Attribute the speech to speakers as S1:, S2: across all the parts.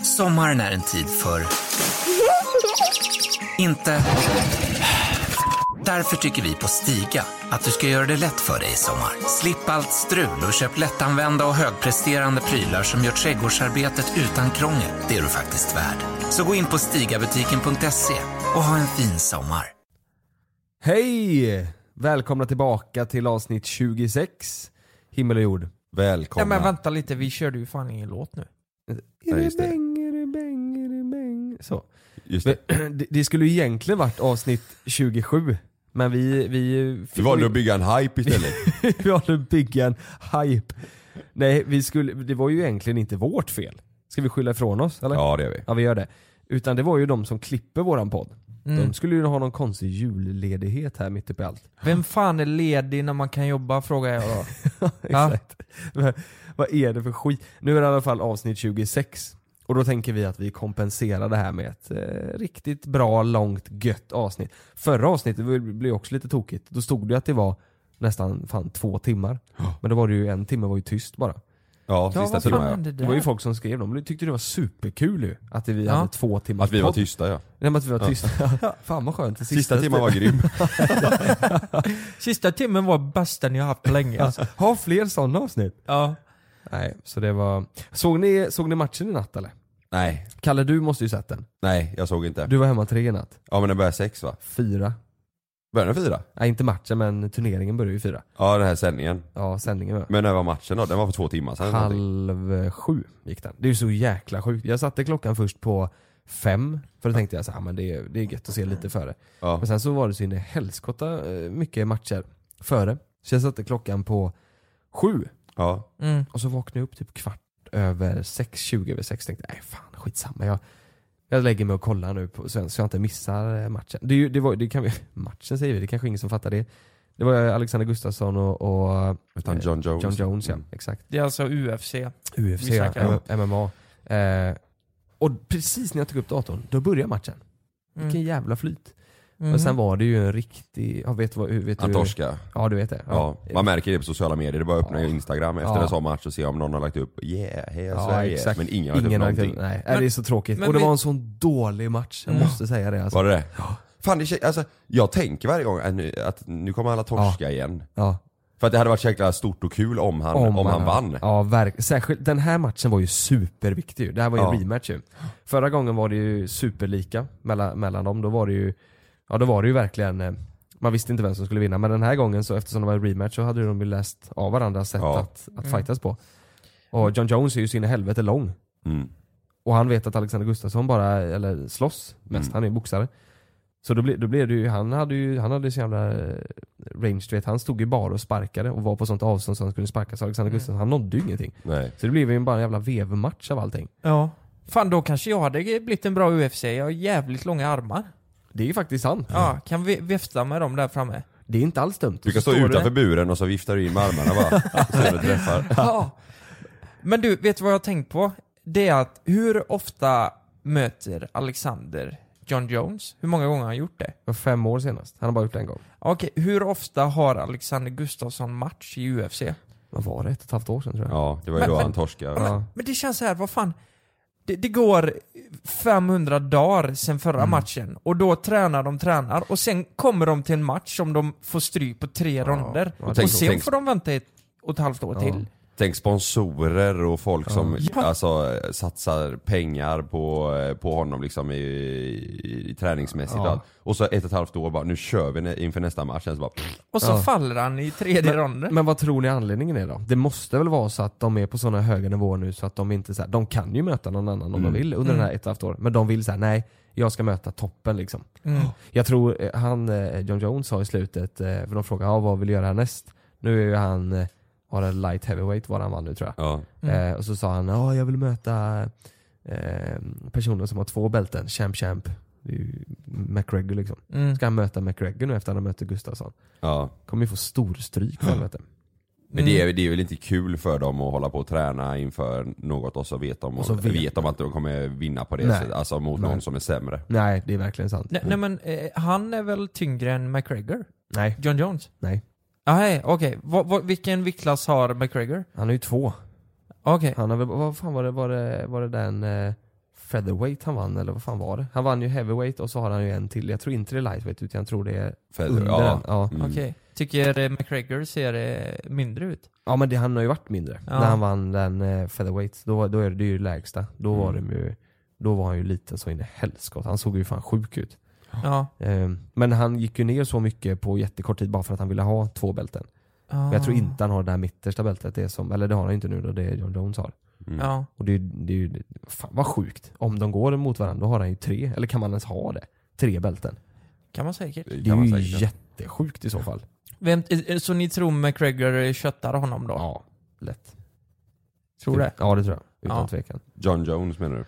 S1: Sommaren är en tid för... Inte... Därför tycker vi på Stiga att du ska göra det lätt för dig i sommar. Slipp allt strul och köp lättanvända och högpresterande prylar som gör trädgårdsarbetet utan krångel. Det är du faktiskt värd. Så gå in på stigabutiken.se och ha en fin sommar.
S2: Hej! Välkomna tillbaka till avsnitt 26, Himmel och jord.
S3: Ja,
S4: Välkomna.
S3: men vänta lite, vi körde ju fan ingen låt nu.
S4: Ja, just det.
S2: Bäng, bäng, bäng. Så.
S4: Just
S2: Men,
S4: det.
S2: det- Det skulle ju egentligen varit avsnitt 27, men vi... Vi,
S4: Vi valde att bygga en hype istället.
S2: vi valde att bygga en hype. Nej, vi skulle, det var ju egentligen inte vårt fel. Ska vi skylla ifrån oss eller?
S4: ja det gör vi.
S2: Ja vi gör det. Utan det var ju de som klipper våran podd.
S3: Mm.
S2: De skulle ju ha någon konstig julledighet här mitt uppe i allt.
S3: Vem fan är ledig när man kan jobba frågar jag då.
S2: Exakt. Men Vad är det för skit? Nu är det i alla fall avsnitt 26. Och då tänker vi att vi kompenserar det här med ett eh, riktigt bra, långt, gött avsnitt. Förra avsnittet var- blev också lite tokigt. Då stod det att det var nästan fan två timmar. Men då var det ju en timme var ju tyst bara.
S4: Ja, sista
S3: Ja, vad fan
S4: timmen ja.
S3: hände
S2: Det var ju
S3: där?
S2: folk som skrev, de tyckte det var superkul ju. Att vi
S3: Ja.
S2: hade två timmar
S4: Att vi var tysta ja.
S2: Nej men att vi var tysta. fan vad skönt.
S4: Sista, timmen var grym.
S3: Sista timmen var bästa ni har haft på länge alltså.
S2: Ha fler sådana avsnitt.
S3: Ja.
S2: Nej, så det var... Såg ni, såg ni matchen i natt eller?
S4: nej,
S2: Kalle du måste ju sett den.
S4: nej jag såg inte.
S2: Du var hemma tre i natt.
S4: Ja men den börjar sex va?
S2: Fyra.
S4: Börjar den fyra?
S2: Nej inte matchen men turneringen började ju fyra.
S4: Ja den här sändningen.
S2: Ja sändningen var.
S4: Men när var matchen då? Den var för två timmar sedan. eller någonting.
S2: Halv eh, sju gick den. Det är ju så jäkla sjukt. Jag satte klockan först på fem. För då tänkte jag så här, "Ah, men det är, det är gött att se lite före.
S4: Ja.
S2: Men sen så var det så in i helskotta eh, mycket matcher före. Så jag satte klockan på sju.
S4: Ja.
S3: Mm.
S2: Och så vaknade jag upp typ kvart över sex, 20 över sex. Tänkte nej fan skitsamma. Jag, jag lägger mig och kollar nu på svensk så jag inte missar eh, matchen. Det, är ju- det var, det kan vi, matchen säger vi, det är kanske ingen som fattar det. Det var eh, Alexander Gustafsson och, och
S4: Utan
S2: eh,
S4: John Jones.
S2: John Jones ja,
S4: Mm.
S2: exakt.
S3: Det är alltså UFC.
S2: UFC,
S3: Vi snackar
S2: ja, M- MMA. Eh, och precis när jag tog upp datorn, då började matchen. Vilken
S3: Mm.
S2: jävla flyt.
S3: Mm.
S2: Men sen var det ju en riktig, ja, vet du vad, vet du,
S4: Han torskar.
S2: Ja du vet det.
S4: Ja. Man märker det på sociala medier. Det är bara att öppna
S2: Ja.
S4: Instagram efter
S2: Ja.
S4: en sån match och se om någon har lagt upp 'Yeah, heja
S2: Ja,
S4: Sverige'
S2: exakt.
S4: men ingen har lagt
S2: Ingen
S4: upp
S2: har lagt upp-
S4: någonting.
S2: Nej, äh,
S3: Men-
S2: det är så tråkigt.
S3: men
S2: och det
S3: vi-
S2: var en sån dålig match, jag
S3: Mm.
S2: måste säga det alltså.
S4: Var det det? Fan, det kän- alltså, jag tänker varje gång att nu, att nu kommer alla torska igen.
S2: Ja,
S4: För att det hade varit så jäkla stort och kul om han, om han vann.
S2: Ja, verk- särskilt den här matchen var ju superviktig ju. Det här var ju
S4: Ja.
S2: en rematch ju. Förra gången var det ju superlika mellan, mellan dem. Då var det ju, ja då var det ju verkligen, eh, man visste inte vem som skulle vinna. Men den här gången så eftersom det var en rematch så hade ju de ju läst av varandra sätt
S4: Ja.
S2: att, att fightas på. Och John Jones är ju sin i helvete lång.
S4: Mm.
S2: Och han vet att Alexander Gustafsson bara, eller slåss mest,
S4: Mm.
S2: han är ju boxare. Så då, ble, då blev det ju, han hade ju, han hade ju så jävla eh, range du vet, han stod ju bara och sparkade och var på sånt avstånd så han kunde sparka. Så Alexander Gustafsson, han nådde ju ingenting.
S4: Nej.
S2: Så det blev ju bara en jävla vevmatch av allting.
S3: Ja. Fan då kanske jag hade blivit en bra UFC. Jag har jävligt långa armar.
S2: Det är ju faktiskt sant.
S3: Ja, kan vi vifta med dem där framme?
S2: Det är inte alls dumt.
S4: Du kan stå
S2: Förstår
S4: utanför
S2: det?
S4: buren och så viftar du in med armarna bara. Så du träffar.
S3: Ja. Men du, vet du vad jag har tänkt på? Det är att hur ofta möter Alexander John Jones? Hur många gånger har han gjort det?
S2: Det var fem år senast. Han har bara gjort det en gång.
S3: Okej, hur ofta har Alexander Gustafsson match i UFC?
S2: Vad var det? Ett och ett halvt år sedan tror jag.
S4: Ja, det var ju
S3: Men-
S4: då
S3: men-
S4: han torskade.
S2: Ja.
S3: Men det känns så här, vad fan? Det, det går 500 dagar sen förra
S2: Mm.
S3: matchen och då tränar de, tränar och sen kommer de till en match som de får stryk på tre ronder.
S2: ja,
S3: Och,
S4: tänk-
S3: sen
S4: tänk-
S3: får de vänta ett och ett halvt år
S2: Ja.
S3: till.
S4: Tänk sponsorer och folk som alltså, satsar pengar på, på honom liksom i, i, i träningsmässigt och
S2: Ja.
S4: allt. Och så ett och ett halvt år bara, nu kör vi nä- inför nästa match. Sen så bara, pff,
S3: Och så
S2: Ja.
S3: faller han i tredje ronden.
S2: Men vad tror ni anledningen är då? Det måste väl vara så att de är på sådana höga nivåer nu så att de inte så här, de kan ju möta någon annan om
S4: Mm.
S2: de vill under den här ett och ett halvt år. Men de vill så här, nej, jag ska möta toppen liksom.
S3: Mm.
S2: Jag tror eh, han, eh, John Jones sa i slutet, eh, för de frågade ja, vad vill du göra härnäst? Nu är ju han, eh, var det light heavyweight var han vann nu tror jag.
S4: ja.
S3: Mm.
S2: Eh, och så sa han, ja jag vill möta eh, personer som har två bälten, champ champ. Det är ju McGregor liksom.
S3: Mm.
S2: Ska han möta McGregor nu efter att han har mött Gustafsson?
S4: ja.
S2: Kommer ju få stor stryk helvete.
S4: Men
S2: Mm.
S4: det, är, det är väl inte kul för dem att hålla på och träna inför något och så vet de,
S2: Och så vet-
S4: vet. de att de kommer vinna på det
S2: Nej.
S4: sättet, alltså mot
S2: Nej.
S4: någon som är sämre.
S2: Nej, det är verkligen sant.
S3: Nej, nej men eh, han är väl tyngre än McGregor?
S2: Nej.
S3: John Jones?
S2: Nej.
S3: Ah, hej, okej. Vad- vad- Vilken viktklass har McGregor?
S2: Han är ju två.
S3: Okej.
S2: Han har väl, vad fan var det, var det, var det den, eh, featherweight han vann eller vad fan var det? Han vann ju heavyweight och så har han ju en till. Jag tror inte det är lightweight utan jag tror det är
S4: Feather,
S2: under
S4: ja.
S2: den. Ja.
S4: Mm.
S3: Okej. Tycker eh, McGregor ser eh, mindre ut?
S2: ja men det, han har ju varit mindre.
S3: Ja.
S2: När han vann den eh, featherweight, då, då är det ju lägsta. Då var
S4: Mm.
S2: det ju då var han ju liten så in i helskotta. Han såg ju fan sjuk ut.
S3: Ja.
S2: Ehm, Men han gick ju ner så mycket på jättekort tid bara för att han ville ha två bälten. Men
S3: Ah.
S2: Jag tror inte han har det där mittersta bältet, det är som, eller det har han ju inte nu då, det är John Jones har.
S4: Mm.
S3: Ja.
S2: Och det är ju, det är ju fan vad sjukt. Om de går mot varandra, då har han ju tre, eller kan man ens ha det? Tre bälten.
S3: Kan man säkert.
S4: Det
S2: Det
S4: kan
S2: är
S4: man
S2: ju
S4: säkert.
S2: jättesjukt i så fall.
S3: Vem, eh, så ni tror McGregor eh, köttar honom då?
S2: Ja, lätt.
S3: Tror det?
S2: Ja det tror jag. Utan
S3: Ja.
S2: tvekan.
S4: John Jones menar du?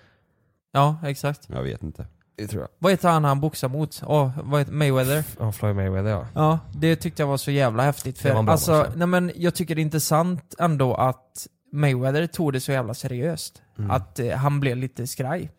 S3: Ja, exakt.
S4: Jag vet inte.
S2: Det tror jag.
S3: Vad heter han han boxar mot? Åh, vad heter Mayweather?
S2: Ja, Floyd Mayweather ja.
S3: Ja, det tyckte jag var så jävla häftigt. För
S2: Det var en bra
S3: alltså,
S2: match, ja.
S3: nej, men jag tycker det är intressant ändå att Mayweather tog det så jävla seriöst.
S2: Mm.
S3: Att eh, han blev lite skraj.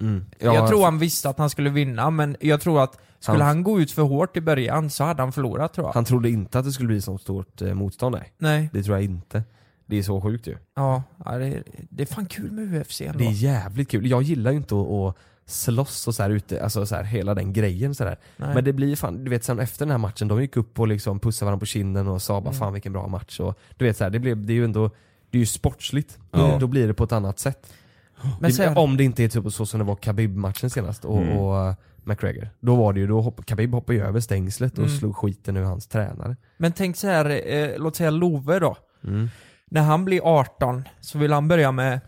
S2: Mm.
S3: jag tror han visste att han skulle vinna, men jag tror att skulle han,
S2: Han-
S3: gå ut för hårt i början så hade han förlorat tror jag.
S2: Han trodde inte att det skulle bli så stort eh, motstånd nej.
S3: Nej,
S2: Det tror jag inte. Det är så sjukt ju.
S3: ja, ja det, det är fan kul med UFC ändå.
S2: Det är jävligt kul. Jag gillar ju inte att, att slåss och så här ute, alltså så här, hela den grejen så där.
S3: Nej.
S2: Men det blir fan, du vet sen efter den här matchen, de gick upp och liksom pussade varandra på kinden och sa bara fan vilken bra match. Och, du vet så här, det, blev, det är ju ändå, det är ju sportsligt.
S4: Ja.
S2: Då blir det på ett annat sätt.
S3: Men
S2: det,
S3: sen-
S2: Om det inte är typ så som det var Khabib-matchen senast och,
S4: Mm.
S2: och eh, McGregor. Då var det ju, då hopp, Khabib hoppade ju över stängslet och
S3: Mm.
S2: slog skiten ur hans tränare.
S3: Men tänk så här, eh, låt säga Love då.
S2: Mm.
S3: När han blir 18 så vill han börja med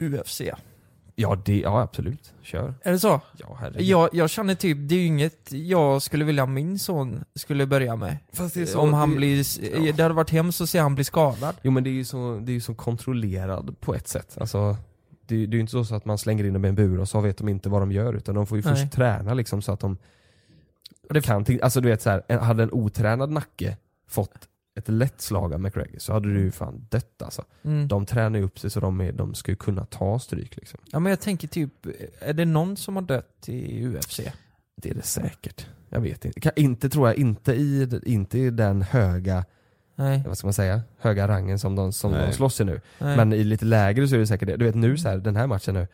S3: UFC.
S2: Ja, det, ja absolut. Kör.
S3: Är det så?
S2: Ja, herregud.
S3: Jag, jag känner typ, det är ju inget jag skulle vilja min son skulle börja med.
S2: Fast det är så-
S3: Om han
S2: det-
S3: blir, s- det hade varit hemskt att se han bli skadad.
S2: Jo men det är ju så, det är ju så kontrollerad på ett sätt. Alltså, det, är- det är ju inte så så att man slänger in dem i en bur och så vet de inte vad de gör utan de får ju
S3: Nej.
S2: först träna liksom så att de kan ting- Alltså du vet så här, en- hade en otränad nacke fått ett lätt slag av McGregor så hade du ju fan dött alltså.
S3: Mm.
S2: De tränar ju upp sig så de, är, de ska ju kunna ta stryk liksom.
S3: Ja men jag tänker typ, är det någon som har dött i UFC?
S2: Det är det säkert. Jag vet inte. Kan, inte tror jag, inte i, inte i den höga,
S3: Nej.
S2: vad ska man säga, höga rangen som de, som de
S4: Nej.
S2: slåss i nu.
S3: nej.
S2: Men i lite lägre så är det säkert det. Du vet nu så här, den här matchen nu,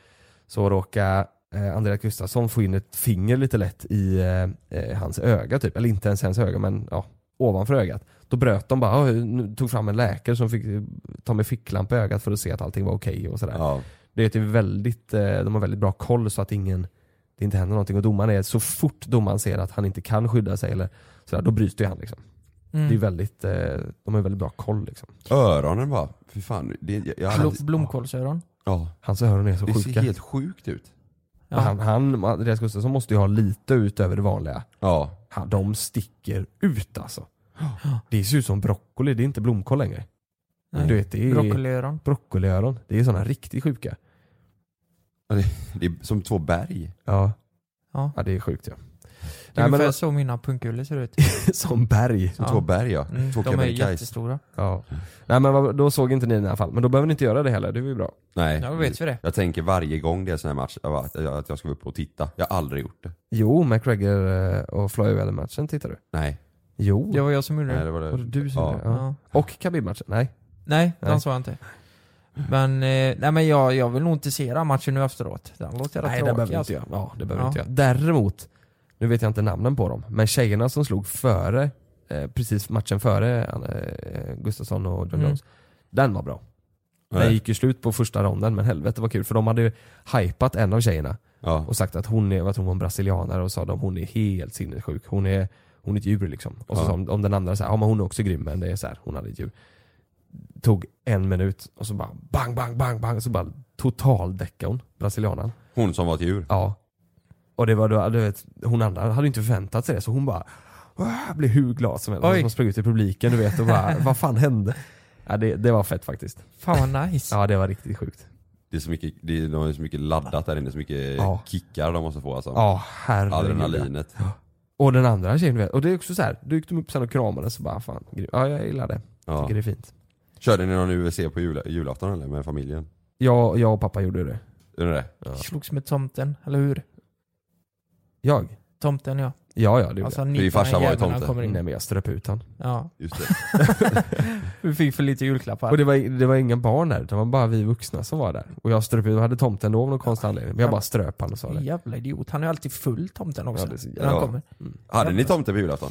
S2: så råkar eh, Andreas Gustafsson få in ett finger lite lätt i eh, eh, hans öga typ. Eller inte ens hans öga men ja, ovanför ögat. Då bröt de bara, "Oj, nu tog fram en läkare som fick eh, ta med ficklampa i ögat för att se att allting var okej och sådär.
S4: Ja.
S2: Det är typ väldigt, eh, de har väldigt bra koll så att ingen, det inte händer någonting. Och domaren är, så fort domaren ser att han inte kan skydda sig eller sådär, då bryter ju han liksom.
S3: Mm.
S2: Det är väldigt, eh, de har väldigt bra koll liksom.
S4: Öronen bara, fy fan. Det, jag, jag hade,
S3: Blom, blomkålsöron.
S4: ja,
S2: Hans öron är så
S4: det ser
S2: sjuka.
S4: helt sjukt ut.
S3: Ja.
S2: Han, han, Andreas Gustafsson måste ju ha lite utöver det vanliga.
S4: Ja.
S2: Han, de sticker ut alltså. Det ser ut som broccoli, det är inte blomkål längre.
S3: Nej.
S2: Du vet, det är
S3: Broccoliöron.
S2: broccoliöron. Det är sådana riktigt sjuka.
S4: Det är som två berg.
S2: Ja.
S3: Ja.
S2: det är sjukt ja.
S3: Det är
S2: Nej, men-
S3: ungefär så mina punkkulor ser ut.
S2: som berg.
S4: Som
S3: Ja.
S4: två berg ja.
S3: Mm,
S4: Typ. två
S3: de är
S4: Kebnekaise.
S3: jättestora.
S2: Ja. Nej men vad- då såg inte ni den i alla fall. Men då behöver ni inte göra det heller, det är ju bra.
S4: Nej.
S3: Ja, då vet vi det.
S4: Jag tänker varje gång det är sån här match jag bara, att jag, att jag ska vara uppe och titta. Jag har aldrig gjort det.
S2: Jo, McGregor eh, och Floyd Mayweather-matchen tittar du.
S4: Nej.
S2: Jo.
S3: Det var jag som gjorde
S4: Nej
S3: det.
S4: det var det.
S2: Var det du som
S4: Ja.
S2: gjorde det? Ja.
S3: Ja.
S2: Och Khabib-matchen? Nej.
S3: Nej, den
S2: Mm. Nej.
S3: sa jag inte. Men, eh, nej, men jag, jag vill nog inte se den här matchen nu efteråt. Den låter rätt tråkig. alltså.
S2: jag. Ja, det behöver
S3: Ja.
S2: inte jag. Däremot, nu vet jag inte namnen på dem, men tjejerna som slog före, eh, precis matchen före eh, Gustafsson och John
S3: Mm.
S2: Jones, den var bra. Den
S4: Nej.
S2: gick ju slut på första ronden, men helvete vad kul för de hade ju hypat en av tjejerna
S4: Ja.
S2: och sagt att hon är, vad tror hon, brasilianare och sa de hon är helt sinnessjuk. Hon är, hon är ett djur liksom. Och så
S4: Ja.
S2: sa de- om den andra så här, ja men hon är också grym men det är så här, hon hade ett djur. Tog en minut och så bara bang, bang, bang, bang. Så bara totaldäckade hon, brasilianan.
S4: Hon som var ett djur.
S2: Ja. Och det var då, du vet, hon andra hade inte förväntat sig det så hon bara "Åh", blev hur glad som helst.
S3: Oj.
S2: Hon sprang ut i publiken du vet och bara vad fan hände? Ja, det, det var fett faktiskt.
S3: alltså. Fan vad nice.
S2: Ja det var riktigt sjukt.
S4: Det är så mycket, det är, de är så mycket laddat där inne, så mycket
S2: Ja.
S4: kickar de måste få alltså.
S2: Ja herregud.
S4: Adrenalinet.
S2: Och den andra tjejen du vet, och det är också så här, då gick de upp sen och kramades och bara fan, grym. ja jag gillar det.
S4: Ja.
S2: Tycker det är fint.
S4: Körde ni någon UFC på jul, julafton eller med familjen?
S2: Jag, jag och pappa gjorde det.
S4: Är det det?
S3: Slogs med tomten, eller hur?
S2: Jag?
S3: Tomten ja.
S2: Ja, ja, det gjorde
S3: Alltså
S2: jag. Mm.
S4: Din farsa var ju
S3: jävlarna
S4: tomte.
S3: kommer in.
S2: Nej men jag ströp ut han.
S3: Ja.
S4: Just det.
S3: Vi fick för lite julklappar.
S2: Och det var, det var inga barn där, utan det var bara vi vuxna som var där. Och jag ströp ut, och hade tomten då av någon konstig anledning. Men jag bara ströp han och sa det.
S3: Jävla idiot. Han är alltid full tomten också.
S2: Ja, det är så
S3: när han
S4: jävla-
S3: kommer.
S4: Hade ni tomte på julafton?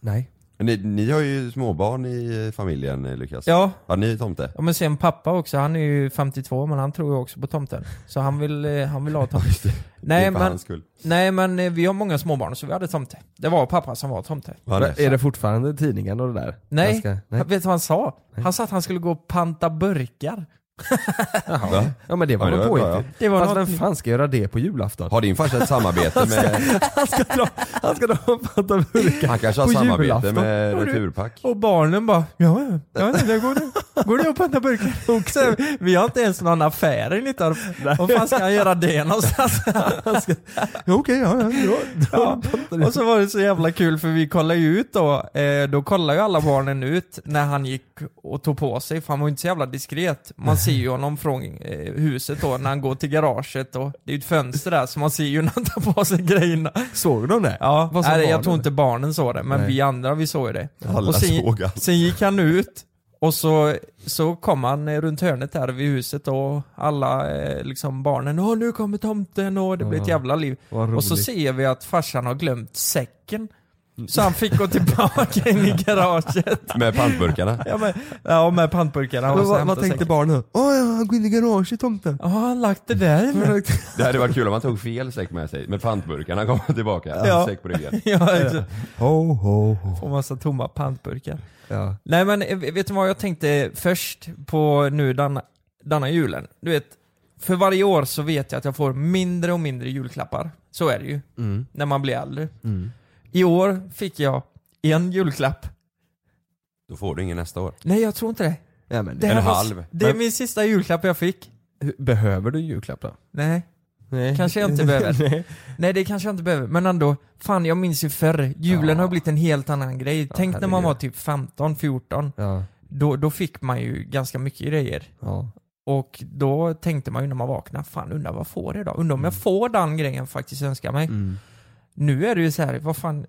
S2: Nej.
S4: Ni, ni har ju småbarn i familjen eh, Lukas.
S3: Ja.
S4: Hade ni tomte?
S3: ja, men sen pappa också. Han är ju 52 men han tror ju också på tomten. Så han vill, eh, han vill ha tomten.
S4: det
S3: nej,
S4: är för
S3: men,
S4: hans skull.
S3: nej men eh, vi har många småbarn så vi hade tomte. Det var pappa som var tomte.
S4: Vad hade-
S2: Är det fortfarande tidningen och det där?
S3: Nej,
S2: Jag ska- nej.
S3: vet du vad han sa? Han sa att han skulle gå och panta burkar.
S4: Va?
S2: Ja men det var
S4: Ja, det
S2: väl
S4: var bra,
S2: påhittigt.
S3: Det var
S2: Fast
S3: något
S2: vem fan ska göra det på julafton?
S4: Har din farsa ett samarbete med...
S2: Han ska dra, han ska dra och panta burkar.
S4: Han kanske har
S2: På
S4: samarbete
S2: julafton.
S4: med
S3: Ja, du-
S4: Returpack?
S3: Och barnen bara ja, ja, ja det går det. Går det att panta burkar? Och så, vi har inte ens någon affär i Nittorp. Vad fan ska han göra det någonstans?
S2: Ja, Okej, ja, ja, ja.
S3: Ja. Och så var det så jävla kul för vi kollade ju ut då, eh, då kollade ju alla barnen ut när han gick och tog på sig, för han var ju inte så jävla diskret. Man ser ju honom från eh, huset då när han går till garaget och det är ju ett fönster där så man ser ju när han tar på sig grejerna.
S2: Såg de det?
S3: Ja,
S2: Vad sa
S3: nej, jag
S2: barnen?
S3: tror inte barnen såg det, men
S2: Nej.
S3: vi andra vi såg ju det.
S4: Alla
S3: och sen,
S4: såg allt.
S3: sen gick han ut och så, så kom han eh, runt hörnet där vid huset och alla eh, liksom barnen Åh nu kommer tomten och det blev ett
S2: Ja.
S3: jävla liv.
S2: Vad roligt. Mm.
S3: Och så ser vi att farsan har glömt säcken. Så han fick gå tillbaka in i garaget.
S4: Med pantburkarna?
S3: Ja, men, ja med pantburkarna.
S2: Men
S3: Och så
S2: vad, vad
S3: hämta
S2: tänkte
S3: säcken.
S2: barnen? Åh, ja, han går in i garaget tomten.
S3: Ja, han har lagt det där inne.
S4: Det hade varit kul om han tog fel säck med sig. Med pantburkarna kom han tillbaka.
S3: Ja.
S4: Säck på ryggen.
S3: Ja, exakt.
S2: Ho, ho, ho.
S3: Och massa tomma pantburkar.
S2: Ja.
S3: Nej men eh, vet du vad jag tänkte först på nu denna, denna julen? Du vet, för varje år så vet jag att jag får mindre och mindre julklappar. Så är det ju,
S2: Mm.
S3: när man blir äldre.
S2: Mm.
S3: I år fick jag en julklapp.
S4: Då får du ingen nästa år.
S3: Nej jag tror inte det.
S2: Ja, men
S3: det
S2: det.
S4: En
S3: här var-
S4: halv.
S3: Det är
S2: Men-
S3: min sista julklapp jag fick.
S2: Behöver du julklapp då?
S3: Nej,
S2: Nej.
S3: kanske jag inte behöver.
S2: Nej.
S3: Nej det kanske jag inte behöver, men ändå. Fan jag minns ju förr. Julen
S2: Ja.
S3: har blivit en helt annan grej. Tänk när
S2: herregud.
S3: man var typ 15, 14.
S2: Ja,
S3: Då, då fick man ju ganska mycket grejer.
S2: ja.
S3: Och då tänkte man ju när man vaknade, fan undrar vad får jag idag? Undrar om jag får den grejen jag faktiskt önskar mig.
S2: Mm.
S3: Nu är det ju så här, vad fan,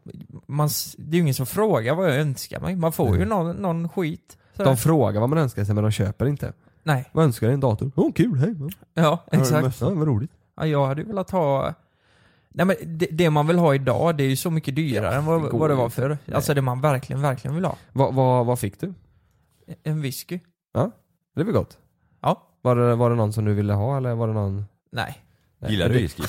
S3: man, s- det är ju ingen som frågar vad jag önskar mig. Man får ju
S2: Nej.
S3: någon, någon skit. Så
S2: De
S3: här.
S2: frågar vad man önskar sig men de köper inte.
S3: Nej,
S2: Man önskar dig en dator. Åh kul, hej.
S3: ja exakt.
S2: Ja, vad roligt.
S3: Ja, jag hade ju velat ha... Nej men det, det man vill ha idag, det är ju så mycket dyrare än vad,
S2: går
S3: vad det
S2: ju
S3: var
S2: inte.
S3: förr. Alltså det man verkligen, verkligen vill ha.
S2: Vad, vad, vad fick du?
S3: En whisky.
S2: Det var gott.
S3: Ja.
S2: Var det, var det någon som du ville ha eller var det någon?
S3: Nej.
S2: Nej.
S4: Gillar du whisky?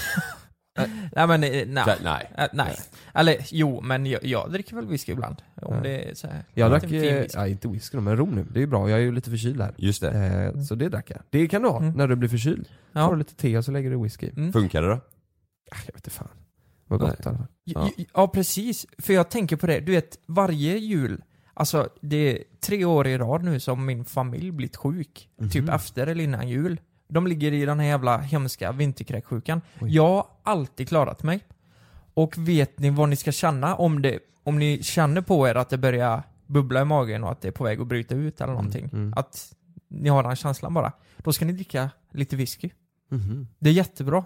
S3: Nej men eh, nej.
S4: Nej.
S3: Eh, Nej. Eller jo, men jag, jag dricker väl whisky ibland. Om
S2: Ja.
S3: det är så här.
S2: Jag
S3: en
S2: drack,
S3: liten fin
S2: eh,
S3: whisky.
S2: ja, inte whisky då, men rom nu. Det är ju bra, jag är ju lite förkyld här.
S4: Just det.
S2: Eh, så det drack jag. Det kan du ha
S3: Mm.
S2: när du blir förkyld.
S3: Ja.
S2: Tar du lite te och så lägger du whisky. i.
S4: Funkar det då?
S2: Ah, jag vet inte fan. Vad gott i alla fall.
S3: Ja. ja precis, för jag tänker på det, du vet varje jul, alltså det är tre år i rad nu som min familj blivit sjuk.
S2: Mhm.
S3: Typ efter eller innan jul. De ligger i den här jävla hemska vinterkräksjukan. Jag har alltid klarat mig. Och vet ni vad ni ska känna om det, om ni känner på er att det börjar bubbla i magen och att det är på väg att bryta ut eller
S2: Mm,
S3: någonting. Att ni har den känslan bara. Då ska ni dricka lite whisky. Det är jättebra.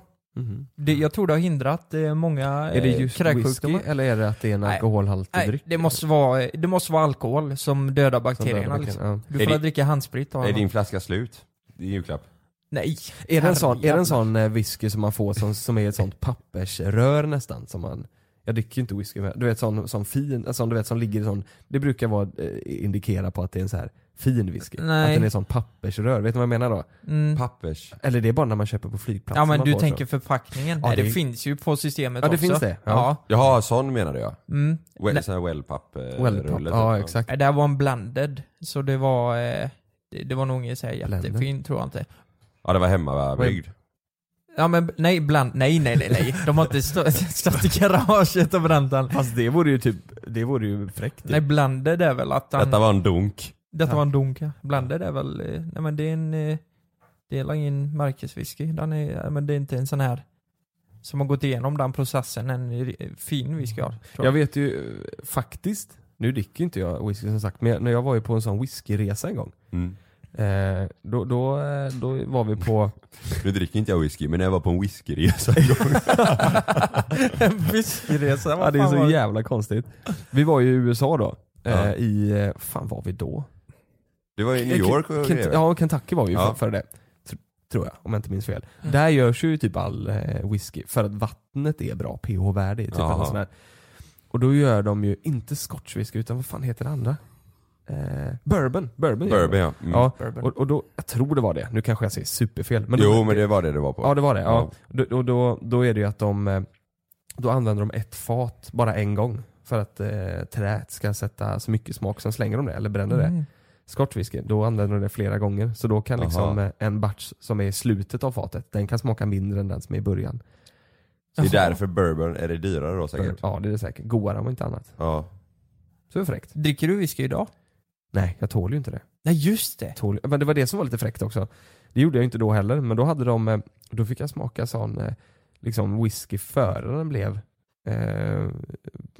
S3: Det, jag tror det har hindrat eh, många
S2: Mm. Är det
S3: eh,
S2: just whisky
S3: kräksjukdomar.
S2: eller är det att det är en
S3: Nej.
S2: alkoholhaltig
S3: Nej,
S2: dryck?
S3: det måste, vara, det måste vara alkohol som
S2: Som
S3: dödar
S2: dödar
S3: bakterierna.
S2: bakterierna,
S3: liksom.
S2: ja.
S3: Du
S4: Är
S3: får
S4: det-
S3: väl dricka handsprit då.
S4: Är din flaska slut? Din julklapp?
S3: Nej.
S2: Är det en sån, är det
S3: Herrejävlar.
S2: en sån eh, whisky som man får som, som är ett sånt pappersrör nästan? Som man, jag dricker ju inte whisky, men du vet sån, sån fin, alltså, du vet som ligger i sån, det brukar vara, eh, indikera på att det är en så här fin whisky.
S3: Nej.
S2: Att den är sån pappersrör, vet du vad jag menar då?
S3: Mm.
S4: Pappers?
S2: Eller det är bara när man köper på flygplatsen
S3: Ja men
S2: man
S3: du
S2: får
S3: tänker
S2: så.
S3: förpackningen.
S2: Ja,
S3: Nej, det,
S2: det-
S3: finns ju på systemet
S2: Ja, det
S3: också.
S2: finns det.
S3: Ja.
S2: Ja.
S4: Jaha, sån menade jag.
S3: Mm. Nej.
S4: Well, sån här wellpapp eh,
S2: Well,
S4: rulle, typ.
S2: ja exakt.
S3: Det där var en blended, så det var, eh, det, det var nog inget så här jättefin tror jag inte.
S4: Ja det var hemmabyggd.
S3: Ja men nej, bland, nej nej nej nej. De har inte stå- stått i garaget och bränt den.
S2: Fast det vore ju typ, det vore ju fräckt.
S3: Nej blended är väl att den,
S4: Detta var en dunk.
S3: detta var en dunka. Blended är väl, eh, nej men det är en, eh, det är ingen märkeswhisky. Den är, ja, men det är inte en sån här som har gått igenom den processen, en ri- fin whisky har. tror
S2: Jag vet ju eh,
S4: Mm.
S2: faktiskt, nu dricker ju inte jag whisky som sagt, men jag, när jag var ju på en sån whiskyresa en gång. Eh, då, då, eh, då var vi på,
S4: Nu dricker inte jag whisky, men när jag var på en whiskyresa
S3: En whiskyresa,
S2: ja,
S3: vad
S2: det är
S3: fan var
S2: så
S3: det?
S2: jävla konstigt. Vi var ju i USA då. eh,
S4: Ja.
S2: I, eh, fan var vi då?
S4: Det var i New York och
S2: Kent-
S4: grejer.
S2: Ja, Kentucky var vi ju
S4: Ja.
S2: för, före det. Tr- Tror jag, om jag inte minns fel. Där görs ju typ all eh, whisky för att vattnet är bra pH-värde i typ
S4: Jaha.
S2: alla sådana här. Och då gör de ju inte scotch whisky utan vad fan heter det andra? Eh, bourbon. Bourbon, gör de.
S4: Bourbon ja. Mm.
S2: Ja,
S3: Bourbon.
S2: och, och då, jag tror det var det. Nu kanske jag säger superfel. Men
S4: Jo
S2: då,
S4: men det var det det var på.
S2: Ja det var det. Ja.
S4: Ja.
S2: Då, då, då, då är det ju att de eh, då använder de ett fat bara en gång. För att eh, träet ska sätta så mycket smak. Sen slänger de det eller bränner det.
S3: Mm.
S2: Scotchwhisky, då använder de det flera gånger. Så då kan
S4: Jaha.
S2: liksom eh, en batch som är i slutet av fatet, den kan smaka mindre än den som är i början.
S4: Det är därför bourbon är det dyrare då säkert.
S2: Ja det är det säkert. Godare om inte annat.
S4: Ja.
S2: Så det är fräckt.
S3: Dricker du whisky idag?
S2: Nej, jag tål ju inte det.
S3: Nej just det.
S2: Tål, men det var det som var lite fräckt också. Det gjorde jag inte då heller, men då hade de, eh, då fick jag smaka sån eh, liksom whisky före den blev eh,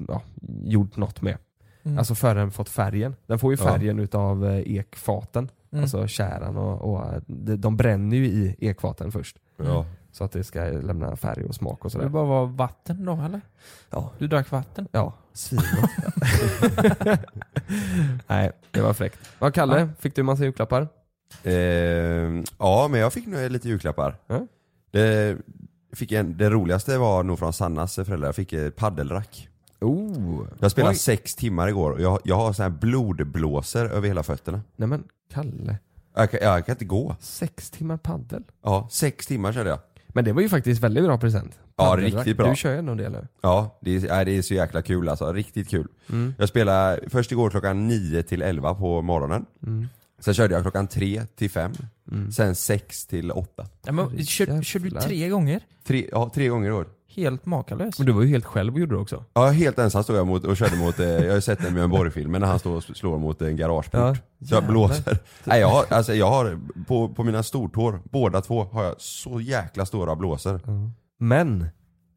S2: ja, gjort något med.
S3: Mm.
S2: Alltså före den fått färgen. Den får ju
S4: Ja.
S2: färgen utav eh, ekfaten,
S3: Mm.
S2: alltså tjäran och, och eh, de, de bränner ju i ekfaten först.
S4: ja.
S2: Så att det ska lämna färg och smak och
S3: det
S2: sådär.
S3: bara var vatten då eller?
S2: Ja,
S3: Du drack vatten?
S2: ja svingott. Nej, det var fräckt. Vad Kalle, fick du massa julklappar?
S4: Ehm, ja men jag fick nog lite julklappar.
S2: Ja.
S4: Det, fick en, det roligaste var nog från Sannas föräldrar, jag fick ett paddelrack.
S2: Oh!
S4: Jag spelade sex timmar igår och jag, jag har sån här blodblåsor över hela fötterna.
S2: Nej men Kalle,
S4: Jag kan, jag kan inte gå.
S2: sex timmar paddel.
S4: Ja, sex timmar körde jag.
S2: Men det var ju faktiskt väldigt bra present.
S4: Ja,
S2: Paddelrack.
S4: riktigt bra.
S2: Du kör ju ändå det nu.
S4: Ja, det är, nej, det är så jäkla kul alltså. Riktigt kul. Jag spelade först igår klockan 9 till 11 på morgonen. Sen körde jag klockan 3 till 5. Sen 6 till 8.
S3: Nej, men, kör, kör du
S2: Jävlar.
S3: tre gånger?
S4: Tre, ja, tre gånger i år.
S3: Helt makalös.
S2: Men du var ju helt själv och gjorde det också.
S4: Ja, helt ensam stod jag mot, och körde mot, eh, jag har ju sett den Björn Borg-filmen när han står och slår mot en garageport.
S2: Ja,
S4: så jag blåser. Nej, jag har, alltså, jag har på, på mina stortår, båda två, har jag så jäkla stora blåsor.
S2: Men,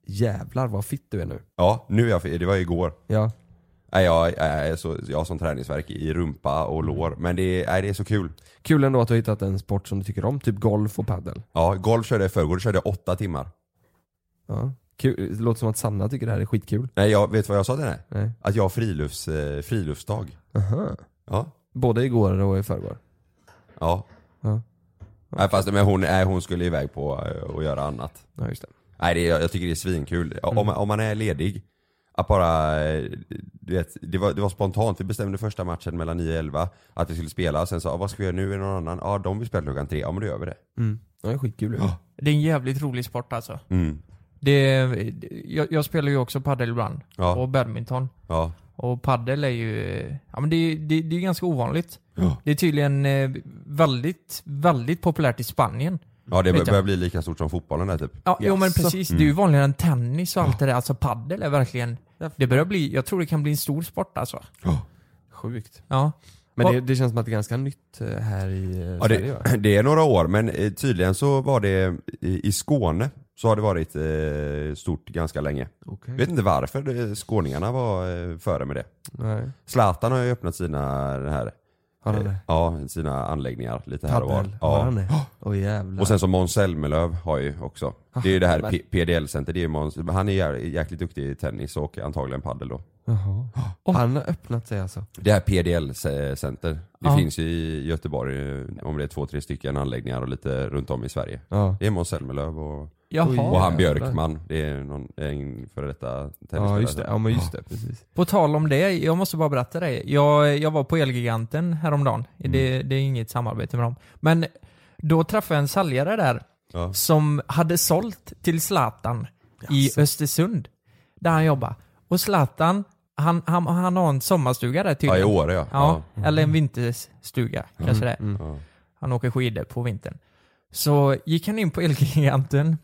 S2: jävlar vad fitt du är nu.
S4: Ja, nu är jag, det var igår.
S2: Ja.
S4: Nej, jag, jag, är så, jag har sån träningsverk i rumpa och lår, men det, är- nej, det är så kul.
S2: Kul ändå att du har hittat en sport som du tycker om, typ golf och paddel.
S4: Ja, golf körde jag i förrgår, då körde jag åtta timmar.
S2: Ja. Kul. Det låter som att Sanna tycker det här är skitkul.
S4: Nej, jag, vet du vad jag sa till henne?
S2: Nej.
S4: Att jag har frilufts, eh, friluftsdag.
S2: Aha.
S4: Ja.
S2: Både igår och i förrgår.
S4: Ja.
S2: Ja.
S4: Nej, fast men hon, nej, hon skulle iväg på eh, och göra annat.
S2: Ja, just det.
S4: Nej, det, jag jag tycker det är svinkul. Ja, Om, man- om man är ledig, att bara, eh, du vet, det var, det var spontant. Vi bestämde första matchen mellan 9 och 11 att vi skulle spela. Sen sa ah, vad ska vi göra nu? Är det någon annan? Ja, de vill spela klockan tre. Ja, men då gör vi det.
S2: Mm. Ja, det är skitkul. ju.
S4: Ja.
S3: Det är en jävligt rolig sport alltså.
S4: Mm.
S3: Det, det- jag, jag spelar ju också padel ibland.
S4: Ja.
S3: Och badminton.
S4: Ja.
S3: Och padel är ju... eh, Ja men det, är- det, det är ganska ovanligt.
S4: Ja.
S3: Det är tydligen eh, väldigt, väldigt populärt i Spanien.
S4: ja, det
S3: Vet jag.
S4: börjar bli lika stort som fotbollen där typ.
S3: Ja, jo men
S2: Jaså?
S3: precis. Det är ju vanligare än tennis och allt det där. Alltså padel är verkligen... Det börjar bli... Jag tror det kan bli en stor sport alltså.
S2: Sjukt.
S3: Ja.
S2: Men
S3: Vad-
S2: det, det känns som att det är ganska nytt eh, här i eh,
S4: Ja,
S2: Sverige va?
S4: det, det är några år, men eh, tydligen så var det i, i Skåne så har det varit eh, stort ganska länge.
S2: Okej.
S4: Vet inte varför det, skåningarna var eh, före med det.
S2: Nej.
S4: Zlatan har ju öppnat sina, det här,
S2: Har han
S4: eh,
S2: det?
S4: ja, sina anläggningar lite här och var.
S2: Paddel? Har han
S4: Ja.
S2: det? Åh jävlar.
S4: Och sen så Måns Zelmerlöw har ju också.
S2: Ah,
S4: Det är ju det här P- PDL-center, det är Måns, men han är jä- jäkligt duktig i tennis och antagligen paddel då.
S2: Jaha. Han har öppnat sig alltså.
S4: Det här PDL-center, det
S3: Ja.
S4: finns ju i Göteborg eh, om det är två, tre stycken anläggningar och lite runt om i Sverige.
S2: Ja.
S4: Det är Måns Zelmerlöw och
S3: Jaha.
S2: Oj.
S4: Och han
S2: jävlar.
S4: Björkman, det är någon, en före detta tennisspelare.
S2: Ja just det, ja men just det, precis.
S4: Mm.
S3: På tal om det, jag måste bara berätta dig. Jag, jag var på Elgiganten häromdagen. Det, det är inget samarbete med dem. Men då träffade jag en säljare där
S4: Ja.
S3: som hade sålt till Zlatan i Östersund. Där han jobbar. Och Zlatan, han, han, han har en sommarstuga där
S4: Ja,
S3: tydligen.
S4: i Åre ja.
S3: Ja,
S4: ja. Mm.
S3: eller en vinterstuga kanske det är.
S2: Mm.
S3: Han åker skidor på vintern. Så gick han in på Elgiganten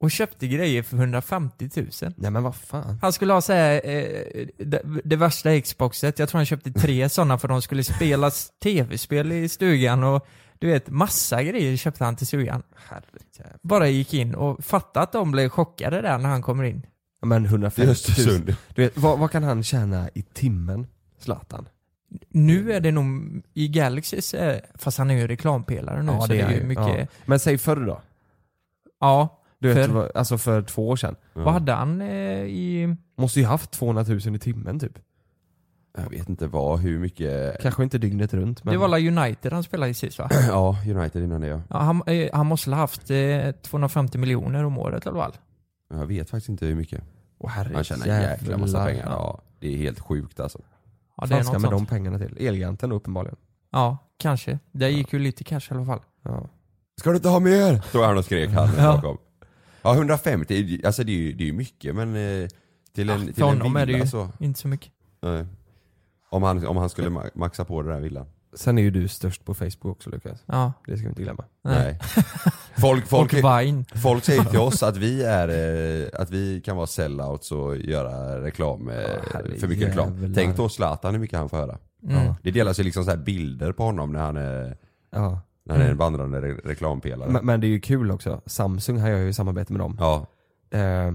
S3: och köpte grejer för 150 000.
S2: Nej men vad fan.
S3: Han skulle ha så här, eh, det, det värsta Xboxet, jag tror han köpte tre sådana för de skulle spela s- tv-spel i stugan och du vet, massa grejer köpte han till stugan.
S2: Herrejävlar.
S3: Bara gick in och fattade att de blev chockade där när han kommer in.
S2: Ja, Men
S4: I
S2: 150 000.
S4: Östersund.
S2: Du vet, vad, vad kan han tjäna i timmen? Zlatan.
S3: Nu är det nog i Galaxys, eh, fast han är ju reklampelare nu så det är ju mycket... Ja,
S2: Ja. Men säg förr då? Du vet,
S3: Förr?
S2: vad- alltså för två år sedan.
S4: Mm.
S3: vad hade han eh, i...
S2: Måste ju haft 200 000 i timmen typ.
S4: Jag vet inte vad, hur mycket...
S2: Kanske inte dygnet runt men...
S3: Det var la United han spelade i sist va?
S4: Ja, United innan det ja.
S3: Ja, han, eh, han måste ha haft eh, 250 miljoner om året i alla fall.
S4: Jag vet faktiskt inte hur mycket.
S2: Åh,
S4: Han tjänar en jäkla massa
S2: jävlar.
S4: pengar. Ja, det är helt sjukt alltså.
S3: Ja, det är
S2: Fan
S3: något
S2: ska
S3: sånt.
S2: med de pengarna till? Elgiganten då uppenbarligen.
S3: Ja, kanske. Det gick ju lite cash i alla fall.
S2: Ja.
S4: Ska du inte ha mer? Stod han och skrek han bakom. Ja 150, alltså det är ju, det är ju mycket men eh, till en, till
S3: För
S4: en
S3: honom
S4: villa
S3: är det ju
S4: så.
S3: inte så mycket.
S4: Nej. Om, han, om han skulle ma- maxa på det där villan.
S2: Sen är ju du störst på Facebook också Lukas.
S3: Ja.
S2: Det ska vi inte glömma.
S3: Nej.
S4: Nej. Folk, folk,
S3: och Vine.
S4: folk säger till oss att vi, är, eh, att vi kan vara sellouts och göra reklam, eh,
S2: herre
S4: för mycket reklam.
S2: jävlar.
S4: Tänk då Zlatan hur mycket han får höra.
S3: Mm.
S4: Det delas ju liksom så här bilder på honom när han är,
S2: Ja.
S4: när han är en vandrande re reklampelare.
S2: Men, men det är ju kul också. Samsung här gör ju samarbete med dem.
S4: ja,
S2: Eh,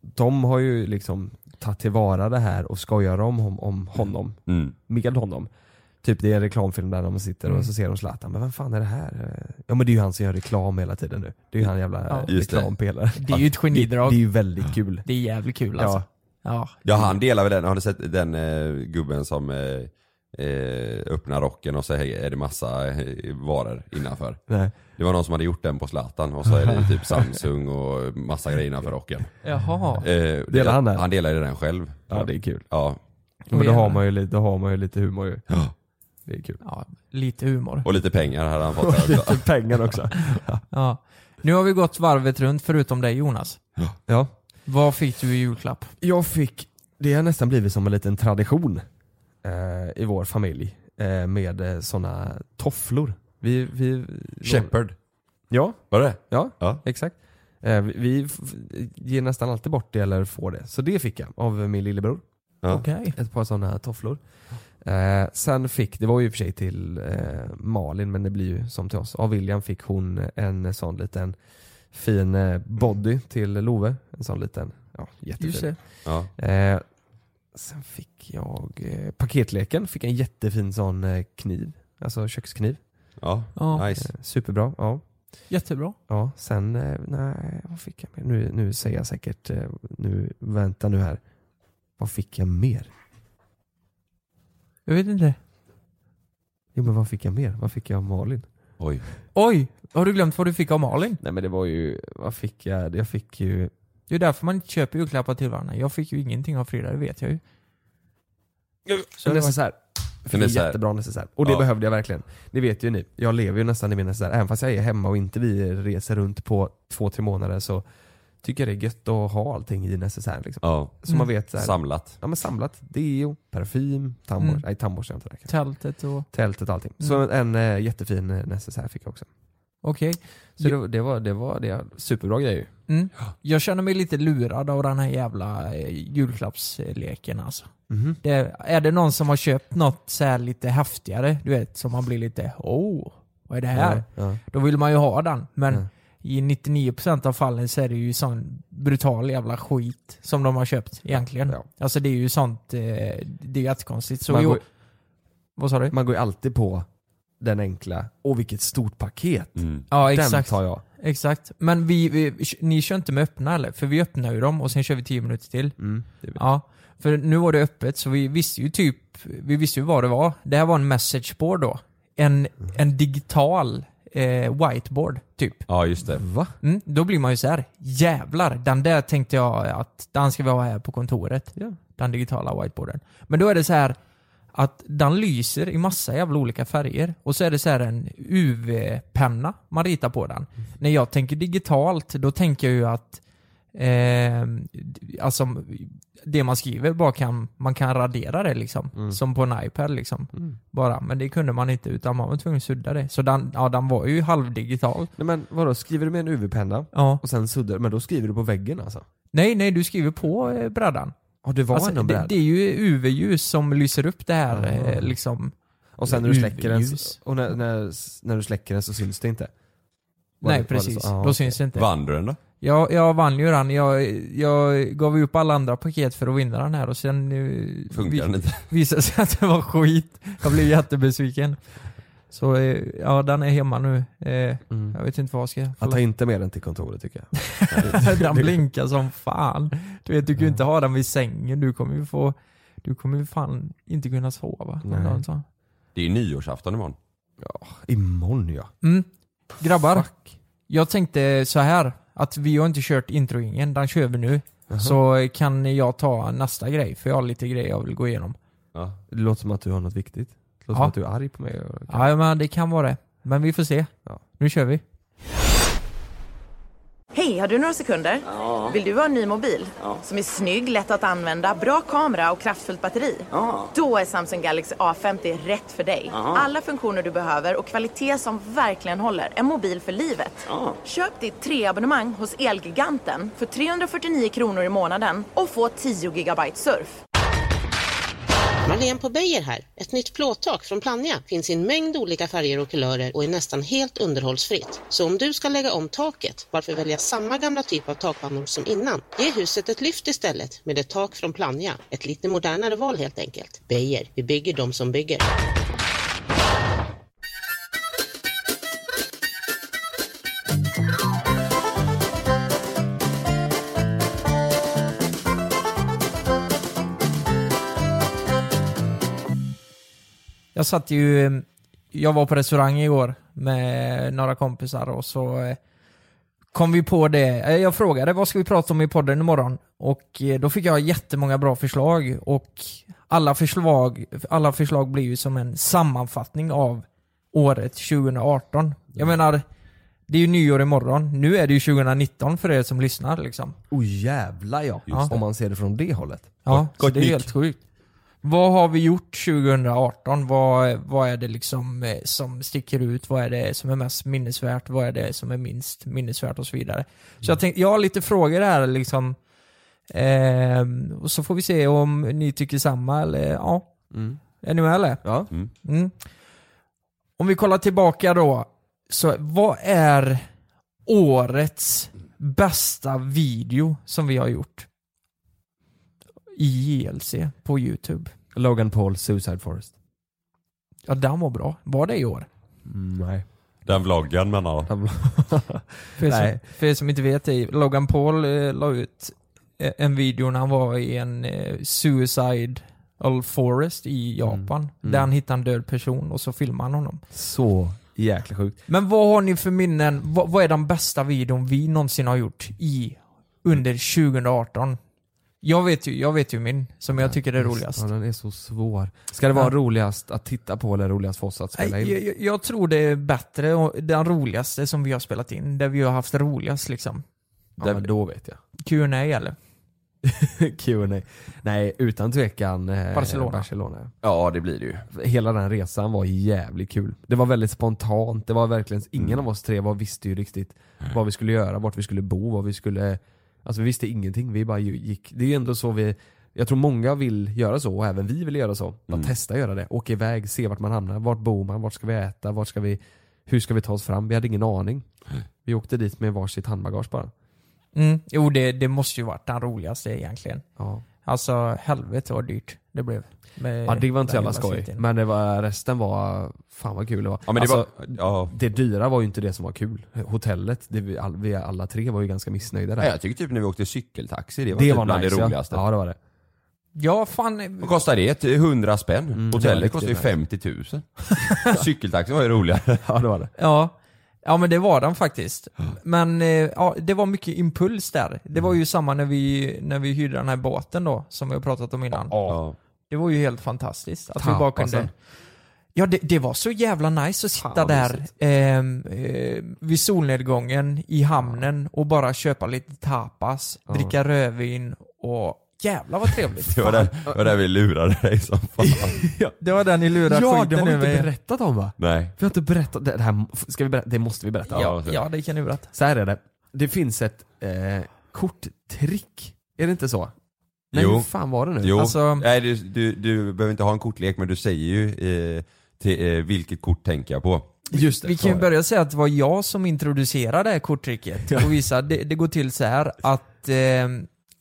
S2: de har ju liksom tagit tillvara det här och skojar om, om, om honom.
S4: mm.
S2: Med honom. Typ det är en reklamfilm där de sitter
S3: Mm.
S2: och så ser de Zlatan. Men vem fan är det här? Eh, Ja men det är ju han som gör reklam hela tiden nu. Det är ju han jävla
S3: Ja.
S2: ja,
S4: Just det.
S2: reklampelare.
S3: Det är ju ett genidrag.
S2: Det är ju väldigt kul.
S3: Det är jävligt kul alltså. Ja.
S4: ja, han delar väl den. Har du sett den eh, gubben som eh, eh, öppnar rocken och så är det massa eh, varor innanför?
S2: Nej.
S4: Det var någon som hade gjort den på Zlatan och så är det typ Samsung och massa grejer innanför rocken.
S3: Jaha.
S4: Eh, delar
S2: han den?
S4: Han delade den själv.
S2: Ja det är kul.
S4: Ja.
S2: Men då har man ju, lite- då har man ju lite humor ju. Det är kul.
S3: Ja, lite humor.
S4: Och lite pengar hade han fått där också.
S2: Lite typ pengar också.
S3: Ja. Nu har vi gått varvet runt förutom dig Jonas.
S2: Ja.
S3: Vad fick du i julklapp?
S2: Jag fick, det har nästan blivit som en liten tradition eh, i vår familj eh, med eh, sådana tofflor. Vi, vi,
S4: Shepard.
S2: Ja,
S4: Var det
S2: ja,
S4: Ja.
S2: exakt. Eh, vi- vi f- ger nästan alltid bort det eller får det. Så det fick jag av min lillebror.
S4: Ja.
S3: Okej.
S2: Ett par sådana tofflor. Eh, sen fick, det var ju i och för sig till eh, Malin men det blir ju som till oss. Av William fick hon en sån liten fin eh, body till Love. En sån liten, ja
S3: Just
S2: jättefin.
S3: det.
S4: Ja.
S2: Eh, sen fick jag eh, paketleken, fick en jättefin sån eh, kniv. Alltså kökskniv.
S4: Ja.
S3: Ja.
S4: Nice.
S2: Eh, superbra. Ja.
S3: Jättebra.
S2: ja. Sen, eh, nej vad fick jag mer? Nu, nu säger jag säkert, eh, nu, vänta nu här. Vad fick jag mer?
S3: Jag vet inte.
S2: Jo men vad fick jag mer? Vad fick jag av Malin?
S4: Oj.
S3: Oj! Har du glömt vad du fick av Malin?
S2: Nej men det var ju, vad fick jag? Jag fick ju,
S3: Det är därför man inte köper julklappar till varandra. Jag fick ju ingenting av Frida, det vet jag ju. Så
S2: en
S3: det var-
S2: necessär. Jag Fick en
S4: necessär.
S2: jättebra necessär. Och det
S4: Ja.
S2: behövde jag verkligen. Det vet ju ni. Jag lever ju nästan i min necessär. Även fast jag är hemma och inte vi reser runt på två, tre månader så tycker jag det är gött att ha allting i necessären. Liksom.
S4: Ja.
S2: Så man vet så här,
S4: Samlat.
S2: ja, men samlat. Deo, parfym, tandborste.
S3: Mm.
S2: Nej tandborste har jag inte räknat.
S3: Tältet och...
S2: Tältet och allting. Så en eh, jättefin eh, necessär fick jag också.
S3: Okej.
S2: Så det, det var, det var det var superbra grej ju.
S3: Mm. Jag känner mig lite lurad av den här jävla eh, julklappsleken alltså.
S2: Mm-hmm.
S3: Det är, är det någon som har köpt något så här lite häftigare, du vet, som man blir lite oh, vad är det här?
S2: Ja.
S3: Då vill man ju ha den. Men
S2: Ja.
S3: i 99% av fallen så är det ju sån brutal jävla skit som de har köpt egentligen.
S2: Ja.
S3: Alltså det är ju sånt, eh, det är jättekonstigt. Så
S2: Man,
S3: jo,
S2: går,
S3: vad sa du?
S2: man går ju alltid på den enkla, åh vilket stort paket.
S4: Mm.
S3: Ja
S2: Den
S3: exakt.
S2: tar jag.
S3: Exakt. Men vi, vi, ni kör inte med öppna eller? För vi öppnar ju dem och sen kör vi 10 minuter till.
S2: Mm.
S3: Ja, för nu var det öppet så vi visste ju typ, vi visste ju vad det var. Det här var en messageboard då. En,
S2: Mm.
S3: en digital eh, whiteboard typ.
S4: Ja just det.
S2: Va?
S3: Mm, då blir man ju så här. jävlar, den där tänkte jag att den ska vi ha här på kontoret.
S2: Ja.
S3: Den digitala whiteboarden. Men då är det så här att den lyser i massa jävla olika färger och så är det så här en UV-penna man ritar på den. När jag tänker digitalt, då tänker jag ju att eh, alltså, det man skriver bara kan, man kan radera det liksom. Som på en iPad liksom. Bara. Men det kunde man inte utan man var tvungen att sudda det. Så den, ja, den var ju halvdigital.
S2: Nej men vadå, skriver du med en UV-penna
S3: Ja.
S2: och sen suddar men då skriver du på väggen alltså?
S3: Nej, nej, du skriver på eh, brädan.
S2: Ja det var
S3: Alltså,
S2: ändå en
S3: det,
S2: bräda.
S3: det är ju UV-ljus som lyser upp det här
S2: Ah.
S3: eh, liksom.
S2: Och sen när du släcker den,
S3: UV-ljus.
S2: och när, när, när du släcker den så syns det inte? Var
S3: Nej,
S2: det- var det
S3: precis.
S2: så? Ah,
S3: Då
S2: okej.
S3: syns det inte.
S4: Vann du den då?
S3: Jag, jag vann ju den. Jag, jag gav ju upp alla andra paket för att vinna den här och sen eh,
S4: Funkar den inte?
S3: visade det sig att det var skit. Jag blev jättebesviken. Så eh, ja, den är hemma nu. Eh,
S2: Mm.
S3: Jag vet inte vad jag ska...
S2: Ja, ta inte med den till kontoret tycker jag.
S3: den blinkar som fan. Du vet, du kan ju inte ha den vid sängen. Du kommer ju få... Du kommer ju fan inte kunna sova. den
S2: Nej.
S3: dagen, så.
S4: Det är ju nyårsafton imorgon.
S2: Imorgon ja.
S3: Mm. Grabbar, jag tänkte så här att vi har inte kört introingen, den kör vi nu. Så kan jag ta nästa grej, för jag har lite grejer jag vill gå igenom.
S4: Ja.
S2: Det låter som att du har något viktigt. Det låter
S3: Ja.
S2: som att du är arg på mig. och-
S3: Ja, men det kan vara det. Men vi får se.
S2: Ja.
S3: Nu kör vi.
S5: Hej, har du några sekunder? Vill du ha en ny mobil? Som är snygg, lätt att använda, bra kamera och kraftfullt batteri? Då är Samsung Galaxy A50 rätt för dig. Alla funktioner du behöver och kvalitet som verkligen håller. En mobil för livet. Köp ditt treabonnemang hos Elgiganten för 349 kronor i månaden och få 10 gigabyte surf.
S6: Marlene på Beijer här. Ett nytt plåttak från Plannja finns i en mängd olika färger och kulörer och är nästan helt underhållsfritt. Så om du ska lägga om taket, varför välja samma gamla typ av takpannor som innan? Ge huset ett lyft istället med ett tak från Plannja. Ett lite modernare val helt enkelt. Beijer, vi bygger de som bygger.
S3: Jag satt ju, eh, jag var på restaurang igår med några kompisar och så eh, kom vi på det. Eh, Jag frågade vad ska vi prata om i podden imorgon? Och eh, då fick jag jättemånga bra förslag och alla förslag, alla förslag blir ju som en sammanfattning av året 2018. Jag menar, det är ju nyår imorgon. Nu är det ju 2019 för er som lyssnar liksom.
S2: Oj jävlar ja.
S3: Just det.
S2: Om man ser det från det hållet.
S3: Ja, så
S4: gott
S3: det är
S4: nytt.
S3: helt sjukt. Vad har vi gjort 2018? Vad, vad är det liksom eh, som sticker ut? Vad är det som är mest minnesvärt? Vad är det som är minst minnesvärt? Och så vidare. Så jag, tänkte, jag har lite frågor här liksom. Ehm, och så får vi se om ni tycker samma eller ja. Är ni med eller?
S2: Ja.
S3: Mm. Om vi kollar tillbaka då. Så vad är årets bästa video som vi har gjort? I JLC på YouTube.
S2: Logan Paul Suicide Forest.
S3: Ja, den var bra. Var det i år?
S2: nej.
S4: Den vloggen menar jag.
S3: För er,
S2: Nej.
S3: Som, för er som inte vet, det är- Logan Paul eh, la ut eh, en video när han var i en eh, suicide forest i Japan. Där han hittade en död person och så filmade han honom.
S2: Så jäkla sjukt.
S3: Men vad har ni för minnen? Vad, vad är den bästa videon vi någonsin har gjort i under 2018? Jag vet ju, jag vet ju min, som jag tycker är roligast.
S2: Ja, den är så svår. Ska det vara
S3: Ja.
S2: roligast att titta på eller roligast för oss att spela
S3: Nej,
S2: in?
S3: jag, jag- jag tror det är bättre, och den roligaste som vi har spelat in, där vi har haft roligast liksom.
S2: Ja, men då vet jag.
S3: Q&A eller?
S2: Q&A. Nej, utan tvekan eh,
S3: Barcelona.
S2: Barcelona.
S4: Ja det blir det ju.
S2: Hela den resan var jävligt kul. Det var väldigt spontant. Det var verkligen, ingen av oss tre var, visste ju riktigt vad vi skulle göra, vart vi skulle bo, vad vi skulle... Alltså vi visste ingenting. Vi bara ju- gick. Det är ju ändå så vi... Jag tror många vill göra så och även vi vill göra så. Bara testa göra det. Åka iväg, se vart man hamnar. Vart bor man? Vart ska vi äta? Vart ska vi... Hur ska vi ta oss fram? Vi hade ingen aning. Vi åkte dit med varsitt handbagage bara.
S3: Mm. Jo, det, det måste ju varit den roligaste egentligen.
S2: Ja.
S3: Alltså, helvete vad dyrt det blev. Med
S2: Ja det var inte så
S3: den
S2: jävla
S3: hela
S2: skoj.
S3: sviten.
S2: Men det var, resten var, fan vad kul det var.
S4: Ja men det
S2: Alltså,
S4: var, ja.
S2: det dyra var ju inte det som var kul. Hotellet, det vi, all, vi alla tre var ju ganska missnöjda där.
S4: Nej, jag tycker typ när vi åkte cykeltaxi, det var, typ bland det
S2: ja.
S4: roligaste.
S2: Ja det var det.
S3: Ja, fan.
S4: Vad kostar det? Ett- 100 spänn?
S2: Mm, det var
S4: Hotellet
S2: riktigt
S4: kostar ju
S2: nice.
S4: 50 000. Cykeltaxi var ju roligare.
S2: Ja det var det.
S3: Ja. ja, men det var den faktiskt. Men eh, ja, det var mycket impuls där. Det var ju samma när vi, när vi hyrde den här båten då, som vi har pratat om innan.
S4: Ja.
S3: Det var ju helt fantastiskt att vi bara kunde...
S2: Tapasen.
S3: Ja, det, det var så jävla nice att sitta
S2: Fan, vad
S3: där ehm, eh, vid solnedgången i hamnen och bara köpa lite tapas, dricka rödvin och jävlar vad trevligt.
S4: Det var, där, det var där vi lurade dig som fan.
S3: Det var den ni lurade
S2: Ja det har
S3: skiten
S2: vi
S3: ur
S2: inte
S3: mig.
S2: berättat om va?
S4: Nej.
S2: Vi har inte berättat, det, det här ska vi berätta, det måste vi berätta.
S3: Ja,
S4: Ja,
S3: ja, det kan ni berätta.
S2: Så här är det, det finns ett eh, korttrick, är det inte så? Nej
S4: Jo.
S2: hur fan var det nu?
S4: Jo,
S3: Alltså-
S4: Nej, du, du, du behöver inte ha en kortlek men du säger ju eh, till, eh, vilket kort tänker jag på.
S2: Just det.
S3: Vi kan ju
S2: så.
S3: börja säga att det var jag som introducerade det här korttricket och visade, det, det går till så här att eh,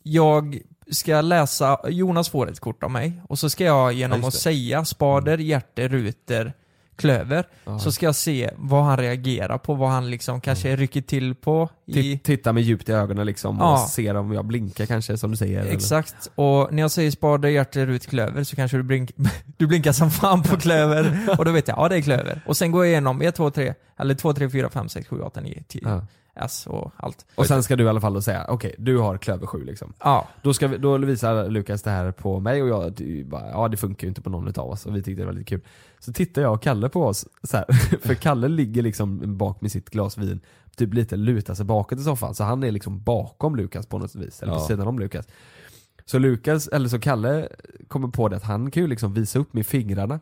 S3: jag ska läsa, Jonas får ett kort av mig och så ska jag genom
S4: Ja,
S3: att
S4: just
S3: säga spader,
S2: Mm.
S3: hjärter, ruter, klöver så ska jag se vad han reagerar på, vad han liksom kanske rycker till på i...
S2: Ti- typ Titta mig djupt i ögonen liksom och
S3: Ja.
S2: ser om jag blinkar kanske som du säger. eller-
S3: Exakt, och när jag säger spade, hjärter, rut, klöver så kanske du, blink, du blinkar som fan på klöver och då vet jag, ja det är klöver. Och sen går jag igenom 1, 2, 3, eller 2, 3, 4, 5, 6, 7, 8, 9, 10,
S2: Ja.
S3: S och allt.
S2: Och sen ska du i alla fall då säga, okej du har klöver 7 liksom.
S3: Ja,
S2: Då, ska vi, då visar Lukas det här på mig och jag du, bara, ja det funkar ju inte på någon utav oss och vi tyckte det var lite kul. Så tittar jag och Kalle på oss så här, för Kalle ligger liksom bak med sitt glas vin, typ lite lutar sig bakåt i soffan så han är liksom bakom Lukas på något vis, eller på
S4: Ja.
S2: sidan om Lukas. Så Lukas, eller så Kalle kommer på det att han kan ju liksom visa upp med fingrarna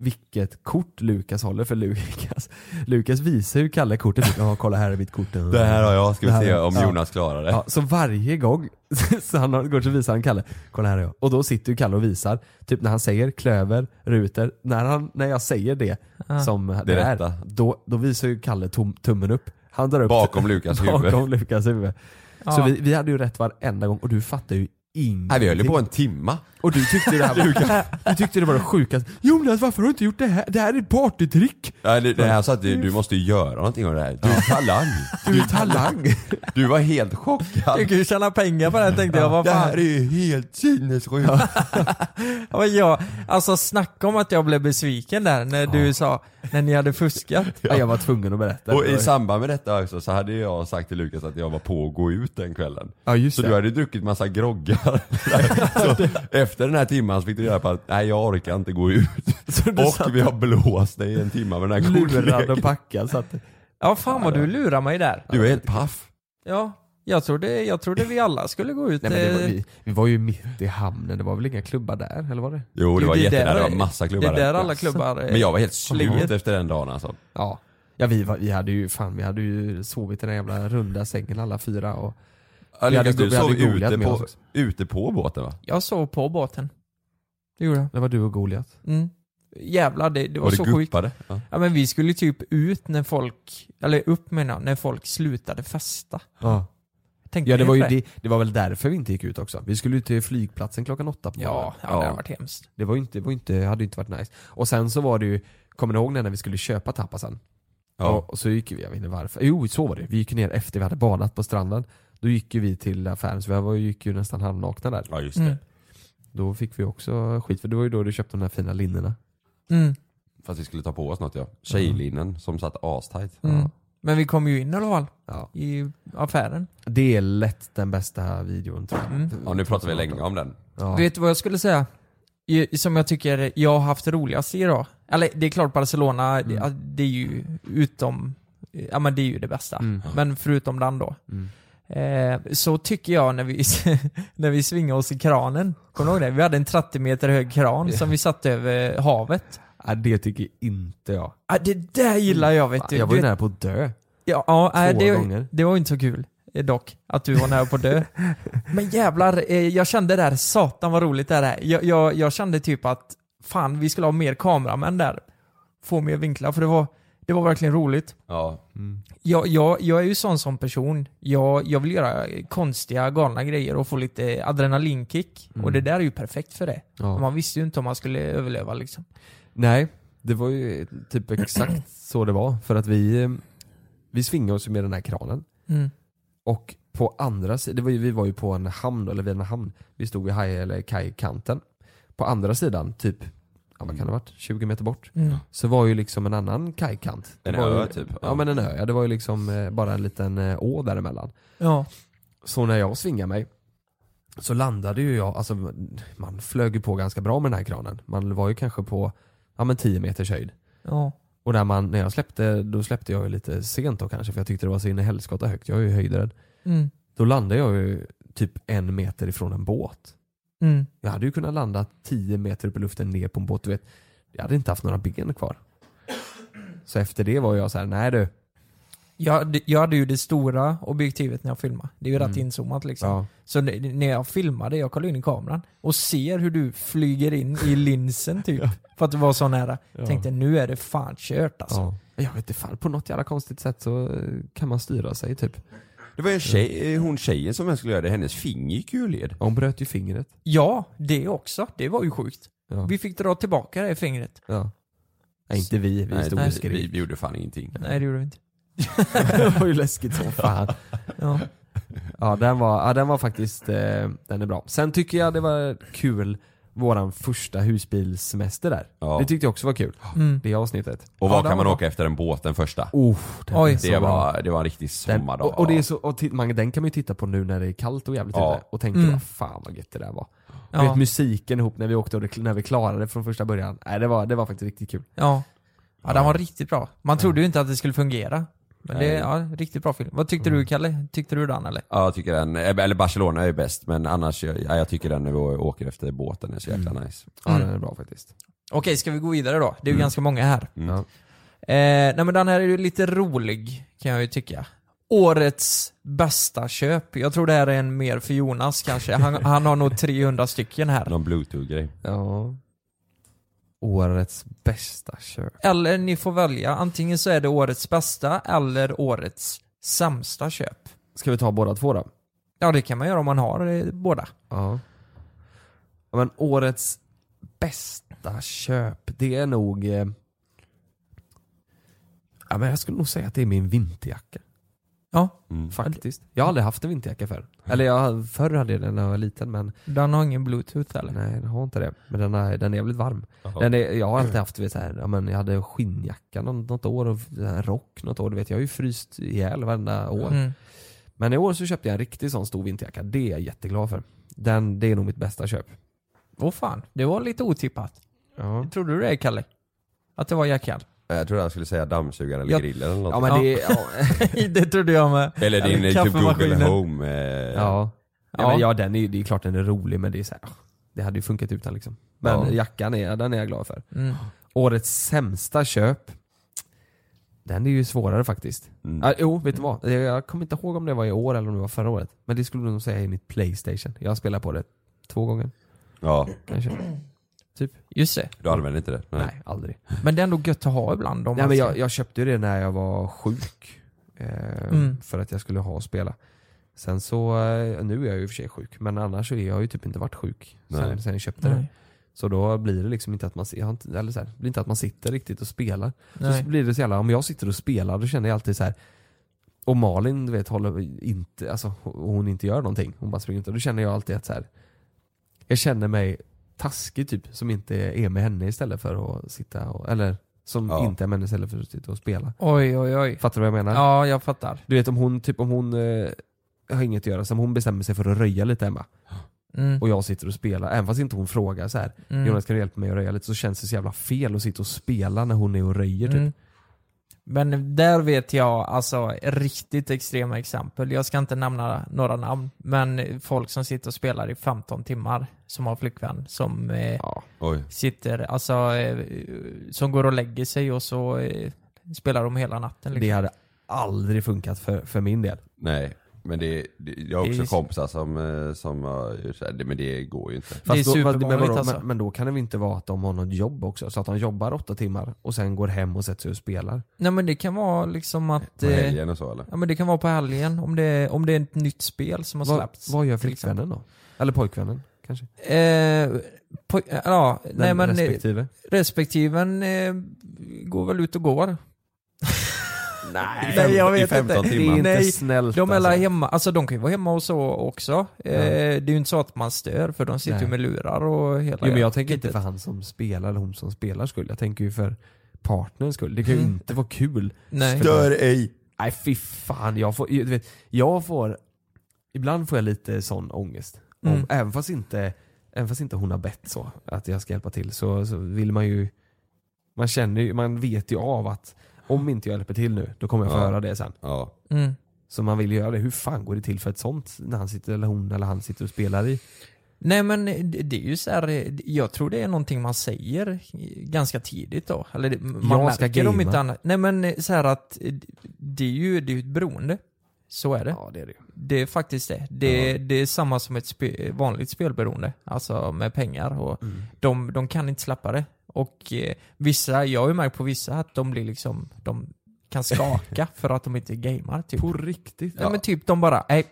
S2: vilket kort Lukas håller för Lukas. Lukas visar ju Kalle kortet, ja kolla här är mitt kort.
S4: Det här har jag, ska vi
S2: Det här
S4: se
S2: har jag.
S4: om
S2: Ja.
S4: Jonas klarar det.
S2: Ja, så varje gång så han har- går så visar han Kalle, kolla här är jag. Och då sitter ju Kalle och visar, typ när han säger klöver, ruter, när, han, när jag säger det som det,
S4: rätta.
S2: är, då, då visar ju Kalle tom, tummen upp. Han drar upp
S4: Bakom Lukas huvud.
S2: bakom Lukas huvud. Så
S3: Ja.
S2: vi, vi hade ju rätt varenda gång och du fattar ju ingenting.
S4: Nej, vi höll ju på en timma.
S2: Och du tyckte ju det här var, du tyckte det var det sjukaste. Jonas varför har du inte gjort det här? Det här är ett partytrick!
S4: Nej, det, det här sa att du, du måste ju göra någonting av det här. Du är talang.
S2: Du är talang!
S4: Du var helt chockad.
S3: du kan ju tjäna pengar på det här, tänkte jag. Vad
S4: Det
S3: fan?
S4: här är ju helt sinnessjukt.
S3: Ja, men jag, alltså snacka om att jag blev besviken där när du sa, när ni hade fuskat.
S2: Ja. Jag var tvungen att berätta.
S4: Och i samband med detta också så hade jag sagt till Lukas att jag var på att gå ut den kvällen.
S2: Ja, just
S4: så
S2: det.
S4: du hade druckit massa groggar. så efter den här timman så fick du reda på att nej jag orkar inte gå ut. Och vi har blåst dig i en timma med den här
S2: Lurad och
S4: kortleken.
S2: packad så att
S3: Ja, fan vad du lurar mig där.
S4: Du är helt paff.
S3: Ja, jag trodde, jag trodde vi alla skulle gå ut.
S2: Nej, men det var,
S3: eh,
S2: vi, vi var ju mitt i hamnen, det var väl inga klubbar där? Eller var det?
S4: Jo det var
S3: är
S4: jättenära,
S3: där-
S4: det var massa klubbar
S3: Det är där
S4: där.
S3: alla klubbar eh,
S4: Men jag var helt slut
S3: ligger.
S4: efter den dagen alltså.
S2: Ja. Ja vi, var, vi hade ju fan, vi hade ju sovit i den där jävla runda sängen alla fyra och...
S4: Ja,
S2: Vi hade
S4: Lukas
S2: go-
S4: du
S2: vi hade
S4: sov
S2: googlat
S4: ute
S2: med oss
S4: på,
S2: också.
S4: ute på båten va?
S3: Jag sov på båten. Det gjorde jag.
S2: Det var du och Goliat.
S3: Mm. Jävlar, det, det var,
S4: Och
S3: så
S4: du
S3: sjukt.
S4: guppade. Ja.
S3: Ja men vi skulle typ ut när folk, eller upp menar jag, när folk slutade festa.
S2: Ja.
S3: Tänkte
S2: Ja det
S3: ni
S2: var ju
S3: på
S2: det, det var väl därför vi inte gick ut också. Vi skulle ju till flygplatsen klockan åtta på morgonen.
S3: Ja, ja, det hade varit hemskt.
S2: Det var ju inte, det var ju inte, hade ju inte varit nice. Och sen så var det ju, kommer ni ihåg när vi skulle köpa tapasen?
S4: Ja.
S2: Och, och så gick vi, jag vet inte varför, jo så var det. Vi gick ju ner efter vi hade badat på stranden. Då gick ju vi till affären så vi var, gick ju nästan halvnakna där.
S4: ja just det.
S3: Mm.
S2: Då fick vi också skit för det var ju då du köpte de här fina linnena.
S3: Mm.
S4: För att vi skulle ta på oss något ja. Tjejlinnen som satt astajt.
S3: Mm. Men vi kom ju in i alla fall,
S2: Ja.
S3: i affären.
S2: Det är lätt den bästa videon tror jag.
S3: Mm.
S4: Ja nu pratar vi länge om den.
S2: Ja.
S3: Vet du vad jag skulle säga? I- Som jag tycker jag har haft roligast i idag. Eller det är klart Barcelona,
S2: Mm.
S3: det, ja, det är ju utom, ja men det är ju det bästa.
S2: Mm.
S3: Men förutom den då.
S2: Mm.
S3: Eh, så tycker jag när vi, när vi svingade oss i kranen. Kommer du ihåg det? Vi hade en 30 meter hög kran som vi satte över havet.
S2: Ja, Äh, det tycker inte jag.
S3: Ah, det där gillar jag vet du.
S2: Jag var ju
S3: Du vet-
S2: nära på att dö.
S3: Ja, ja nej,
S2: Två
S3: det,
S2: gånger.
S3: det var inte så kul eh, dock, att du var nära på att dö. Men jävlar, eh, jag kände där, satan vad roligt det här är. Jag, jag, jag kände typ att, fan vi skulle ha mer kameramän där. Få mer vinklar, för det var, det var verkligen roligt.
S4: Ja.
S3: Jag, jag, jag är ju sån som person. Jag, jag vill göra konstiga, galna grejer och få lite adrenalinkick. Och det där är ju perfekt för det.
S2: Mm. Ja.
S3: Man visste ju inte om man skulle överleva liksom.
S2: Nej, det var ju typ exakt så det var. För att vi, eh, vi svingade oss ju med den här kranen.
S3: Mm.
S2: Och på andra sidan, det var ju, vi var ju på en hamn, eller vid en hamn. Vi stod vid haj, eller kajkanten. På andra sidan, typ, ja, vad kan det ha varit, 20 meter bort.
S3: Mm.
S2: Så var ju liksom en annan kajkant. Det
S4: En
S2: var
S4: ö,
S2: ju,
S4: typ.
S2: Ja men en ö, ja, det var ju liksom eh, bara en liten eh, å däremellan.
S3: Ja.
S2: Så när jag svingar mig så landade ju jag, alltså man flög ju på ganska bra med den här kranen. Man var ju kanske på, ja men 10 meters höjd.
S3: ja.
S2: Och när, man, när jag släppte, då släppte jag ju lite sent då kanske för jag tyckte det var så in i helskotta högt. Jag är ju höjdrädd.
S3: Mm.
S2: Då landade jag ju typ en meter ifrån en båt.
S3: Mm.
S2: Jag hade ju kunnat landa 10 meter upp i luften ner på en båt. Du vet, jag hade inte haft några ben kvar. Så efter det var jag så här: nej du.
S3: Jag, hade- jag hade ju det stora objektivet när jag filmade. Det är ju rätt inzoomat liksom.
S2: Mm. Ja.
S3: Så n- när jag filmade, jag kollade in i kameran och ser hur du flyger in i linsen typ. För att det var så nära. Tänkte nu är det fan kört alltså.
S2: Ja. Jag vet inte fan, på något jävla konstigt sätt så eh, kan man styra sig typ.
S4: Det var ju en tjej, eh, hon tjejen som jag skulle göra det, hennes finger gick ju ur led.
S2: Hon bröt ju fingret.
S3: Ja, det också. Det var ju sjukt.
S2: Ja.
S3: Vi fick dra tillbaka det i fingret.
S2: Ja. Nej inte vi, vi stod
S4: nej,
S2: och
S4: vi,
S2: skrek.
S4: vi gjorde fan ingenting.
S3: Nej det gjorde vi inte.
S2: det var ju läskigt som fan.
S3: Ja.
S2: Ja den var, ja, den var faktiskt, eh, den är bra. Sen tycker jag det var kul, våran första husbilssemester där.
S4: Ja.
S2: Det tyckte jag också var kul.
S3: Mm.
S2: Det avsnittet.
S4: Och
S3: Ja,
S4: var
S3: den
S4: kan man
S3: var-
S4: åka efter en båt den första?
S2: Oh, den
S3: Oj.
S2: är
S4: det,
S2: så bra.
S4: var, det var en riktig
S2: Den,
S4: sommardag.
S2: och, och det är så, och titt, man, den kan man ju titta på nu när det är kallt och jävligt
S4: Ja.
S2: ute och tänka
S3: Mm.
S2: vad fan vad gött det där var. Du
S3: Ja.
S2: Vet, musiken ihop när vi åkte och det, när vi klarade det från första början. Nej, det, var, det var faktiskt riktigt kul.
S3: Ja. ja, den var riktigt bra. Man trodde ju inte att det skulle fungera. Men det,
S4: Nej.
S3: ja, riktigt bra film. Vad
S2: Mm.
S3: tyckte du Kalle? Tyckte du den eller?
S4: Ja, jag tycker den, eller Barcelona är ju bäst men annars, jag, ja, jag tycker den när vi åker efter båten är så jäkla nice.
S2: Ja
S3: Mm.
S2: den är bra faktiskt.
S3: Okej, ska vi gå vidare då? Det är ju ganska många här.
S4: Mm.
S2: Ja.
S3: Eh, nej men den här är ju lite rolig, kan jag ju tycka. Årets bästa köp. Jag tror det här är en mer för Jonas kanske. Han, han har nog 300 stycken här.
S4: Någon bluetooth-grej.
S2: Ja. Årets bästa köp.
S3: Eller ni får välja, antingen så är det årets bästa eller årets sämsta köp.
S2: Ska vi ta båda två då?
S3: Ja det kan man göra om man har eh, båda.
S2: Ja. Ja, Men årets bästa köp, det är nog... eh, Ja, men jag skulle nog säga att det är min vinterjacka.
S3: Ja,
S2: Faktiskt. Jag har aldrig haft en vinterjacka förr. Eller jag, förr hade jag den när jag var liten men
S3: den har ingen bluetooth eller?
S2: nej den har inte det. Men den är, den är jävligt varm. Den är, jag har alltid haft, du vet, så här, ja, men jag hade en skinnjacka någon- något år och en rock något år. Du vet, jag har ju fryst ihjäl varenda år.
S3: Mm.
S2: Men i år så köpte jag en riktig sån stor vinterjacka. Det är jag jätteglad för. Den, det är nog mitt bästa köp.
S3: Åh fan, det var lite otippat.
S2: Ja.
S3: Tror du det Kalle? Att det var jackan?
S4: Eh, Jag trodde jag skulle säga dammsugare eller
S2: Ja.
S4: grill eller något.
S2: Ja men det, ja,
S3: det trodde jag med.
S4: eller din
S3: Eller
S4: eh, typ Google
S3: kaffemaskinen.
S4: Home. Eh,
S2: ja. ja.
S3: Ja.
S2: Men ja den är, det är klart den är rolig men det är så här, ah, det hade ju funkat utan liksom. Men
S4: Ja.
S2: jackan är, den är jag glad för.
S3: Mm.
S2: Årets sämsta köp, den är ju svårare faktiskt.
S4: Mm.
S2: Ah, jo, vet du vad? Jag, jag kommer inte ihåg om det var i år eller om det var förra året. Men det skulle du nog säga är mitt Playstation. Jag spelar på det två gånger
S4: ja,
S2: kanske.
S3: Typ. Just det.
S4: du använder inte det? Nej.
S2: Nej, aldrig.
S3: Men det är ändå gött att ha ibland. Om
S2: Nej,
S3: man
S2: men
S3: ska-
S2: jag, jag köpte ju det när jag var sjuk. Eh,
S3: Mm.
S2: För att jag skulle ha och spela. Sen så, eh, nu är jag ju i och för sig sjuk, men annars så är jag ju typ inte varit sjuk sen,
S4: Nej.
S2: sen jag köpte det.
S3: Nej.
S2: Så då blir det liksom inte att man, si- jag har inte, eller så här, det blir inte att man sitter riktigt och spelar.
S3: Nej.
S2: Så blir det så jävla, om jag sitter och spelar då känner jag alltid så här. Och Malin du vet håller inte, alltså och hon inte gör någonting. Hon bara springer inte. Då känner jag alltid att så här. Jag känner mig taskig typ som inte är med henne istället för att sitta och, eller som
S4: Ja.
S2: inte är med henne istället för att sitta och spela.
S3: Oj, oj, oj.
S2: Fattar du vad jag menar?
S3: Ja, jag fattar.
S2: Du vet om hon, typ om hon eh, har inget att göra, så om hon bestämmer sig för att röja lite hemma
S3: Mm.
S2: och jag sitter och spelar, även fast inte hon frågar så här.
S3: Mm.
S2: Jonas kan du hjälpa mig att röja lite? Så känns det så jävla fel att sitta och spela när hon är och röjer typ.
S3: Mm. Men där vet jag alltså riktigt extrema exempel. Jag ska inte nämna några namn, men folk som sitter och spelar i 15 timmar, som har flickvän, som eh,
S2: Ja.
S4: Oj.
S3: sitter, alltså, eh, som går och lägger sig och så eh, spelar de hela natten. Liksom.
S2: Det hade aldrig funkat för, för min del.
S4: Nej. Men det, det, jag har
S3: Det är
S4: också
S3: ju-
S4: kompisar som, eh, som har gjort så här, det- men det går ju inte.
S3: Det är
S2: Fast då, men,
S3: supervanligt
S2: vadå,
S3: alltså.
S2: men, men då kan det väl inte vara att de har något jobb också? Så att de jobbar åtta timmar och sen går hem och sätter sig och spelar?
S3: Nej men det kan vara liksom att...
S4: På
S3: eh,
S4: helgen och så eller?
S3: Ja men det kan vara på helgen, om det, är- om det är ett nytt spel som har
S2: Vad,
S3: släppts.
S2: vad gör
S3: till exempel.
S2: flickvännen då? Eller pojkvännen kanske?
S3: Eh, på, ja, nej
S2: Den
S3: men respektive.
S2: respektive?
S3: respektiven eh, går väl ut och går.
S4: Nej,
S3: Nej, jag vet
S4: I 15
S3: inte.
S2: Det är
S4: timmar.
S2: inte
S3: Nej,
S2: snällt
S3: De är
S2: alltså.
S3: alla hemma, alltså de kan ju vara hemma och så också. Eh,
S2: Ja.
S3: Det är ju inte så att man stör för de sitter ju
S2: Nej.
S3: med lurar och hela
S2: Jo men jag tänker inte
S3: kittet.
S2: för han som spelar eller hon som spelar skull. Jag tänker ju för partnerns skull. Det kan ju
S3: Mm.
S2: inte vara kul.
S3: Nej.
S4: Dör ej!
S2: Nej fy fan, jag får, du vet, jag får, ibland får jag lite sån ångest.
S3: Mm.
S2: Om, även, fast inte, även fast inte hon har bett så, att jag ska hjälpa till, så, så vill man ju, man känner ju, man vet ju av att om inte jag hjälper till nu, då kommer jag få
S4: Ja.
S2: höra det sen.
S4: Ja.
S3: Mm.
S2: Så man vill ju göra det. Hur fan går det till för ett sånt när han sitter, eller hon eller han sitter och spelar i
S3: Nej men eh, det det är ju så här, eh, jag tror det är någonting man säger eh, ganska tidigt då. Eller det- man
S2: Jag
S3: märker
S2: ska
S3: om
S2: gamea.
S3: inte annat. Nej men eh, så här att eh, det är ju det är ju ett beroende. Så är det.
S2: Ja, det är det ju.
S3: Det är faktiskt det. Det, det är samma som ett spe, vanligt spelberoende. Alltså med pengar och
S4: Mm.
S3: de, de kan inte släppa det. Och eh, vissa, jag har ju märkt på vissa att de blir liksom, de kan skaka för att de inte gamer typ.
S2: På riktigt?
S3: Nej men typ de bara, nej.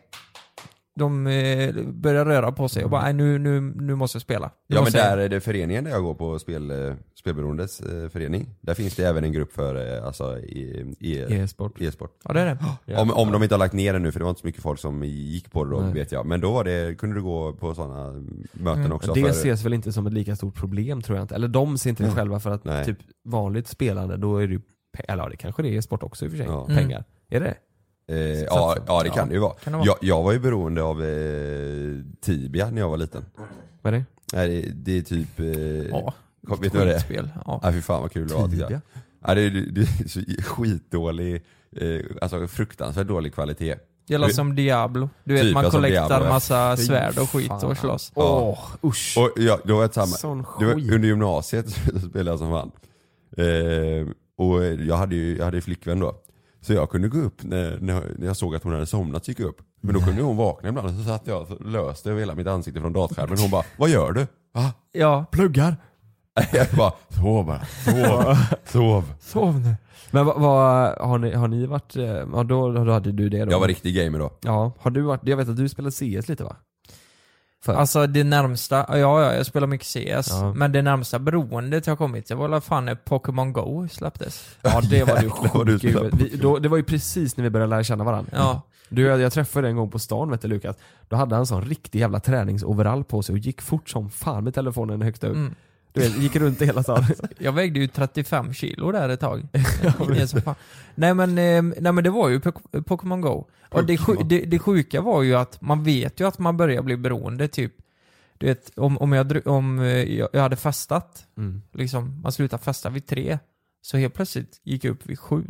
S3: De eh, börjar röra på sig och bara, nej nu, nu, nu måste jag spela. Nu
S4: Mm. Ja men
S3: måste jag-
S4: där är det föreningen där jag går på, spel, eh, Spelberoendes eh, förening. Där finns det även en grupp för eh, alltså, e, e,
S2: E-sport.
S4: e-sport.
S3: Ja det är det.
S4: Om, om de inte har lagt ner den nu för det var inte så mycket folk som gick på det då
S2: Nej.
S4: vet jag. Men då var det, kunde du gå på sådana möten
S3: Mm.
S4: också.
S2: det
S4: för,
S2: ses väl inte som ett lika stort problem tror jag inte. Eller de ser inte det
S4: Nej.
S2: själva för att
S4: Nej.
S2: typ vanligt spelande, då är det ju, pe- eller ja, det kanske det är i sport också i och för sig,
S4: Ja.
S3: Mm.
S2: pengar. Är det
S4: eh, ja, ja det kan det ju vara.
S3: kan det vara.
S4: Jag, jag var ju beroende av eh, Tibia när jag var liten.
S2: Vad är det?
S4: Nej, det, det är typ... Eh,
S3: Ja.
S4: kom, vet du vad det är?
S3: Skitspel. Ja.
S4: Ja fy fan vad kul det var tycker jag.
S2: Tibia?
S4: Ja, det, är- det är så skitdålig, eh, alltså fruktansvärt dålig kvalitet.
S3: Gäller som Diablo. Du vet
S4: Typ,
S3: man
S4: alltså
S3: kollektar
S4: Diablo.
S3: massa
S2: Fy
S3: svärd och skit
S2: fan.
S3: och slåss.
S4: Ja.
S2: Åh, usch.
S4: Och jag, då var jag samma,
S2: Sån
S4: det var
S2: skit.
S4: under gymnasiet så spelade jag som fan. Eh, och jag hade ju jag hade ju flickvän då. Så jag kunde gå upp när, när jag- när jag såg att hon hade somnat så gick jag upp. Men då kunde hon vakna ibland och så satt jag och löste över hela mitt ansikte från datorskärmen. Hon bara, vad gör du? Va?
S3: Ja.
S2: Pluggar.
S4: Jag bara, sov bara, sov, sov.
S2: Sov nu. Men vad, vad har, ni, har ni varit, eh, ja då, då hade du det då?
S4: Jag var riktig gamer då.
S2: Ja, har du varit, jag vet att du spelar CS lite va? För,
S3: Alltså det närmsta, ja ja, jag spelar mycket CS.
S2: Ja.
S3: Men det närmsta beroendet jag kommit, det var väl fan när Pokémon Go släpptes.
S2: ja det var du
S4: Jävlar vad du
S2: sjuk i huvudet.
S4: spelar
S2: Vi- då- Det var ju precis när vi började lära känna varandra.
S3: Ja.
S2: Du, jag, jag träffade en gång på stan vet du Lukas. Då hade han en sån riktig jävla träningsoverall på sig och gick fort som fan med telefonen högt upp.
S3: Mm.
S2: Du vet, gick runt i hela stan.
S3: Jag vägde ju 35 kilo där ett tag. Ingen som fan. nej, men, eh, nej men det var ju Pok- Pokémon Go. Och det, sju- det, det sjuka var ju att man vet ju att man börjar bli beroende typ. Du vet, om, om, jag, dr- om eh, jag jag hade festat, liksom, man slutade festa vid tre. Så helt plötsligt gick jag upp vid sju.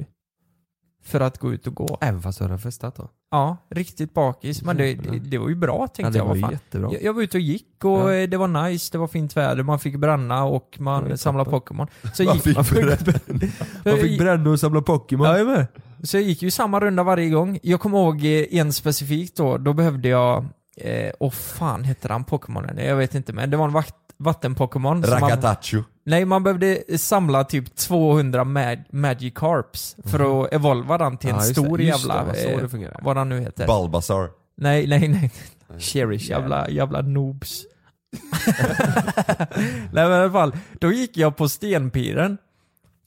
S3: För att gå ut och gå.
S2: Även fast du hade festat då?
S3: Ja, riktigt bakis. Men det, det, det var ju bra
S2: Ja,
S3: tänkte
S2: det
S3: jag.
S2: var
S3: Vad
S2: ju
S3: fan.
S2: jättebra.
S3: Jag, jag var ute och gick och
S2: Ja.
S3: eh, det var nice, det var fint väder, man fick bränna och man
S2: Det var
S3: samlade
S2: toppen.
S3: Pokémon. Så
S4: Man
S3: gick,
S4: fick bränna.
S2: Man fick bränna och samla Pokémon.
S3: Ja, jag med. Så jag gick ju samma runda varje gång. Jag kommer ihåg eh, en specifikt då, då behövde jag, eh, åh fan hette han Pokémonen? Jag vet inte men det var en vakt, vatten-Pokémon. som man-
S4: Rakatacho.
S3: Nej, man behövde samla typ 200 mag- Magikarps för att evolva den till en
S2: Mhm. Ja, just det.
S3: stor
S2: Just det,
S3: jävla...
S2: det var så
S3: eh,
S2: det fungerar.
S3: vad den nu heter.
S4: Balbasar.
S3: Nej, nej, nej. Cherish. Jävla, jävla noobs. nej men i alla fall, då gick jag på stenpiren.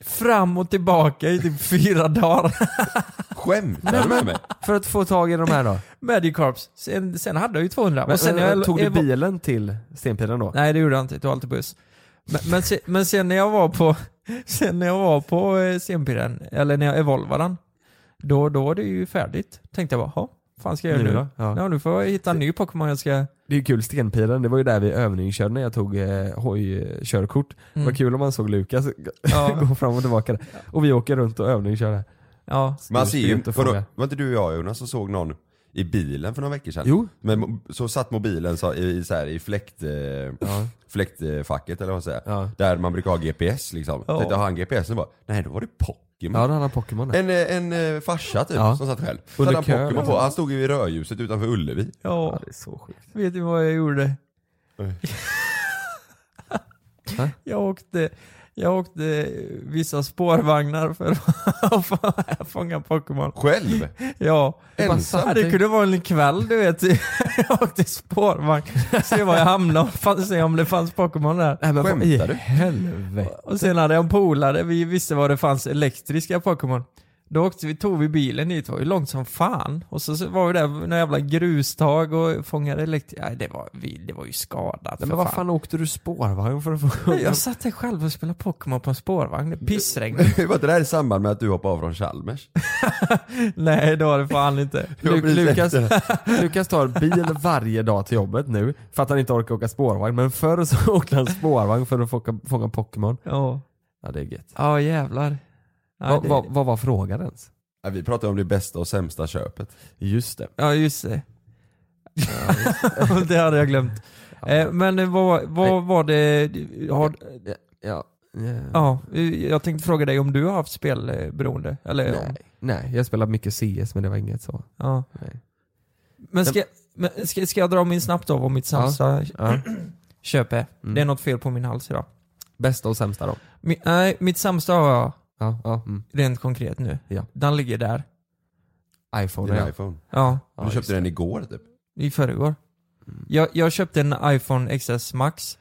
S3: Fram och tillbaka i typ fyra dagar.
S4: Skämtar du med mig?
S2: För att få tag i de här då?
S3: Medicarps. Sen, sen hade jag ju 200.
S2: Men,
S3: och sen
S2: men,
S3: när jag,
S2: tog du
S3: jag var-
S2: bilen till Stenpiren då?
S3: Nej det gjorde jag inte, jag tog alltid buss. Men, men, sen, men sen när jag var på, sen när jag var på eh, stenpiren, eller när jag evolvade den, då, då var det ju färdigt. Tänkte jag bara, "Ha, vad fan ska jag göra nu?
S2: då? Ja.
S3: Ja, nu får jag hitta en ny Pokémon jag ska...
S2: Det är ju kul, Stenpiren, det var ju där vi övningskörde när jag tog eh, hojkörkort. Det var
S3: Mm.
S2: kul om man såg Lukas
S3: Ja.
S2: gå fram och tillbaka där. Och vi åker runt och övningskör där.
S3: Ja.
S4: Man
S2: Du
S4: ser
S2: ska
S4: ju,
S2: inte
S4: vadå,
S2: fråga.
S4: var inte du och jag Jonas som såg någon i bilen för några veckor sedan?
S2: Jo.
S4: Men mo- så satt mobilen så, i, i så här, i fläkt, eh, fläktfacket eller vad man säger.
S2: Ja.
S4: Där man brukar ha GPS liksom.
S2: Ja.
S4: Tänkte, har han GPS? Och bara, nej då var det Pokémon.
S2: Ja, då hade han Pokémon där.
S4: En, eh, en eh, farsa typ,
S2: Ja.
S4: som satt själv. Så
S2: Under
S4: hade han
S2: kön,
S4: Pokémon
S2: liksom.
S4: på, han stod ju i rödljuset utanför Ullevi.
S3: Ja.
S2: det är så sjukt.
S3: Vet du vad jag gjorde?
S4: Nej.
S2: Va?
S3: jag åkte, jag åkte vissa spårvagnar för att få- fånga Pokémon.
S4: Själv?
S3: Ja.
S4: Ensam?
S3: Ja, Det kunde vara en kväll du vet. jag åkte spårvagn. Se var jag hamnade och fann, se om det fanns Pokémon där.
S2: Nej, men vad i
S4: Skämtar du?
S2: helvete?
S3: Och sen hade jag en polare, vi visste var det fanns elektriska Pokémon. Då åkte vi, tog vi bilen dit, det var ju långt som fan. Och så så var vi där med några jävla grustag och fångade elektriska... Nej, det var, vi, det var ju skadat
S2: Nej,
S3: för
S2: men vad fan åkte du spårvagn för att få...
S3: Jag satt där själv och spelade Pokémon på en spårvagn, det pissregnade.
S4: var inte det här i samband med att du hoppade av från Chalmers?
S3: Nej, det var det fan inte.
S4: Det var
S2: Lu-
S4: precis
S2: Lukas,
S4: efter det.
S2: Lukas tar bil varje dag till jobbet nu för att han inte orkar åka spårvagn. Men förr så åkte han spårvagn för att fånga, fånga Pokémon.
S3: Ja,
S2: Ja det är gött.
S3: ja jävlar. Ja,
S2: Vad
S3: det-
S2: vad- vad var frågan ens?
S4: Ja, Vi pratade om det bästa och sämsta köpet.
S2: Just det.
S3: Ja, just det. det hade jag glömt. Eh, men eh, vad, vad var det, har,
S2: Ja.
S3: ja, eh, jag tänkte fråga dig om du har haft spelberoende? Eller, om-
S2: Nej. Nej, jag spelat mycket CS men det var inget så.
S3: Ja.
S2: Nej.
S3: Men, ska, men ska, ska jag dra min snabbt av vad mitt sämsta
S2: Ja.
S3: köp är?
S2: Mm.
S3: Det är något fel på min hals idag.
S2: Bästa och sämsta då?
S3: Mi, nej, mitt sämsta har jag
S2: Ja, ja. Mm.
S3: rent konkret nu.
S2: Ja.
S3: Den ligger där.
S2: iPhone.
S4: Din
S2: Ja.
S4: iPhone.
S3: Ja,
S2: Ja,
S4: du
S2: just
S4: köpte
S2: det.
S4: den igår typ.
S3: i förrgår. Jag, jag köpte en iPhone XS Max.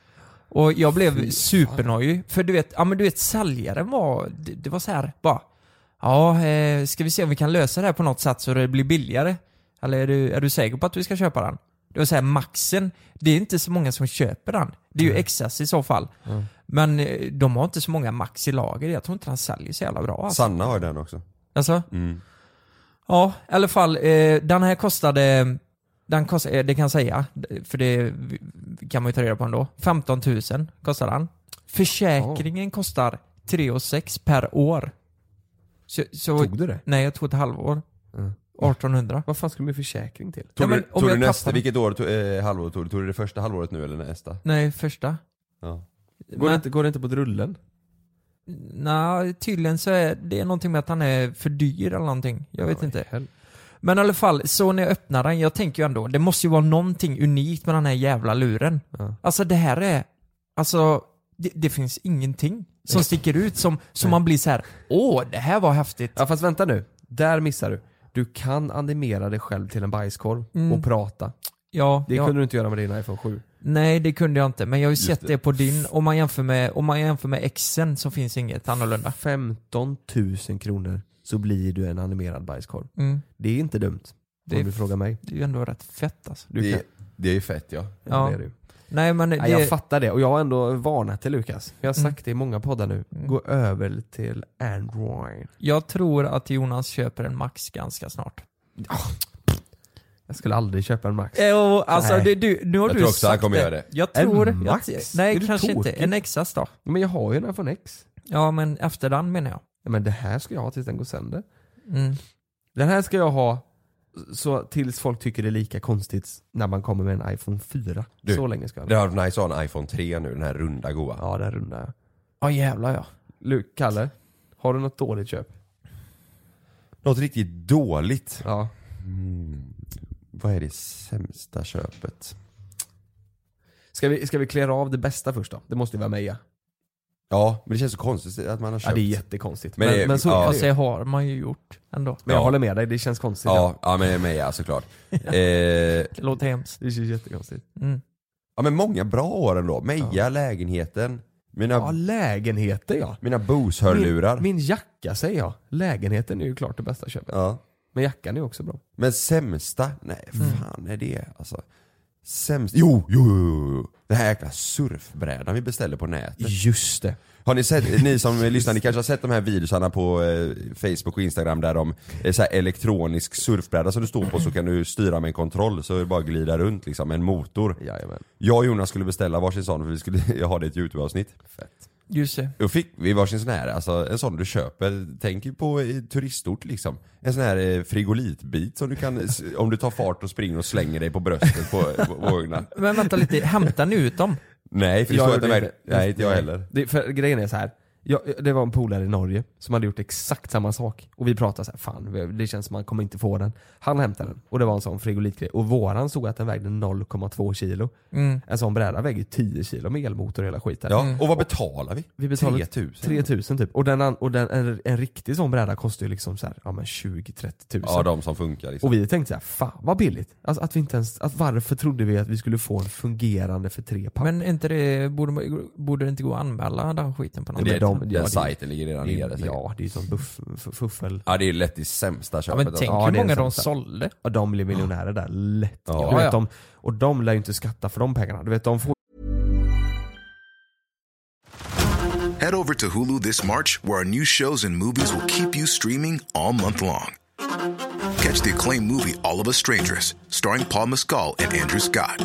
S3: Och jag blev
S2: Fy
S3: supernojig. För du vet, ja men du vet säljaren var, det, det var så här bara. Ja, eh, ska vi se om vi kan lösa det här på något sätt så det blir billigare? Eller är du, är du säker på att vi ska köpa den? Det var så här, maxen, det är inte så många som köper den. Det är ju XS i så fall. Men eh, de har inte så många max i lager. Jag tror inte den säljer så jävla bra. Alltså.
S4: Sanna har ju den också.
S3: Alltså?
S2: Mm.
S3: Ja, i alla fall. Eh, den här kostade, den kostade, eh, det kan jag säga, för det kan man ju ta reda på ändå. 15 000 kostar den. Försäkringen kostar 3 6 per år. Så, så,
S2: Tog du det?
S3: Nej, jag tog ett halvår.
S2: Mm.
S3: 1800.
S2: Vad fan skulle min försäkring till?
S4: Tog
S3: Ja, men
S4: du,
S3: om
S4: tog
S3: jag
S4: du nästa,
S3: tappar-
S4: vilket år, tog, eh, halvår tog du? Tog du det första halvåret nu eller nästa?
S3: Nej, första.
S4: Ja.
S2: Går, det, inte, går det inte på drullen?
S3: Nej, tydligen så är det är någonting med att han är för dyr eller någonting. Jag vet inte. Men i alla fall, så när jag öppnar den, jag tänker ju ändå, det måste ju vara någonting unikt med den här jävla luren.
S2: Ja.
S3: Alltså det här är, alltså det, det finns ingenting som sticker ut som, som man blir så här: åh det här var häftigt.
S2: Ja fast vänta nu, där missar du. Du kan animera dig själv till en bajskorv och prata.
S3: Ja,
S2: Det
S3: ja.
S2: kunde du inte göra med din iPhone 7.
S3: Nej det kunde jag inte, men jag har ju sett det. på din, om man jämför med, om man jämför med exen så finns inget annorlunda.
S2: 15 000 kronor så blir du en animerad bajskorv.
S3: Mm.
S2: Det är inte dumt.
S3: Det
S2: om
S3: är
S2: du frågar mig.
S3: Det är ju ändå rätt fett alltså.
S2: Du
S4: det,
S2: kan.
S4: det är ju fett ja.
S2: Ja.
S3: Ja.
S2: Det är du.
S3: Nej men det, Mm.
S2: Nej, jag fattar det och jag har ändå varnat till Lukas. Jag har sagt det i många poddar nu. Gå över till Android.
S3: jag tror att Jonas köper en Max ganska snart.
S2: Jag skulle aldrig köpa en Max.
S3: Jo, alltså
S2: Nej.
S3: det, du, nu har
S4: Jag
S3: du
S4: tror också
S3: sagt
S4: han kommer göra det.
S3: Jag tror...
S2: En Max?
S3: Jag,
S2: Är
S3: nej,
S2: du
S3: kanske inte.
S2: tokig?
S3: En Exas då.
S2: Men jag har ju en iPhone X.
S3: Ja, men efter den menar jag.
S2: Ja, Men det här ska jag ha tills den går sönder.
S3: Mm.
S2: Den här ska jag ha så tills folk tycker det är lika konstigt när man kommer med en iPhone 4.
S4: Du,
S2: så länge ska jag
S4: Det
S2: ha.
S4: hade varit nice att ha en iPhone 3 nu, den här runda goa.
S2: Ja, den runda ja.
S3: Ja, jävlar ja.
S2: Lu- Kalle, har du något dåligt köp?
S4: Något riktigt dåligt.
S2: Ja. Mm.
S4: Vad är det sämsta köpet?
S2: Ska vi, ska vi klära av det bästa först då? Det måste ju vara Meja.
S4: Ja, men det känns så konstigt att man har köpt.
S2: Ja, det är jättekonstigt. Men,
S4: Men
S2: men,
S4: det-
S2: så
S4: ja.
S2: är
S3: Fast
S2: det
S3: det
S2: ju.
S3: har man ju gjort ändå.
S2: Men jag
S4: Ja.
S2: håller med dig, det känns konstigt. Ja.
S4: ja, ja, men med ja såklart. eh,
S3: Det låter hemskt.
S2: Det känns jättekonstigt.
S3: Mm.
S4: ja men många bra år ändå. Meja, lägenheten, mina,
S2: Ja, lägenheter ja.
S4: mina Bose-hörlurar.
S2: Min, min jacka säger jag. Lägenheten är ju klart det bästa köpet.
S4: Ja.
S2: Men jackan är också bra.
S4: Men sämsta? Nej, fan är det alltså. Sämsta? Jo, jo, jo, jo. Den här jäkla surfbrädan vi beställde på nätet.
S2: Just det.
S4: Har ni sett, ni som lyssnar, ni kanske har sett de här videosarna på eh, Facebook och Instagram där de, eh, så här elektronisk surfbräda som du står på så kan du styra med en kontroll så är det bara att glida runt liksom, med en motor.
S2: Jajamän.
S4: Jag och Jonas skulle beställa varsin sån för vi skulle ha det i ett YouTube-avsnitt.
S3: Just det.
S4: Då fick vi varsin sån här, alltså en sån du köper, tänk ju på eh, turistort liksom. En sån här eh, frigolitbit som du kan, s- om du tar fart och springer och slänger dig på bröstet på eh, vågorna.
S3: Men vänta lite, hämtar ni ut dem?
S4: Nej, för det står att den
S2: gjorde
S4: väger, nej inte jag heller.
S2: Det, för grejen är så här. Jag, det var en polare i Norge som hade gjort exakt samma sak. Och vi pratade så här, fan det känns som man kommer inte få den. Han hämtade den och det var en sån frigolitgrej. Och våran såg att den vägde 0,2 kilo. En sån bräda väger ju 10 kilo med elmotor och hela skiten.
S4: Mm. Ja, och vad betalar vi?
S2: Vi betalade
S4: 3000.
S2: 3000 typ. Och, den, an- och den, en, en riktig sån bräda kostar ju liksom så här, ja men 20-30 tusen.
S4: Ja, de som funkar liksom.
S2: Och vi tänkte så här, fan vad billigt. Alltså att vi inte ens, att varför trodde vi att vi skulle få en fungerande för tre papp?
S3: Men är inte det, borde, man- borde det inte gå att anmäla den skiten på
S4: Det,
S3: något
S2: men
S3: sätt?
S4: är
S2: de-
S4: den
S2: ja, det-
S4: sajten ligger redan nere. säkert.
S2: ja, det är ju sån buff, f- fuffel.
S4: ja, det är lätt det sämsta
S3: Ja,
S4: köpet.
S3: men tänk
S4: alltså.
S2: det
S3: hur
S2: är
S3: många
S2: sant,
S3: de
S2: sant.
S3: sålde.
S2: Och de blir miljonärer där lätt.
S4: Ja.
S2: Du
S3: Ja, ja.
S2: vet, de, och de lär ju inte skatta för de pengarna. Du vet, de får
S7: Head over to Hulu this March, where our new shows and movies will keep you streaming all month long. Catch the acclaimed movie All of Us Strangers, starring Paul Mescal and Andrew Scott.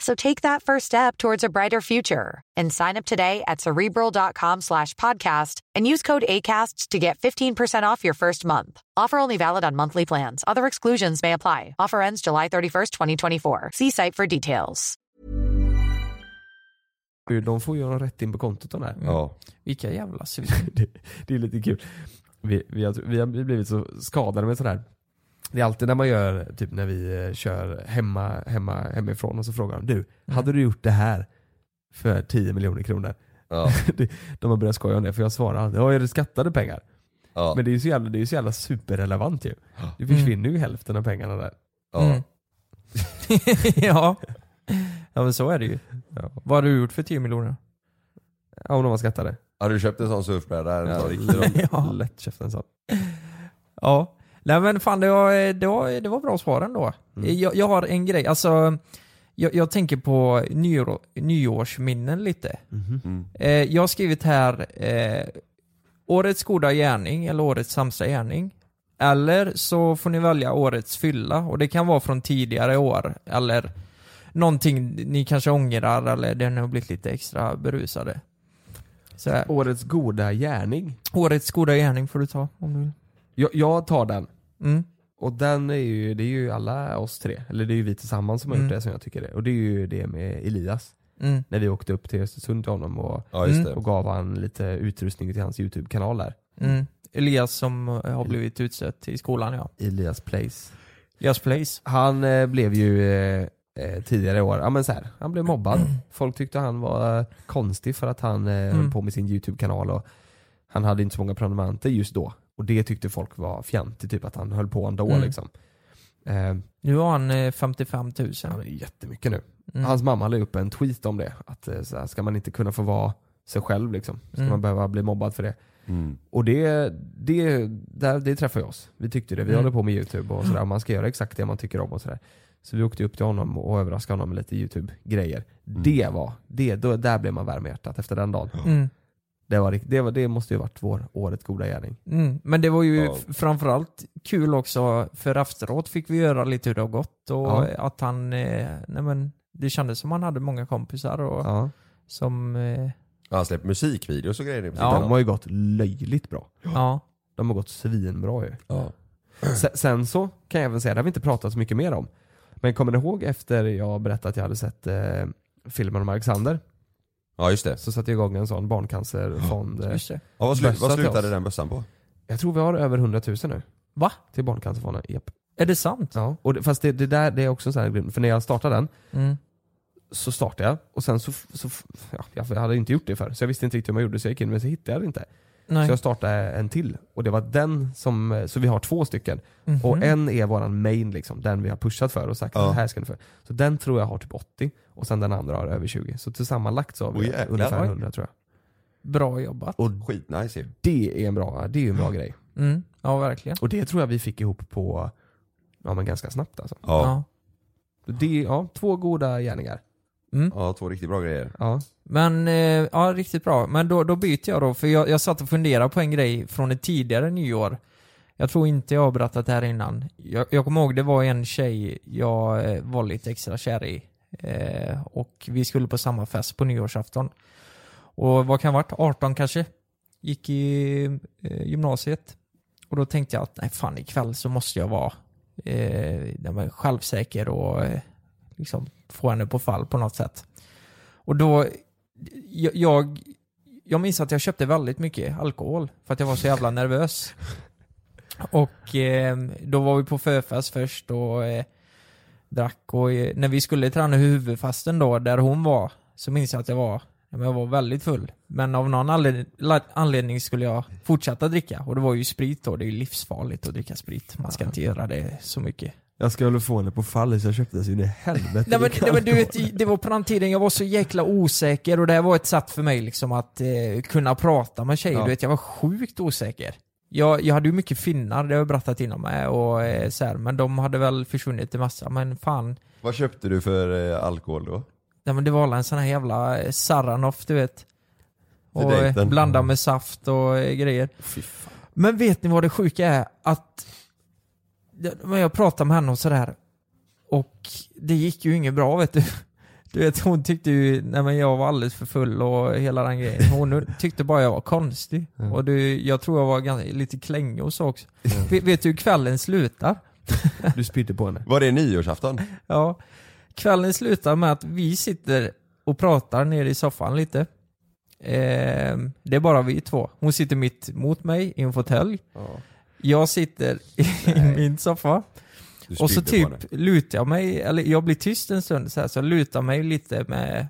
S8: So take that first step towards a brighter future and sign up today at cerebral.com slash podcast and use code ACAST to get 15% off your first month. Offer only valid on monthly plans. Other exclusions may apply. Offer ends July 31st, 2024. See site for details.
S2: Du, de får ju dem rätt in på kontot de där.
S4: Ja.
S3: Vilka jävla svin.
S2: det, det är lite kul. Vi, vi, har, vi har blivit så skadade med sådär. Det är alltid när man gör, typ när vi eh, kör hemma, hemma, hemifrån och så frågar de
S4: Mm.
S2: du, hade du gjort det här för 10 miljoner kronor?
S4: Ja.
S2: Det- de har börjat skoja om det för jag svarar alltid, ja är det skattade pengar?
S4: Ja. Mm.
S2: Men det är ju så jävla, det är ju så jävla superrelevant ju. Det försvinner ju hälften av pengarna där.
S4: ja.
S3: Mm. ja. ja, men så är det ju. Vad har du gjort för 10 miljoner?
S2: Ja, om de var skattade.
S4: Har du köpt en sån surfbräda? En sån riktig då?
S3: Ja.
S2: Lätt käften så.
S3: ja. Nej men fan det var, det var, det var bra svar ändå. Jag, jag har en grej, alltså jag, jag tänker på nyår, nyårsminnen lite. Eh, jag har skrivit här eh, Årets goda gärning eller årets sämsta gärning. Eller så får ni välja årets fylla och det kan vara från tidigare år eller någonting ni kanske ångrar eller det har blivit lite extra berusade. Så här.
S2: Årets goda gärning.
S3: Årets goda gärning får du ta om du vill.
S2: Jag, jag tar den.
S3: Mm.
S2: Och den är ju, det är ju alla oss tre, eller det är ju vi tillsammans som har gjort det som jag tycker det. Och det är ju det med Elias.
S3: Mm.
S2: När vi åkte upp till Östersund till honom och,
S4: Ja just det.
S2: och gav han lite utrustning till hans YouTube-kanal där.
S3: Mm. Elias som eh, har blivit utsett i skolan ja.
S2: Elias Place.
S3: Elias Place.
S2: Han eh, blev ju eh, eh, tidigare i år, ja men så här, han blev mobbad. Folk tyckte han var eh, konstig för att han eh,
S3: Mm.
S2: höll på med sin YouTube-kanal och han hade inte så många prenumeranter just då. Och det tyckte folk var fjantigt, typ att han höll på ändå
S3: Mm.
S2: liksom. Eh,
S3: Nu har han eh, 55 000.
S2: Han är jättemycket nu.
S3: Mm.
S2: Hans mamma la upp en tweet om det. Att eh, så här, ska man inte kunna få vara sig själv liksom? Ska
S3: Mm.
S2: man behöva bli mobbad för det?
S4: Mm.
S2: Och det, det, där, det träffar ju oss. Vi tyckte det. Vi
S3: Mm.
S2: håller på med YouTube och sådär. Man ska göra exakt det man tycker om och sådär. Så vi åkte upp till honom och överraskade honom med lite YouTube-grejer.
S4: Mm.
S2: Det var, det, då, där blev man varm i hjärtat efter den dagen.
S3: Mm.
S2: Det, var, rikt- det, var, det måste ju varit vår årets goda gärning.
S3: Mm. Men det var ju
S4: Ja.
S3: f- framförallt kul också för efteråt fick vi göra lite hur det har gått och
S2: Ja.
S3: eh, att han, eh, nej men det kändes som han hade många kompisar och
S2: Ja.
S3: som, eh,
S4: Ja, Han släppte musikvideos och grejer nu på
S3: Ja.
S4: ja.
S2: De har ju gått löjligt bra.
S3: ja.
S2: De har gått svinbra ju.
S4: Ja.
S2: Sen, sen så kan jag väl säga, det har vi inte pratat så mycket mer om. Men kommer ni ihåg efter jag berättade att jag hade sett eh, filmen om Alexander?
S4: ja just det.
S2: Så satte jag igång en sån barncancerfond. Eh,
S3: Just det.
S4: Ja, vad, slu-
S2: Bössa
S4: vad
S2: till
S4: slutade
S2: oss.
S4: den bössan på?
S2: jag tror vi har över 100 000 nu.
S3: Va?
S2: Till Barncancerfonden. Japp.
S3: Är det sant?
S2: Ja. Och det, fast det, det där det är också en sån här grund. För när jag startade den
S3: Mm.
S2: så startade jag och sen så, f- så f- ja, jag hade inte gjort det förr. Så jag visste inte riktigt hur man gjorde så jag gick in men så hittade jag det inte.
S3: Nej.
S2: Så jag startade en till och det var den som, eh, så vi har två stycken.
S3: Mhm.
S2: Och en är våran main, liksom, den vi har pushat för och sagt
S4: Ja.
S2: att här ska ni för. Så den tror jag har typ 80 och sen den andra har över 20. Så tillsammanlagt så har
S4: Åh,
S2: vi
S4: jäklar.
S2: ungefär
S4: Oj.
S2: 100 tror jag.
S3: Bra jobbat.
S4: Skitnice ju.
S2: Det är en bra, det är ju en bra grej.
S3: Mm. Ja, verkligen.
S2: Och det tror jag vi fick ihop på, ja men ganska snabbt alltså.
S4: Ja.
S2: Det, ja, två goda gärningar.
S3: Mm.
S4: ja, två riktigt bra grejer.
S2: Ja.
S3: Men, eh, ja riktigt bra. Men då, då byter jag då, för jag, jag satt och funderade på en grej från ett tidigare nyår. Jag tror inte jag har berättat det här innan. Jag, jag kommer ihåg det var en tjej jag eh, var lite extra kär i. Eh, och vi skulle på samma fest på nyårsafton. Och vad kan det ha varit? 18 kanske? Gick i eh, gymnasiet. Och då tänkte jag att nej fan ikväll så måste jag vara eh, nej, men självsäker och eh, liksom få henne på fall på något sätt. Och då, jag, jag, jag minns att jag köpte väldigt mycket alkohol för att jag var så jävla nervös. Och eh, då var vi på förfest först och eh, drack och eh, när vi skulle träna huvudfasten då, där hon var, så minns jag att jag var Men jag var väldigt full. Men av någon anled- la- anledning skulle jag fortsätta dricka. Och det var ju sprit då. Det är ju livsfarligt att dricka sprit. Man ska inte göra det så mycket.
S2: Jag skulle få henne på fall så jag köpte så in i helvete.
S3: Nej men,
S2: vilken
S3: nej, men du
S2: alkohol.
S3: vet, det var på den tiden jag var så jäkla osäker och det här var ett sätt för mig liksom att eh, kunna prata med tjejer.
S2: Ja.
S3: Du vet, jag var sjukt osäker. Jag, jag hade ju mycket finnar, det har jag berättat innan med, och eh, så här, men de hade väl försvunnit i massa. Men fan,
S4: Vad köpte du för eh, alkohol då?
S3: nej, men det var alla en sån här jävla eh, Saranoff du vet.
S4: För
S3: Och eh,
S4: dejten. Mm.
S3: blanda med saft och eh, grejer. Men vet ni vad det sjuka är? Att men jag pratade med henne och sådär och det gick ju inget bra vet du. Du vet hon tyckte ju, nej men jag var alldeles för full och hela den grejen. Hon tyckte bara jag var konstig.
S4: Mm.
S3: Och du, jag tror jag var ganska, lite klängig och så också. Vet, vet du hur kvällen slutar?
S2: Du spydde på henne.
S4: Var det nyårsafton?
S3: Ja. Kvällen slutar med att vi sitter och pratar nere i soffan lite. Ehm, det är bara vi två. Hon sitter mitt mot mig i en fåtölj. Jag sitter i min soffa.
S4: Du
S3: Och så
S4: spydde
S3: typ
S4: på henne.
S3: lutar jag mig, eller jag blir tyst en stund så här, så jag lutar mig lite med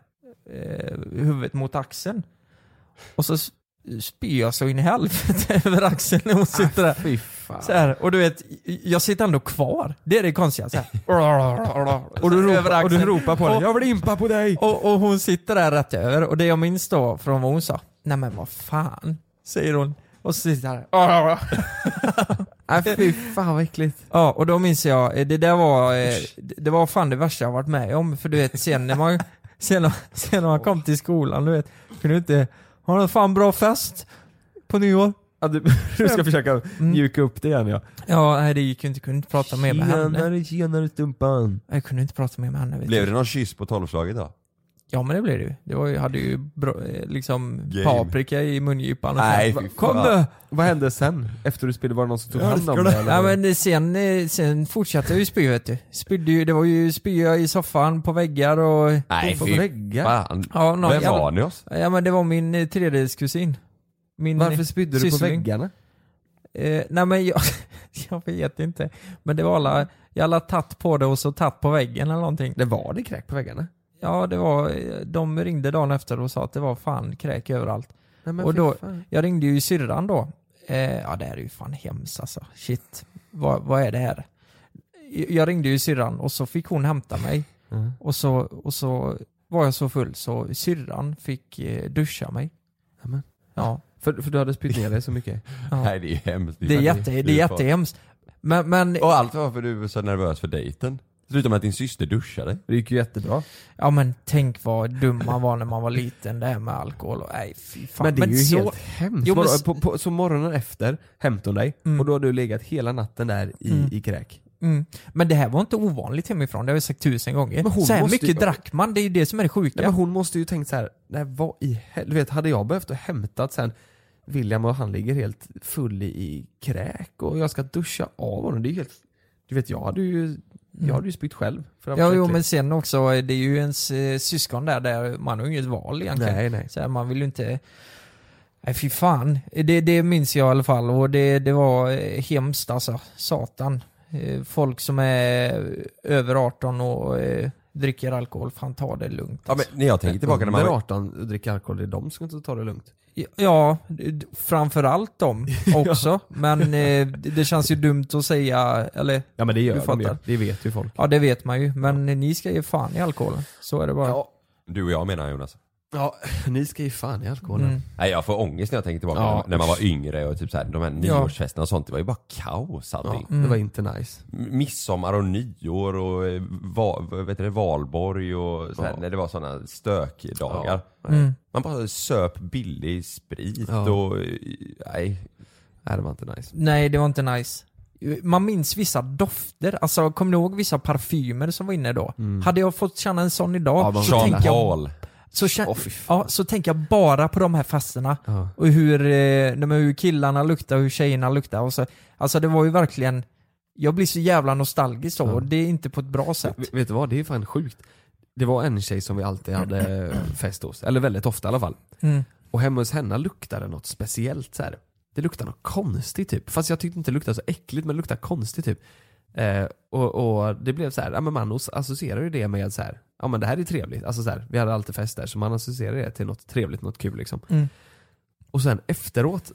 S3: eh, huvudet mot axeln. Och så s- spyr jag så in i helvete över axeln när hon sitter där.
S2: Ah, Fy fan.
S3: Så här, och du vet, jag sitter ändå kvar. Det är det konstiga. Så här.
S2: Och du,
S3: Över
S2: ropar,
S3: axeln.
S2: och du ropar på henne.
S3: Och-
S2: Jag vill impa på dig!
S3: Och, och hon sitter där rätt över och det jag minns då från vad hon sa, nej men vad fan, säger hon. Och så sitter jag där. "Ah."
S2: Nej fy fan vad äckligt.
S3: Ja, och då minns jag, eh, det där var, eh, det det var fan det värsta jag varit med om. För du vet, sen när man, sen, sen när man kom till skolan, du vet, kunde du inte, har du en fan bra fest på nyår?
S2: Ja, du, du ska försöka mjuka upp det igen ja.
S3: Ja, nej det gick ju inte, kunde inte prata mer Mm. med henne.
S2: Tjenare tjenare stumpan.
S3: Jag kunde inte prata mer med henne. Vet
S4: Blev
S3: du.
S4: det någon kyss på tolvslaget då?
S3: Ja men det blev det ju. Det var ju, hade ju bra, eh, liksom
S4: Game.
S3: paprika i mungipan och
S4: Nej,
S3: så.
S4: fy fan.
S3: Kom nu!
S2: Vad hände sen? Efter du spydde, var det någon som tog hand om
S3: Älskar
S2: dig?
S3: det. Ja,
S2: eller?
S3: men sen, eh, sen fortsatte jag ju spy vet du. Spydde ju, det var ju spya i soffan, på väggar och...
S4: Nej
S2: På väggar?
S4: fan.
S3: Ja, någon
S4: Vem
S3: jävla-
S4: var ni oss?
S3: Ja men det var min eh, tredjedelskusin. Min eh,
S2: Varför spydde du på
S3: syssling.
S2: väggarna?
S3: Eh, nej men jag, jag vet inte. Men det var alla, jag alla tatt på det och så tatt på väggen eller någonting.
S2: Det var det kräk på väggarna?
S3: Ja det var, eh, de ringde dagen efter och sa att det var fan kräk överallt.
S2: Nej, men
S3: och
S2: fy
S3: då,
S2: fan.
S3: jag ringde ju syrran då. Eh, ja det här är ju fan hemskt alltså. Shit. Vad, vad är det här? Jag ringde ju syrran och så fick hon hämta mig.
S2: Mm.
S3: Och, så, och så var jag så full så syrran fick eh, duscha mig.
S2: Amen.
S3: Ja.
S2: För, för du hade spytt ner dig så mycket?
S3: Ja.
S4: Nej det är ju hemskt.
S3: Det är, jätte, det är
S4: fan-
S3: jättehemskt. Men, men,
S4: Och allt var för du var så nervös för dejten. Sluta med att din syster duschade.
S2: Det gick ju jättebra.
S3: ja, men tänk vad dum man var när man var liten, det här med alkohol och nej fy fan.
S2: men det är ju
S3: så,
S2: helt hemskt.
S3: Jo, men
S2: Vadå,
S3: s-
S2: på, på, så morgonen efter hämtade hon dig och då har du legat hela natten där i, i kräk?
S3: mm, men det här var inte ovanligt hemifrån, det har jag sagt tusen gånger.
S2: Men hon
S3: så här
S2: måste
S3: mycket
S2: ju-
S3: drack man, det är ju det som är det sjuka.
S2: Nej, men hon måste ju tänkt så här. nej vad i helvete, du vet hade jag behövt att hämta att sen William och han ligger helt full i, i kräk och jag ska duscha av honom, det är ju helt... Du vet jag hade ju, jag hade ju spytt själv. För det var
S3: Ja, jo, men
S2: äckligt.
S3: sen också, eh, det är ju ens eh, syskon där, där man har ju inget val egentligen.
S2: Nej, nej.
S3: Så här, man vill ju inte... Nej, fy fan. Det, det minns jag i alla fall och det, det var eh, hemskt alltså. Satan. Eh, Folk som är över 18 och eh, dricker alkohol, fan ta det lugnt. alltså.
S4: Ja men när jag tänker tillbaka när man
S2: Under
S4: var...
S2: 18 och dricker alkohol, det är de som inte tar det lugnt.
S3: Ja, d- framförallt dem också. Men eh, det- det känns ju dumt att säga, eller
S2: Ja men det gör
S3: Du
S2: de ju,
S3: fattar.
S2: det vet ju folk.
S3: ja det vet man ju. Men ni ska ge fan i alkoholen. Så är det bara.
S4: Du och jag menar Jonas.
S2: Ja, ni ska ju fan i alkoholen.
S3: Mm.
S4: Nej jag får ångest när jag tänker tillbaka
S2: Ja.
S4: när man var yngre och typ så här, de här nyårsfesterna och sånt. Det var ju bara kaos allting.
S2: Ja, Det var inte nice.
S4: M- midsommar och nyår och eh, va, vad heter det, valborg och så här, när det var sådana stökdagar. Man bara söp billig sprit
S2: Ja.
S4: och eh, nej.
S2: Nej det var inte nice.
S3: Nej, det var inte nice. Man minns vissa dofter, alltså kommer ni ihåg vissa parfymer som var inne då?
S2: Mm.
S3: Hade jag fått känna en sån idag så,
S4: Jean
S3: tänker jag,
S4: Paul.
S3: så, kän,
S2: Åh, fy fan.
S3: ja, så tänker jag bara på de här festerna. Och hur, eh, nej, men hur killarna luktar och hur tjejerna luktar. Och så, alltså det var ju verkligen, jag blir så jävla nostalgisk då och det är inte på ett bra sätt.
S2: V- Vet du vad, det är fan sjukt. Det var en tjej som vi alltid hade eh, fest hos, eller väldigt ofta i alla fall.
S3: Mm.
S2: Och hemma hos henne luktade det något speciellt så här. Det luktade något konstigt typ. Fast jag tyckte inte det luktade så äckligt men det luktade konstigt typ. Eh, och, och det blev så här, ja men man os- associerar ju det med så här, ja men det här är trevligt. Alltså så här, vi hade alltid fest där så man associerar det till något trevligt, något kul liksom.
S3: Mm.
S2: Och sen efteråt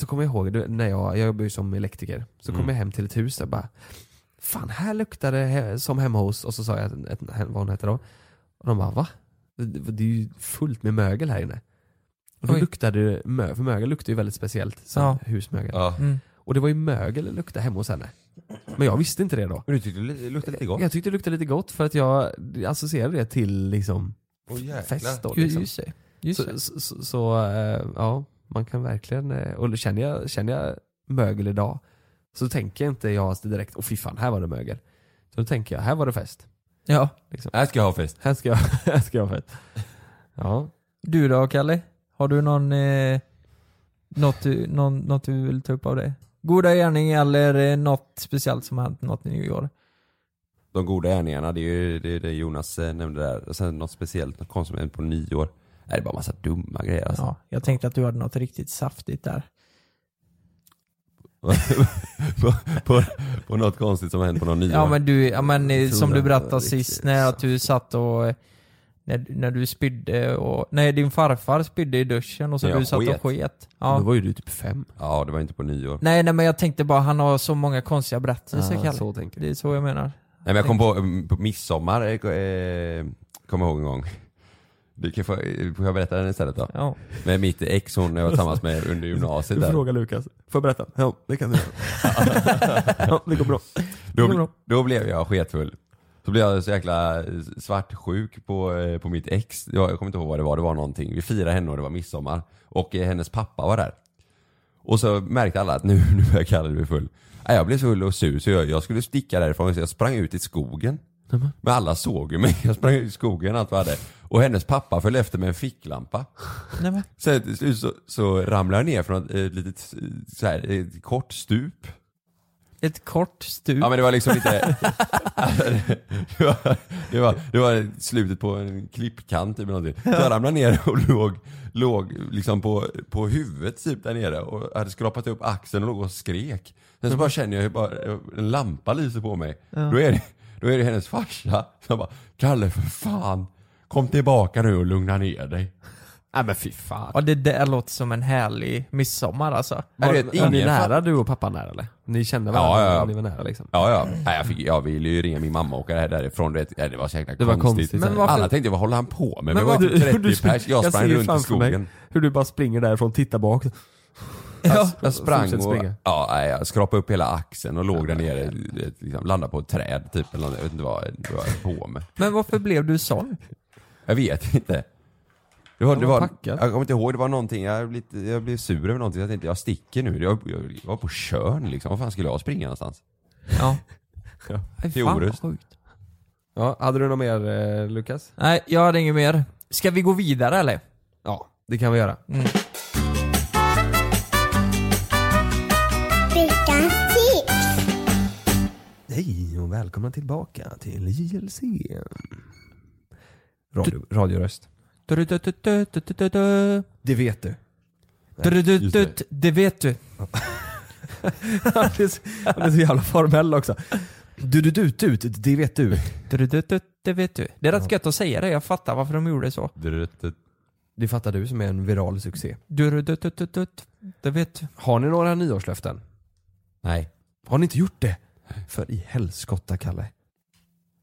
S2: så kommer jag ihåg, det, när jag, jag jobbar ju som elektriker, så kom
S4: Mm.
S2: jag hem till ett hus och bara Fan här luktar det he- som hemma hos, och så sa jag ett, ett, vad hon hette då. Och de bara va? Det, det är ju fullt med mögel här inne. Och då
S3: Oj.
S2: luktade det, mö- för mögel luktar ju väldigt speciellt, så
S3: Ja.
S2: husmögel.
S4: Ja.
S3: Mm.
S2: Och det var ju mögel det luktade hemma hos henne. Men jag visste inte det då.
S4: Men du tyckte det li- luktade lite gott?
S2: Jag tyckte det luktade lite gott för att jag associerade det till liksom
S4: Åh, jäklar.
S2: fest då.
S3: Ju-
S2: Liksom.
S3: Just det. Just
S2: Så,
S3: det.
S2: så, så, så eh, ja, man kan verkligen, eh, och känner jag, känner jag mögel idag så tänker jag inte jag direkt, åh fy fan här var det mögel. Så då tänker jag, här var det fest.
S3: Ja.
S4: Här ska jag ha fest.
S2: Här ska jag, här ska jag ha fest. Ja.
S3: Du då Kalle? Har du någon, eh, något, du, någon, något du vill ta upp av det? Goda gärning eller eh, något speciellt som har hänt något nyår?
S4: De goda gärningarna, det är ju det, är det Jonas eh, nämnde där. Och sen något speciellt, något konstigt som hände på nyår. Nej, det är bara massa dumma grejer alltså.
S3: Ja, jag tänkte att du hade något riktigt saftigt där.
S4: på, på, på något konstigt som hände på någon nyår.
S3: Ja men du, ja, men, eh,
S4: Jag tror
S3: som du
S4: det
S3: berättade
S4: var
S3: sist
S4: riktigt
S3: när att du satt och eh, när, när du spydde och, nej din farfar spydde i duschen och så
S4: När jag
S3: du satt
S4: sket.
S3: och sket.
S2: Då
S3: Ja.
S2: var ju du typ fem.
S4: Ja, det var inte på nyår.
S3: Nej nej men jag tänkte bara, han har så många konstiga berättelser
S2: Ja,
S3: Kalle.
S2: så tänker
S3: Det
S2: jag.
S3: är så jag menar.
S4: Nej men jag kom på, mm, på midsommar, eh, ko- eh, kommer jag ihåg en gång. Du kan få, eh, får jag berätta den istället då?
S3: Ja.
S4: Med mitt ex, hon jag var tillsammans med under gymnasiet där.
S2: Lukas, får jag berätta? Ja, det kan du Ja, det går bra.
S4: Då, då blev jag sketfull. Så blev jag så jäkla eh, svartsjuk på, eh, på mitt ex. Jag, jag kommer inte ihåg vad det var, det var någonting. Vi firade henne och det var midsommar. Och eh, hennes pappa var där. Och så märkte alla att nu, nu börjar Kalle bli full. Nej, jag blev så full och sur så jag, jag skulle sticka därifrån så jag sprang ut i skogen. Men alla såg ju mig. Jag sprang ut i skogen allt vad jag hade. Och hennes pappa följde efter med en ficklampa.
S3: Nej, men.
S4: Sen till slut så, så ramlade jag ner från ett, ett litet eh, så här, ett kort stup.
S3: Ett kort stup.
S4: Ja men det var liksom inte... det, var, det, var, det var slutet på en klippkant typ eller någonting. Så jag ramlade ner och låg, låg liksom på, på huvudet typ där nere och hade skrapat upp axeln och låg och skrek. Sen så bara känner jag hur bara en lampa lyser på mig. Då, är det, då är det hennes farsa som bara Kalle för fan, kom tillbaka nu och lugna ner dig.
S2: Nej men fy fan.
S3: Ja det där låter som en härlig midsommar alltså.
S4: Jag vet,
S2: Var ni
S4: ingen fa-
S2: nära du och pappan där eller? Ni kände
S4: Ja,
S2: varandra?
S4: ja, ja.
S2: Ni var nära liksom?
S4: Ja, ja. Nej, jag, fick, jag ville ju ringa min mamma och åka här därifrån. Det, ja, det var så jäkla
S2: var
S4: konstigt.
S2: konstigt. Men
S3: varför-
S4: Alla tänkte vad håller han på med? Men
S2: Men
S4: vi var
S2: vad-
S4: typ
S2: hur du
S4: 30
S2: sprang-
S4: pers. Jag
S2: jag
S4: sprang
S2: ser
S4: runt i
S2: framför mig
S4: skogen.
S2: Hur du bara springer därifrån, tittar bak.
S3: Ja.
S4: Jag sprang
S2: fortsätter
S4: och
S2: springa.
S4: ja, nej, jag skrapade upp hela axeln och låg där nere. det- Liksom, landade på ett träd typ. Eller, något. jag vet inte vad det var på med.
S3: Men varför blev du sån?
S4: Jag vet inte. Det var, det
S2: var
S4: var,
S2: packad.
S4: jag kommer inte ihåg, det var någonting, jag blev, lite, jag blev sur över någonting. Jag tänkte jag sticker nu. Jag, jag, jag var på Tjörn liksom. Var fan skulle jag springa någonstans?
S3: Ja.
S2: Ja.
S3: Aj,
S4: Till
S3: fan vad
S4: Orust.
S3: sjukt.
S2: Ja, hade du något mer eh, Lukas?
S3: Nej, jag hade inget mer. Ska vi gå vidare eller? Mm.
S2: Ja, det kan vi göra. Hej och välkomna tillbaka till JLC. Radio, radioröst.
S3: Du-du-du-du-du-du-du-du.
S2: Det vet du.
S3: Du-du-du-du-du. Det vet du.
S2: Han är så, han är så jävla formell också. Du, du, du, du, du, det vet du.
S3: Du-du-du-du. Det vet du. Det är rätt gött att säga det, jag fattar varför de gjorde så.
S2: Det fattar du som är en viral succé.
S3: Du-du-du-du-du-du. Det vet du.
S2: Har ni några nyårslöften?
S4: Nej.
S2: Har ni inte gjort det? För i helskotta, Kalle.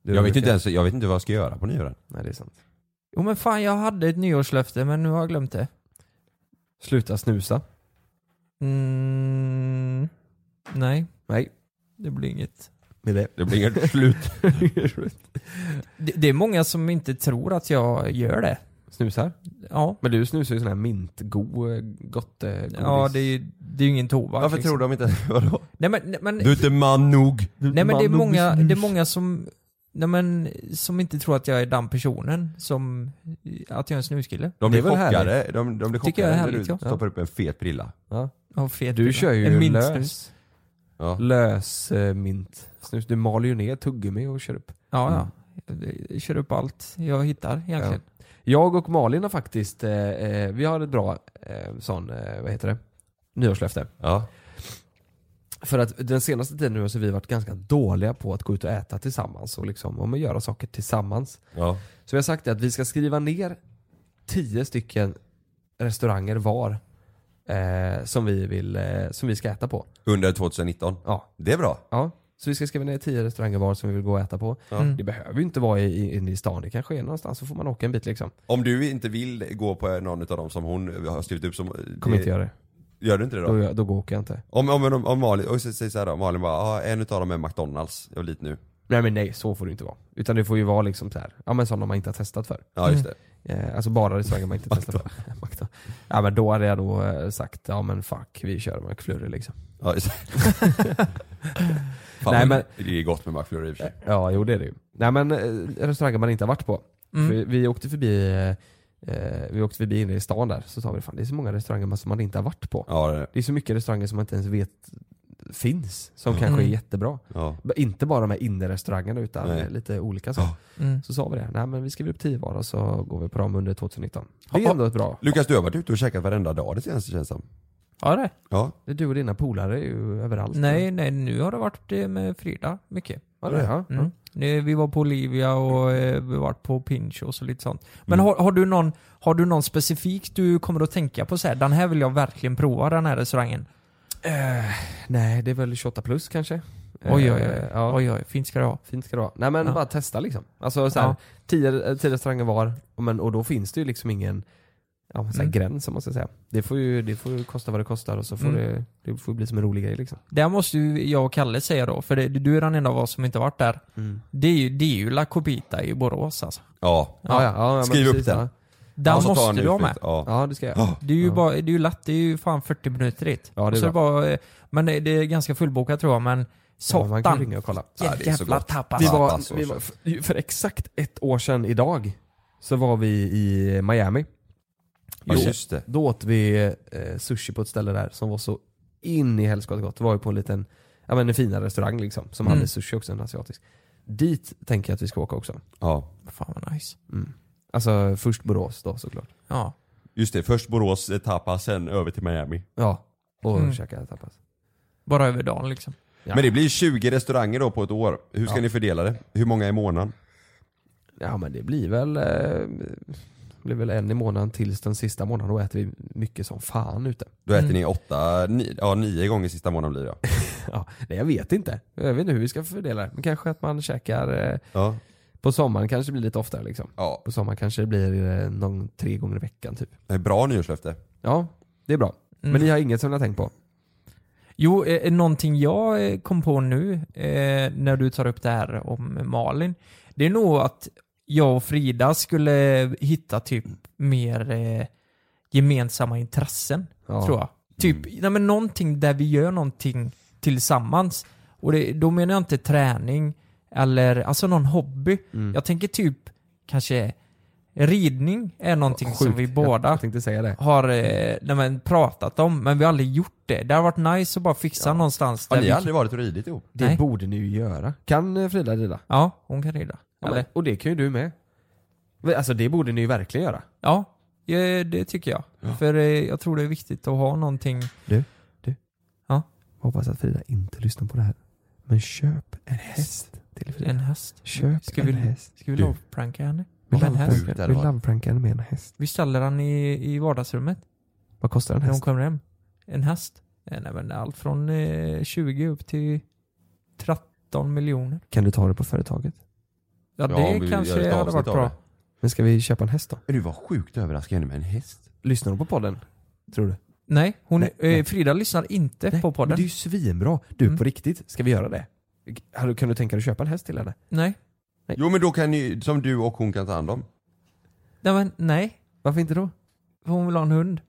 S2: Du,
S4: Jag vet, inte
S2: Lukas.
S4: ens, jag vet inte vad jag ska göra på nyåren.
S2: Nej, det är sant.
S3: Jo men fan, jag hade ett nyårslöfte men nu har jag glömt det.
S2: Sluta snusa.
S3: Mm, nej,
S2: Nej,
S3: det blir inget.
S2: med det.
S4: Det blir inget slut.
S3: Det, det är många som inte tror att jag gör det.
S2: Snusar?
S3: Ja.
S2: Men du snusar ju sån här mintgo, gott, eh, godis.
S3: Ja, det är ju det är ju ingen tobak.
S4: Varför
S3: liksom.
S4: tror de inte, vadå?
S3: Nej men, nej, men,
S4: Du är inte man nog.
S3: nej, men det, är
S2: Man och
S3: många,
S2: snus.
S3: det är många som, nej, men, som inte tror att jag är den personen som, att jag är en snuskille.
S4: De
S2: Det
S4: blir
S2: är väl
S4: chockade, de, de blir
S3: Tycker jag är
S4: chockade när du
S3: härligt, ja.
S4: stoppar upp en fet prilla.
S2: Ja.
S3: Ja, fet
S2: Du
S3: kille.
S2: kör ju
S3: En mintsnus.
S2: lös,
S4: Ja.
S2: lös eh, mint. Snus. Du maler ju ner tuggummi och kör upp.
S3: Ja, ja.
S2: Mm.
S3: Jag kör upp allt jag hittar egentligen.
S2: Jag och Malin har faktiskt, eh, eh, vi har ett bra eh, sån, eh, vad heter det, nyårslöfte.
S4: Ja.
S2: För att den senaste tiden nu har så vi varit ganska dåliga på att gå ut och äta tillsammans och liksom, och men göra saker tillsammans.
S4: Ja.
S2: Så vi har sagt det att vi ska skriva ner tio stycken restauranger var eh, som, vi vill, eh, som vi ska äta på.
S4: Under 2019.
S2: Ja.
S4: Det är bra.
S2: ja. Så vi ska skriva ner tio restauranger var som vi vill gå och äta på. Mm. Det behöver ju inte vara i, i, inne i stan, det kanske är någonstans så får man åka en bit liksom.
S4: Om du inte vill gå på någon av dem som hon eh, har skrivit upp som...
S2: Kommer inte göra Mm. det.
S4: Gör du inte det då?
S2: Då, gör- då går- åker jag inte.
S4: Om, om, om, om Malin, och så- säg såhär då, Malin bara ah, en utav dem är McDonalds, jag vill dit nu.
S2: Nej men nej, så får det inte vara. Utan det får ju vara liksom så här, ja men sådana man inte har testat för.
S4: Ja just det.
S2: Eh, alltså bara restauranger man inte testat för. Makta. Ja men då hade jag nog eh, sagt, ja men fuck, vi kör McFlurry liksom.
S4: Ja, just det. Fan,
S2: Nej,
S4: Nej,
S2: men-
S4: men... Det är gott med McFlurry i och för sig.
S2: Ja, jo det är det ju. Nej men eh, restauranger man inte har varit på.
S3: Mm.
S2: För vi, vi åkte förbi eh, eh, vi åkte förbi inne i stan där, så sa vi fan det är så många restauranger som man inte har varit på.
S4: Ja, det är det.
S2: Det är så mycket restauranger som man inte ens vet finns, som
S4: Mm.
S2: kanske är
S3: Mm.
S2: jättebra.
S4: Ja.
S2: Men Inte bara de här innerestaurangerna utan
S4: Nej.
S2: eh, lite olika saker.
S3: Mm.
S2: Så sa vi det, nej men vi skriver upp 10 var och så går vi på dem under 2019. Det är
S4: Ja.
S2: ändå ett bra.
S4: Lukas, du har varit ute och käkat varenda dag det senaste känns som.
S3: Ja det?
S4: Ja.
S2: Det är Du och dina polare är ju överallt.
S3: Nej, nej, nu har det varit eh, med Frida mycket.
S2: Ja, det är, ja.
S3: Mm. Nu, Vi var på Olivia och eh, vi har varit på Pinchos och lite sånt. Men
S2: Mm.
S3: har, har, du någon, har du någon specifik du kommer att tänka på så här, den här vill jag verkligen prova den här restaurangen?
S2: Nej, det är väl 28 plus kanske.
S3: Oj oj
S2: Eh,
S3: oj,
S2: Ja,
S3: oj, oj. fint ska det vara.
S2: Fint ska det vara. Nej men
S3: Ja.
S2: bara testa liksom. Alltså så här,
S3: Ja.
S2: tio, eh, tio restauranger var, och men, och då finns det ju liksom ingen ja, men så här,
S3: Mm.
S2: gräns om man ska säga. Det får, ju, det får ju kosta vad det kostar och så får
S3: Mm.
S2: det, det får bli som en rolig grej liksom.
S3: Där måste ju jag och Kalle säga då, för det, du är den enda av oss som inte varit där.
S2: Mm.
S3: Det är ju, det är ju La Copita i Borås alltså.
S4: Ja.
S2: Ja, ja, ja, men
S4: Skriv upp
S2: precis,
S4: den.
S2: Ja.
S3: Den
S4: Alltså, ta
S3: måste
S4: en
S3: du ha
S4: utflykt.
S3: med.
S4: Ja.
S2: ja, det ska jag göra.
S3: Det är ju
S2: Ja.
S3: bara, det är ju lätt, det är ju fan 40 minuter dit.
S2: Ja, det är
S3: Och så bara, eh, men det det är ganska fullbokat tror jag, men
S2: Ja, man kan
S3: satan.
S2: ringa och kolla.
S4: Ja, det är så
S3: jävla alltså.
S4: gott.
S3: tapas.
S2: Vi
S4: Ja,
S2: var,
S4: passår
S2: vi var, för, för exakt ett år sedan idag så var vi i Miami.
S4: Ja, just det.
S2: Då åt vi eh, sushi på ett ställe där som var så in i helskotta gott. Det var ju på en liten, ja men en finare restaurang liksom, som
S3: Mm.
S2: hade sushi också, en asiatisk. Dit tänker jag att vi ska åka också.
S4: Ja.
S3: Fan vad nice.
S2: Alltså först Borås då såklart.
S3: Ja.
S4: Just det, först Borås eh, tapas, sen över till Miami.
S2: Ja. Och
S3: Mm.
S2: käka tapas.
S3: Bara över dagen liksom.
S2: Ja.
S4: Men det blir 20 restauranger då på ett år. Hur ska
S2: Ja.
S4: ni fördela det? Hur många i månaden?
S2: Ja men det blir väl, eh, blir väl en i månaden tills den sista månaden. Då äter vi mycket som fan ute.
S4: Då äter
S3: Mm.
S4: ni åtta, ni, ja nio gånger sista månaden blir det.
S2: Ja, nej jag vet inte. Jag vet inte hur vi ska fördela det. Men kanske att man käkar eh,
S4: Ja.
S2: på sommaren kanske det blir lite oftare liksom.
S4: ja.
S2: På sommaren kanske det blir eh, någon tre gånger i veckan typ.
S4: Det är Bra nyårslöfte.
S2: Ja, det är bra.
S3: Mm.
S2: Men ni har inget som ni har tänkt på?
S3: Jo, eh, någonting jag eh, kom på nu eh, när du tar upp det här om Malin. Det är nog att jag och Frida skulle hitta typ mer eh, gemensamma intressen.
S2: Ja. Mm.
S3: Tror jag. Typ, nej, men någonting där vi gör någonting tillsammans. Och det, då menar jag inte träning eller alltså någon hobby.
S2: Mm.
S3: Jag tänker typ kanske ridning är någonting som
S2: Sjukt.
S3: vi båda
S2: Jag, jag tänkte säga det.
S3: har eh, nej, men, pratat om, men vi har aldrig gjort det. Det har varit nice att bara fixa någonstans.
S4: Har ni
S3: vi...
S4: aldrig varit och ridit ihop?
S2: Det
S3: Nej.
S2: borde ni ju göra. Kan eh, Frida rida?
S3: Ja, hon kan rida.
S2: Ja,
S3: Eller?
S2: men, och det kan ju du med. Men, Alltså det borde ni ju verkligen göra.
S3: Ja, eh, det tycker jag. För eh, jag tror det är viktigt att ha någonting.
S2: Hoppas att Frida inte lyssnar på det här. Men köp en häst till Frida.
S3: En häst.
S2: Köp
S3: Ska
S2: en
S3: vi-
S2: häst.
S3: Ska vi
S4: Du.
S3: lovepranka henne?
S2: Vi
S3: Av en häst.
S4: Sjukt,
S2: loveprank-
S4: det hade
S2: vi
S4: varit.
S2: loveprank henne med en häst.
S3: Vi ställer den i, i vardagsrummet
S2: Vad kostar en
S3: när hon
S2: häst?
S3: kommer hem. En häst. Eh, Nej, men allt från eh, 20 upp till 13 miljoner.
S2: Kan du ta det på företaget?
S3: Ja,
S4: Ja, om
S3: det
S4: vi gör
S3: kanske
S4: ett
S3: hade varit
S4: avsnitt av
S3: bra.
S4: det.
S2: Men ska vi köpa en häst då?
S4: Du var sjukt överraskad med en häst.
S2: Lyssnar hon på podden? Tror du?
S3: Nej, hon,
S2: Nej,
S3: eh,
S2: nej.
S3: Frida lyssnar inte
S2: Nej,
S3: på podden.
S2: Men det är ju svinbra. Du
S3: Mm.
S2: på riktigt, ska vi göra det? Har du- Kan du tänka dig att köpa en häst till henne?
S3: Nej.
S4: Jo men då kan ni, som du och hon kan ta hand om.
S3: Nej, men, nej.
S2: Varför inte då?
S3: För hon vill ha en hund.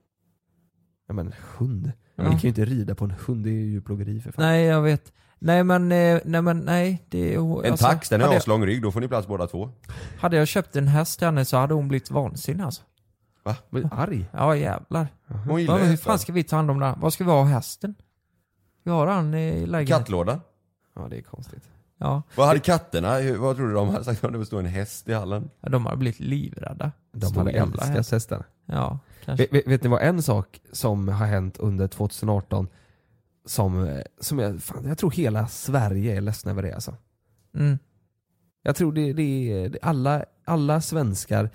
S2: Ja men hund.
S3: Ja.
S2: Vi kan ju inte rida på en hund, det är ju djurplågeri för fan.
S3: Nej, jag vet. Nej men, eh, nej men, nej. Det, är-
S4: En
S3: alltså,
S4: tax, den har
S3: hade, jag,
S4: aslång rygg, då får ni plats båda två.
S3: hade jag köpt en häst till henne så hade hon blivit vansinnig alltså.
S2: Men arg?
S3: Ja jävlar.
S4: Hon
S3: Ja,
S4: gillar
S3: men hur
S4: hästar.
S3: fan ska vi ta hand om den? Vad ska vi ha hästen? Vi har han eh, i lägenheten.
S4: Kattlådan.
S2: Ja det är konstigt.
S3: Ja.
S4: Vad hade katterna, hur- vad trodde de hade sagt om det stod en häst i hallen?
S3: ja, de har blivit livrädda.
S2: De
S3: Stor
S2: hade
S3: jävla häst.
S2: älskat hästarna.
S3: Ja, kanske.
S2: Vet, vet ni vad en sak som har hänt under 2018 som, eh, som jag, fan, jag tror hela Sverige är ledsna över det alltså.
S3: Mm.
S2: Jag tror det, det är det- alla, alla svenskar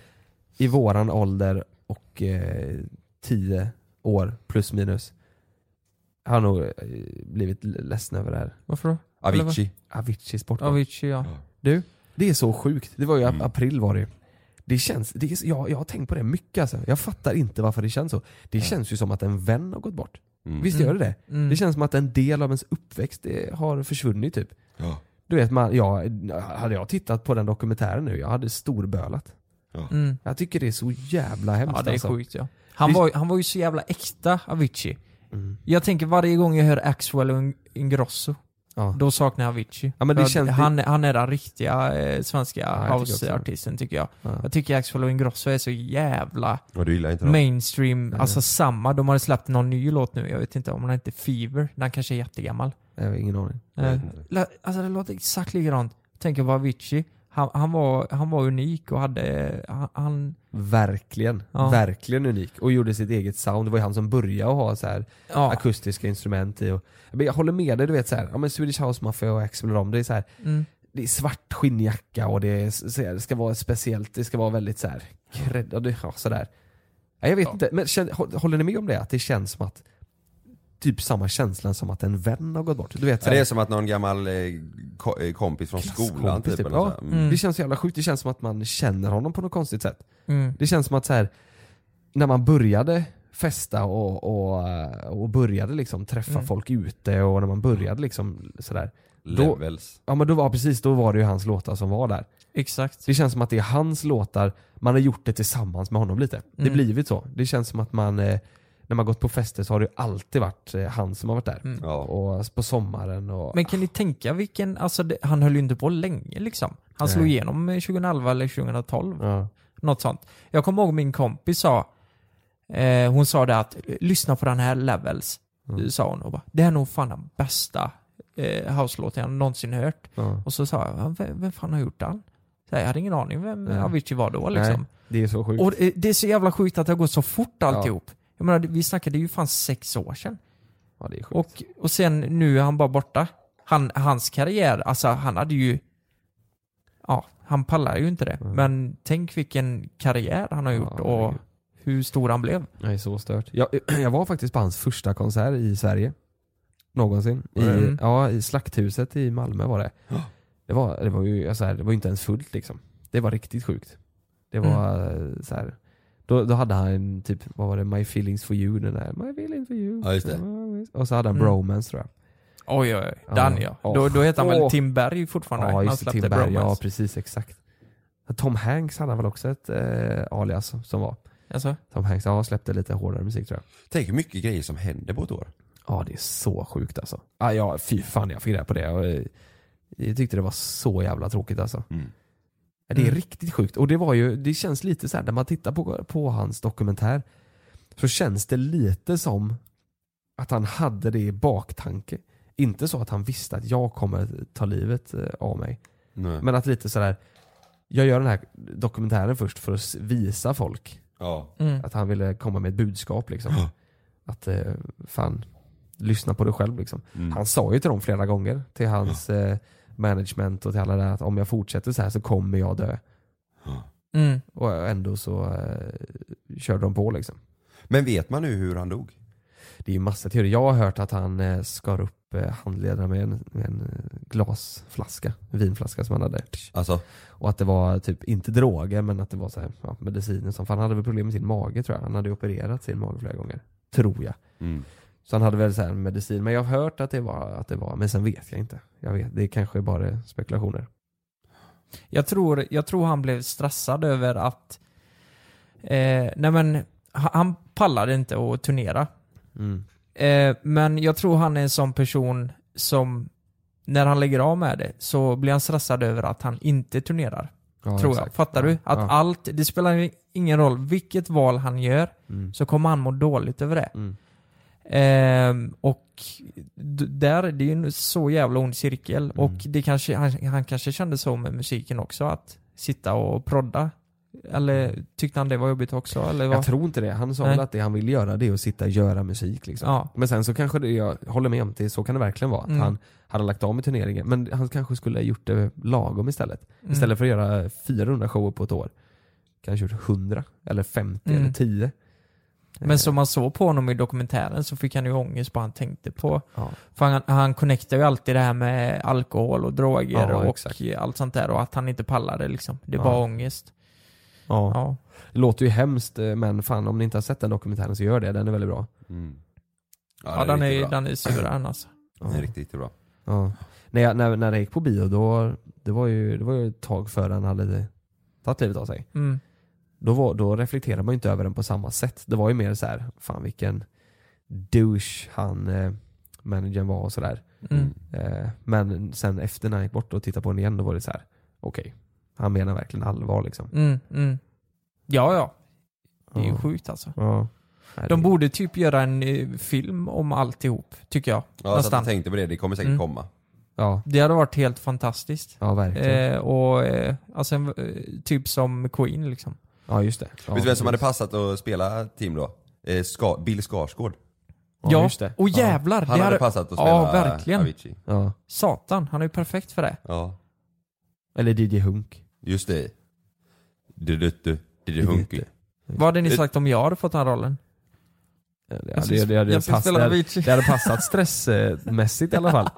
S2: i våran ålder och eh, tio år plus minus har nog eh, blivit l- ledsna över det här.
S3: Varför då?
S4: Avicii.
S2: Aviciis bortgång.
S3: Avicii ja.
S2: Du, det är så sjukt. Det var ju
S4: Mm.
S2: april var det ju. Det känns, det är, så- jag, jag har tänkt på det mycket alltså. Jag fattar inte varför det känns så. Det känns ju som att en vän har gått bort.
S4: Mm.
S2: Visst gör det det?
S3: Mm.
S2: Det känns som att en del av ens uppväxt eh, har försvunnit typ.
S4: Ja.
S2: Du vet, man, ja, hade jag tittat på den dokumentären nu, jag hade storbölat.
S3: Mm.
S2: Jag tycker det är så jävla hemskt
S3: Ja, det är
S2: alltså.
S3: sjukt ja. Han
S2: Visst-
S3: var, han var ju så jävla äkta, Avicii.
S2: Mm.
S3: Jag tänker varje gång jag hör Axwell och In- Ingrosso,
S2: Ja.
S3: då saknar jag Avicii.
S2: Ja, men det
S3: För att
S2: känns-
S3: han, han är den riktiga eh, svenska
S2: jag tycker också det.
S3: houseartisten tycker jag.
S2: Ja.
S3: Jag tycker Axwell och Ingrosso är så jävla
S4: Och du gillar inte dem?
S3: mainstream, alltså samma. De har släppt någon ny låt nu, jag vet inte om den heter Fever, den kanske är jättegammal.
S2: Jag har ingen aning.
S3: Eh, la- Alltså det låter exakt likadant. Tänker på Avicii. Han, han, var, han var unik och hade... Han, han,
S2: Verkligen.
S3: Ja.
S2: Verkligen unik. Och gjorde sitt eget sound. Det var ju han som började att ha så här
S3: ja.
S2: akustiska instrument i. Och, men jag håller med dig, du vet så här, ja, men Swedish House Mafia och Axel och dem, det är så här,
S3: Mm.
S2: det är svart skinnjacka och det, är, så här, det ska vara speciellt, det ska vara väldigt så här, kredd, och det, ja, sådär. Ja, jag vet inte, men känn- hå- håller ni med om det? Att det känns som att typ samma känslan som att en vän har gått bort. Du vet, så
S4: Ja,
S2: här,
S4: det är som att någon gammal eh, ko- eh, kompis från skolan
S2: Klasskompis typ,
S4: typ. Eller
S2: ja.
S4: så här. Mm.
S2: det känns så jävla sjukt, det känns som att man känner honom på något konstigt sätt.
S3: Mm.
S2: Det känns som att så här, när man började festa och, och, och började liksom träffa
S3: Mm.
S2: folk ute och när man började liksom sådär. Då,
S4: Levels.
S2: ja men då var precis, då var det ju hans låtar som var där.
S3: Exakt.
S2: Det känns som att det är hans låtar, man har gjort det tillsammans med honom lite. Det
S3: Mm.
S2: blivit så. Det känns som att man, eh, när man gått på fester så har det ju alltid varit eh, han som har varit där.
S3: Mm.
S4: Ja.
S2: Och på sommaren och...
S3: Men kan ni tänka vilken, alltså det, han höll ju inte på länge liksom. Han slog
S2: Nej.
S3: igenom eh, 2011 eller 2012.
S2: ja.
S3: Något sånt. Jag kommer ihåg min kompis sa, eh, hon sa det att lyssna på den här Levels,
S2: Mm.
S3: eh, sa hon. Och bara, det här är nog fan den bästa eh, house-låten jag någonsin hört.
S2: Ja.
S3: Och så sa jag, "Va, vem, vem fan har gjort den? Så här, jag hade ingen aning vem
S2: Nej.
S3: Avicii var då liksom.
S2: Nej, det är så sjukt.
S3: Och eh, det är så jävla sjukt att det har gått så fort alltihop. Jag menar, vi snackade ju fan sex år sedan.
S2: ja, det är sjukt.
S3: Och, och sen nu är han bara borta. Han, hans karriär, alltså han hade ju... Ja, han pallar ju inte det. Men tänk vilken karriär han har gjort
S2: Mm. Ja,
S3: och
S2: herregud.
S3: hur stor han blev.
S2: Jag är så stört. Jag, jag var faktiskt på hans första konsert i Sverige. Någonsin. I,
S3: Mm.
S2: ja, I Slakthuset i Malmö var det. Det var, det var ju jag så här, det var ju inte ens fullt liksom. Det var riktigt sjukt. Det var
S3: Mm.
S2: eh, så här. Då, då hade han typ, vad var det, My feelings for you, den där My feelings for you.
S4: Ja, just det.
S2: Och så hade han
S3: Mm.
S2: Bromance tror jag.
S3: Oj, oj, oj.
S2: Ja.
S3: Den ja.
S2: Åh.
S3: Då, då heter han väl
S2: Åh.
S3: Tim Berg fortfarande?
S2: Ja,
S3: Han
S2: just det,
S3: släppte
S2: Tim Berg. Ja,
S3: Bromance.
S2: precis exakt. Tom Hanks hade väl också ett eh, alias som- som var.
S3: Alltså,
S2: Tom Hanks, ja, släppte lite hårdare musik tror jag.
S4: Tänk hur mycket grejer som händer på ett år.
S2: Ja det är så sjukt alltså. Ah, ja, fy fan jag fick reda på det. Jag, eh, jag tyckte det var så jävla tråkigt alltså.
S4: Mm.
S2: Ja, Det är
S3: Mm.
S2: riktigt sjukt. Och det var ju, det känns lite så här när man tittar på, på hans dokumentär så känns det lite som att han hade det i baktanke. Inte så att han visste att jag kommer ta livet eh, av mig.
S4: Nej.
S2: Men att lite sådär, jag gör den här dokumentären först för att s- visa folk
S4: Ja.
S3: mm.
S2: att han ville komma med ett budskap liksom.
S4: Ja.
S2: Att eh, fan, lyssna på dig själv liksom.
S4: Mm.
S2: Han sa ju till dem flera gånger, till hans eh, management och till alla där att om jag fortsätter så här så kommer jag dö.
S3: Mm.
S2: Och ändå så eh, körde de på liksom.
S4: Men vet man nu hur han dog?
S2: Det är ju massa teorier. Jag har hört att han eh, skar upp eh, handlederna med en, med en eh, glasflaska, vinflaska som han hade.
S4: Alltså,
S2: Och att det var typ, inte droger, men att det var så här, ja, mediciner som, för han hade väl problem med sin mage tror jag. Han hade ju opererat sin mage flera gånger. Tror jag.
S4: mm.
S2: Så han hade väl så här medicin, men jag har hört att det, var, att det var, men sen vet jag inte. Jag vet, det är kanske är bara spekulationer.
S3: Jag tror, jag tror han blev stressad över att... Eh, nej men, han, han pallade inte att turnera. Eh, men jag tror han är en sån person som, när han lägger av med det, så blir han stressad över att han inte turnerar.
S2: Ja,
S3: tror jag.
S2: exakt.
S3: Fattar du? Att
S2: ja.
S3: allt, det spelar ingen roll vilket val han gör,
S2: Mm.
S3: så kommer han må dåligt över det.
S2: Mm.
S3: Ehm, och d- där, det är ju en så jävla ond
S2: Mm.
S3: cirkel. Och det kanske, han, han kanske kände så med musiken också, att sitta och prodda Eller tyckte han det var jobbigt också? Eller vad?
S2: Mm. Jag tror inte det. Han sa
S3: Nej.
S2: väl att det han vill göra det är att sitta och göra musik liksom.
S3: Ja.
S2: Men sen så kanske det, jag håller med om, det, så kan det verkligen vara. Att
S3: Mm.
S2: han hade lagt av med turneringen, men han kanske skulle ha gjort det lagom istället.
S3: Mm.
S2: Istället för att göra 400 shower på ett år. Kanske gjort 100, eller 50,
S3: Mm.
S2: eller 10. Eh.
S3: Men som man såg på honom i dokumentären så fick han ju ångest på vad han tänkte på.
S2: Ja.
S3: För han, han connectar ju alltid det här med alkohol och droger
S2: Ja,
S3: och
S2: exakt.
S3: allt sånt där och att han inte pallade liksom. Det
S2: Ja.
S3: var ångest.
S2: Ja.
S3: Ja.
S2: Det låter ju hemskt, eh, men fan om ni inte har sett den dokumentären så gör det. Den är väldigt bra.
S4: Mm.
S3: Ja,
S4: den
S3: den,
S4: riktigt
S3: är,
S4: bra.
S3: den är suverän alltså.
S4: Den är riktigt, riktigt bra.
S2: Ja. När, jag, när, när jag gick på bio, då, det, var ju, det var ju ett tag före han hade tagit livet av sig.
S3: Mm.
S2: Då, var, då reflekterade man ju inte över den på samma sätt. Det var ju mer så här, fan vilken douche han, eh, managern var och sådär.
S3: Mm.
S2: Eh, men sen efter när han gick bort och tittade på den igen, då var det så här, okej. Han menar verkligen allvar liksom.
S3: Mm. Mm. Ja, ja. Det är ju
S2: Ja.
S3: sjukt alltså.
S2: Ja. Nej,
S3: De
S2: det-
S3: borde typ göra en eh, film om alltihop, tycker jag.
S2: alltså,
S4: Ja, så att jag
S3: Någonstans.
S4: tänkte på det, det kommer säkert
S3: Mm.
S4: komma.
S2: Ja,
S3: Det hade varit helt fantastiskt.
S2: ja verkligen.
S3: Eh, och eh, alltså en, eh, typ som Queen liksom.
S2: ja just det. Ja,
S4: Vet du vem som hade
S2: precis.
S4: passat att spela team då? Eh, Ska, Bill Skarsgård.
S2: Ja, just det.
S3: och
S2: Ja.
S3: jävlar!
S4: Han hade
S3: det hade...
S4: passat att spela
S3: Ja, verkligen.
S4: Avicii.
S2: Ja.
S3: Satan, han är ju perfekt för det.
S4: Ja,
S2: Eller DJ Hunk.
S4: just det. Du, du, du, du, du, hunky.
S3: Vad hade
S2: Eh,
S3: ni
S4: Det-
S3: sagt om jag hade fått den rollen?
S2: Ja, det-
S3: Jag ska-
S2: det- det- det- det
S3: jag ska
S2: pass-
S3: spela
S2: det-
S3: Avicii.
S2: Det hade passat stressmässigt i alla fall.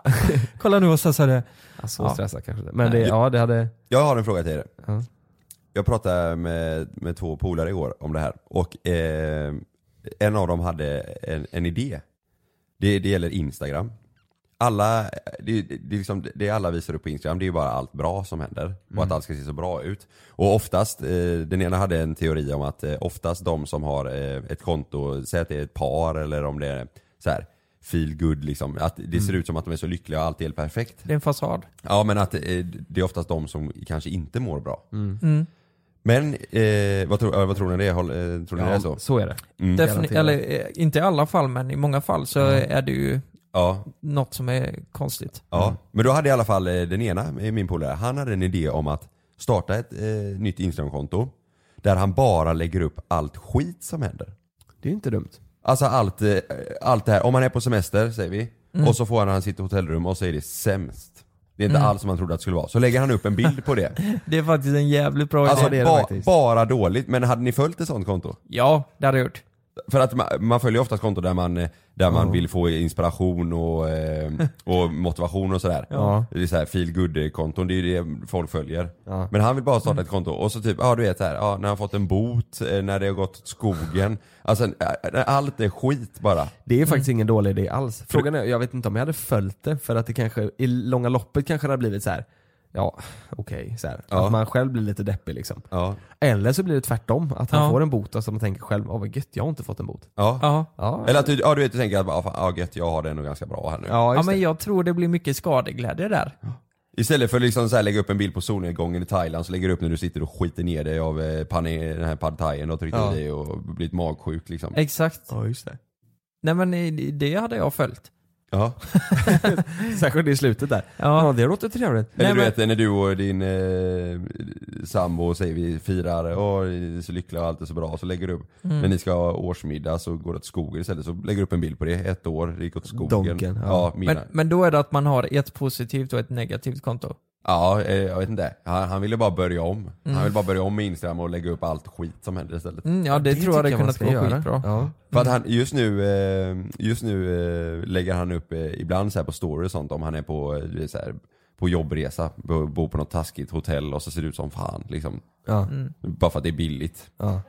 S3: Kolla nu vad Sassa det.
S2: Alltså,
S3: Ja.
S2: stressad kanske inte. Men det, ja, det hade...
S4: Jag har en fråga till er.
S2: Ja.
S4: Jag pratade med, med två polare igår om det här och eh, en av dem hade en, en idé. Det, det gäller Instagram. Alla, det, det, det är liksom, det alla visar upp på Instagram det är ju bara allt bra som händer och att allt ska se så bra ut. Och oftast, eh, den ena hade en teori om att eh, oftast de som har eh, ett konto, säg att det är ett par eller om det är så här feel good liksom, att det ser ut som att de är så lyckliga och allt är helt perfekt.
S3: Det är en fasad.
S4: Ja men att eh, det är oftast de som kanske inte mår bra.
S2: Mm.
S4: Men eh, vad, tror, eh, vad tror ni det är? Håll- eh, Tror ni det är så?
S2: så är det.
S4: Mm.
S3: Defin- eller eh, inte i alla fall, men i många fall så
S2: Mm.
S3: är det ju
S4: Ja,
S3: något som är konstigt.
S4: ja.
S2: Mm.
S4: Men då hade i alla fall eh, den ena, eh, min polare, han hade en idé om att starta ett eh, nytt Instagramkonto där han bara lägger upp allt skit som händer.
S2: Det är ju inte dumt.
S4: Alltså allt, eh, allt det här, om han är på semester säger vi,
S2: Mm.
S4: och så får han han sitt hotellrum och så är det sämst. Det är inte alls som man trodde att det skulle vara. Så lägger han upp en bild på det.
S3: Det är faktiskt en jävligt bra
S4: Alltså
S3: idé.
S2: det är det
S4: ba-
S2: faktiskt.
S4: bara dåligt. Men hade ni följt ett sånt konto?
S3: Ja, det hade jag gjort.
S4: För att man, man följer oftast konton där man, eh, där man vill få inspiration och, eh, och motivation och sådär.
S2: Ja.
S4: Det är så här feel good konton det är ju det folk följer. Men han vill bara starta
S2: Mm.
S4: ett konto och så typ, ja du vet såhär, ja, när han fått en bot, eh, när det har gått åt skogen. Alltså eh, allt är skit bara.
S2: Det är faktiskt ingen dålig idé alls. Mm. Frågan är, jag vet inte om jag hade följt det för att det kanske i långa loppet kanske det hade blivit så här. ja okej, så här.
S4: Ja.
S2: att man själv blir lite deppig liksom.
S4: Ja.
S2: Eller så blir det tvärtom, att han
S3: Ja.
S2: får en bot och så man tänker själv, åh vad gött, jag har inte fått en bot.
S4: Ja.
S3: Ja.
S2: Ja,
S4: Eller att du, ja, du vet du tänker att, ja, fan, ja gött jag har det nog ganska bra här nu.
S2: ja,
S3: Ja
S2: just
S3: men
S2: det.
S3: jag tror det blir mycket skadeglädje där.
S4: Istället för att liksom så här lägga upp en bild på solnedgången i Thailand så lägger du upp när du sitter och skiter ner dig av eh, pane, den här pad thaien och tryckt
S2: Ja. Eh,
S4: i dig och blivit magsjuk liksom.
S3: Exakt.
S2: Ja, just det.
S3: Nej men eh, det hade jag följt.
S4: Ja.
S2: Särskilt i slutet där.
S3: Ja.
S2: Ja, det låter trevligt.
S4: Eller
S3: Nej,
S4: du vet när du och din eh, sambo säger vi firar, åh ni är så lyckliga och allt är så bra, så lägger du upp,
S3: Mm.
S4: när ni ska ha årsmiddag så går det åt skogen istället, så lägger du upp en bild på det, ett år, det gick åt skogen.
S2: Donken,
S4: ja.
S2: ja.
S4: mina.
S3: Men, men då är det att man har ett positivt och ett negativt konto.
S4: Ja, eh, jag vet inte. Han, han ville bara börja om. Han ville bara börja om med Instagram och lägga upp allt skit som händer istället.
S3: Mm, ja det, tror jag hade
S2: tycker man
S3: kunnat
S2: ska
S3: gå
S2: göra.
S3: skitbra.
S2: Ja.
S4: För att han, just nu, eh, just nu eh, lägger han upp eh, ibland så här på story och sånt om han är på, eh, du vet, så här, på jobbresa, bo- bor på något taskigt hotell och så ser det ut som fan liksom.
S2: Ja.
S4: Bara för att det är billigt.
S2: Ja.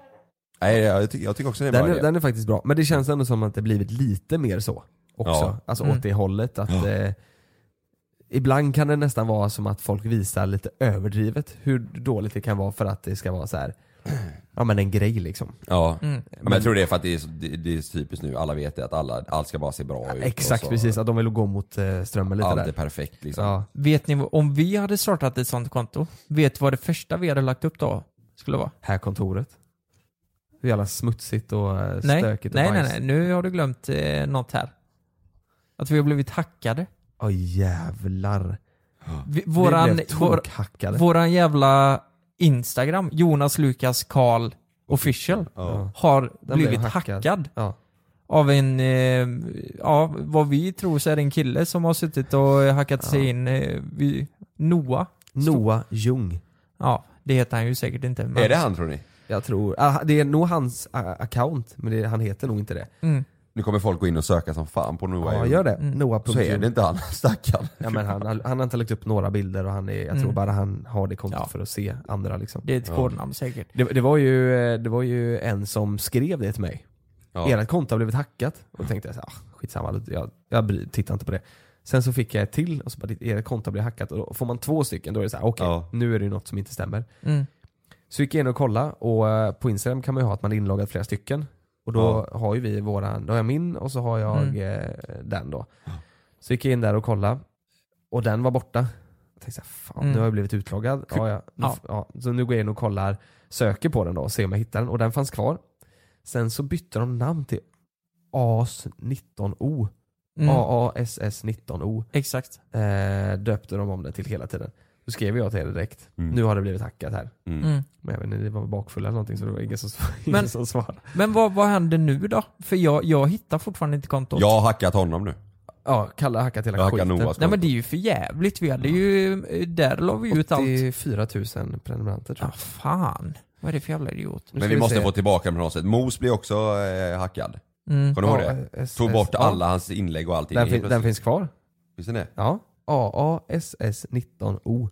S4: Nej, jag, tycker, jag tycker också det är en
S2: Den
S4: bra
S2: är,
S4: idé.
S2: den är faktiskt bra, men det känns ändå som att det blivit lite mer så också.
S4: Ja.
S2: Alltså
S3: Mm.
S2: åt det hållet. Att, eh, ibland kan det nästan vara som att folk visar lite överdrivet hur dåligt det kan vara för att det ska vara så här. ja men en grej liksom.
S4: Ja. Men, jag tror det är för att det är, så, det, det är så typiskt nu, alla vet det att alla, allt ska bara se bra ut. och
S2: Exakt
S4: så,
S2: precis, att de vill gå mot eh, strömmen lite
S4: Allt är
S2: där.
S4: perfekt liksom.
S2: Ja.
S3: Vet ni, vad- om vi hade startat ett sånt konto, vet vad det första vi hade lagt upp då skulle vara?
S2: Här kontoret. Hur jävla smutsigt och eh,
S3: Nej,
S2: stökigt
S3: nej,
S2: och
S3: nej,
S2: bajs.
S3: nej, nu har du glömt eh, något här. Att vi har blivit hackade.
S2: Åh jävlar.
S3: Vi,
S2: Våran,
S3: våran,
S2: vi blev
S3: vår,
S2: tokhackade.
S3: våran jävla Instagram, Jonas Lukas Karl official,
S4: Ja.
S3: har
S2: blev
S3: blivit
S2: hackad.
S3: hackad.
S2: Ja.
S3: av en, eh, ja vad vi tror så är det en kille som har suttit och hackat sig in, eh, vid Noah.
S2: Noah Jung.
S3: Ja, det heter han ju säkert inte. men-
S4: Är det han tror ni?
S2: Jag tror, ah, det är nog hans ah, account, men det, han heter nog inte det.
S3: Mm.
S4: Nu kommer folk gå in och söka som fan på Noah
S2: Ja,
S4: Jung.
S2: gör det.
S3: Mm.
S2: Noah.
S4: Så är det inte han, stackarn.
S2: Ja, men han, han, har inte lagt upp några bilder och han är, jag tror
S3: Mm.
S2: bara han har det kontot
S3: Ja.
S2: för att se andra liksom.
S3: Det är ett
S4: Ja.
S3: kodnamn säkert.
S2: Det, det, var ju, eh, det var ju en som skrev det till mig.
S4: Ja.
S2: Ert konto har blivit hackat. Och då tänkte jag så här, ah, skitsamma, jag, jag bry- tittar inte på det. Sen så fick jag ett till och så bara, ert konto har blivit hackat. Och då får man två stycken, då är det så här, okej,
S4: Ja.
S2: nu är det ju något som inte stämmer.
S3: Mm.
S2: Så gick jag in och kollade och eh, på Instagram kan man ju ha att man är inloggad flera stycken. Och då har ju vi våran, då har jag min och så har jag
S3: Mm.
S2: eh, den då. Så gick jag in där och kollade och den var borta. Jag tänkte såhär, fan
S3: Mm.
S2: nu har jag blivit utloggad. Ja, ja, nu,
S3: Ja.
S2: ja. Så nu går jag in och kollar, söker på den då och ser om jag hittar den och den fanns kvar. Sen så bytte de namn till AS19O.
S3: Mm.
S2: AASS19O.
S3: Exakt.
S2: Eh, döpte de om det till hela tiden. Då skrev jag till er direkt.
S4: Mm.
S2: Nu har det blivit hackat här.
S4: Mm.
S3: Mm.
S2: Men jag vet inte, det var bakfulla eller någonting så det var ingen som, ingen
S3: Men-
S2: som svarade.
S3: Men vad, vad händer nu då? För jag, jag hittar fortfarande inte kontot.
S4: Jag har hackat honom nu.
S2: Ja, Kalle har hackat hela
S4: Jag hackar
S2: skiten.
S4: Noahs
S3: Nej men
S4: konto.
S3: det är ju för jävligt. Vi hade ju, eh, där la vi ut allt.
S2: 84 000 prenumeranter tror
S3: Ja,
S2: jag.
S3: fan. Vad är det för jävla idiot?
S2: Nu ska
S4: Men vi måste
S2: se.
S4: få tillbaka dem på något sätt. Mos blir också eh, hackad.
S3: Mm.
S4: Kommer du ihåg
S2: Ja, eh,
S4: det?
S2: S-
S4: Tog
S2: S-
S4: bort
S2: ja.
S4: alla hans inlägg och allting.
S2: den,
S4: helt
S2: fin, den
S4: plötsligt.
S2: finns kvar.
S4: Visste ni det?
S2: Ja. AASS19O.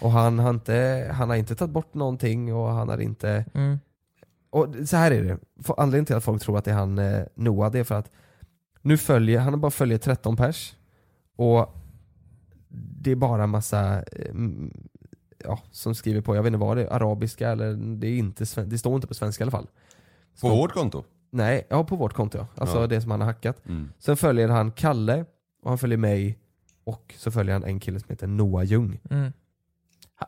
S2: Och han har, inte, han har inte tagit bort någonting och han har inte...
S3: Mm.
S2: Och så här är det. För- Anledningen till att folk tror att det är han eh, Noah, det är för att nu följer, han bara följer 13 pers. Och det är bara massa, eh, mm, ja, som skriver på, jag vet inte vad det är, arabiska eller det är inte, sven- det står inte på svenska i alla fall.
S4: På vårt konto?
S2: Nej, ja på vårt konto ja. Alltså
S4: Ja.
S2: det som han har hackat.
S4: Mm.
S2: Sen följer han Kalle, och han följer mig, och så följer han en kille som heter Noah Ljung.
S3: Mm.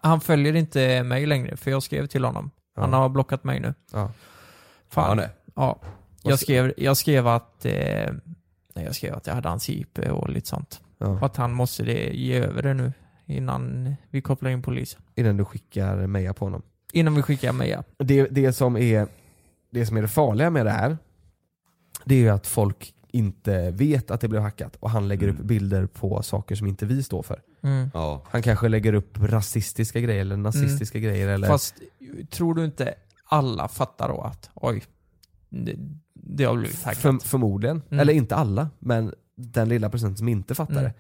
S3: Han följer inte mig längre, för jag skrev till honom. Han
S2: Ja.
S3: har blockat mig nu.
S2: Ja.
S4: Ja,
S3: Fan.
S4: nej.
S3: Ja.
S2: Vad
S3: Jag
S2: ska-
S3: skrev, jag skrev att... Eh, nej, jag skrev att jag hade hans IP och lite sånt. Och
S2: Ja.
S3: att han måste det, ge över det nu innan vi kopplar in polisen.
S2: Innan du skickar Meja på honom.
S3: Innan vi skickar Meja.
S2: Det, det, som är, det som är det farliga med det här, det är ju att folk inte vet att det blev hackat och han lägger upp bilder på saker som inte vi står för.
S3: Mm.
S4: Ja.
S2: Han kanske lägger upp rasistiska grejer eller nazistiska grejer eller...
S3: Fast tror du inte alla fattar då att oj, det, det har blivit hackat?
S2: För, förmodligen.
S3: Mm.
S2: Eller inte alla, men den lilla procenten som inte fattar
S3: Mm.
S2: det.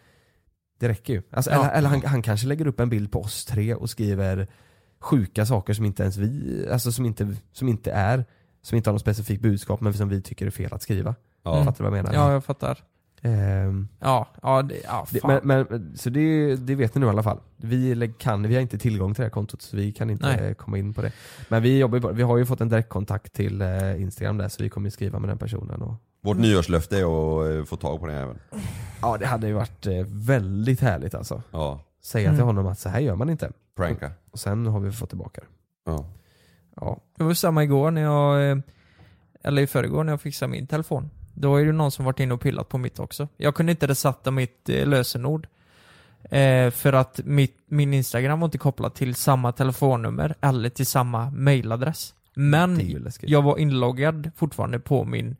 S2: Det räcker ju. Alltså,
S3: Ja.
S2: Eller, eller han, han kanske lägger upp en bild på oss tre och skriver sjuka saker som inte ens vi, alltså som inte, som inte är, som inte har något specifikt budskap men som vi tycker är fel att skriva.
S4: Ja.
S2: Fattar du vad jag menar?
S3: Mm. Ja, jag fattar.
S2: Ehm,
S3: Ja, ja, det, ja
S2: det,
S3: fan.
S2: men, men, så det, det vet ni nu i alla fall. Vi, lä- kan, vi har inte tillgång till det här kontot så vi kan inte
S3: Nej.
S2: eh, komma in på det. Men vi, jobbar ju på, vi har ju fått en direktkontakt till eh, Instagram där så vi kommer ju skriva med den personen. Och,
S4: Vårt nyårslöfte är att eh, få tag på den även.
S2: Ja det hade ju varit eh, väldigt härligt alltså.
S4: Ja.
S2: Säga till
S3: Mm.
S2: honom att så här gör man inte.
S4: Pranka.
S2: Och sen har vi fått tillbaka det.
S4: Ja.
S2: Ja.
S3: Det var samma igår när jag, eh, eller i förrgår när jag fixade min telefon. Då är det någon som varit inne och pillat på mitt också. Jag kunde inte resatta mitt eh, lösenord. Eh, för att mitt, min Instagram var inte kopplad till samma telefonnummer eller till samma mailadress. Men
S2: Det är ju läskigt.
S3: jag var inloggad fortfarande på min,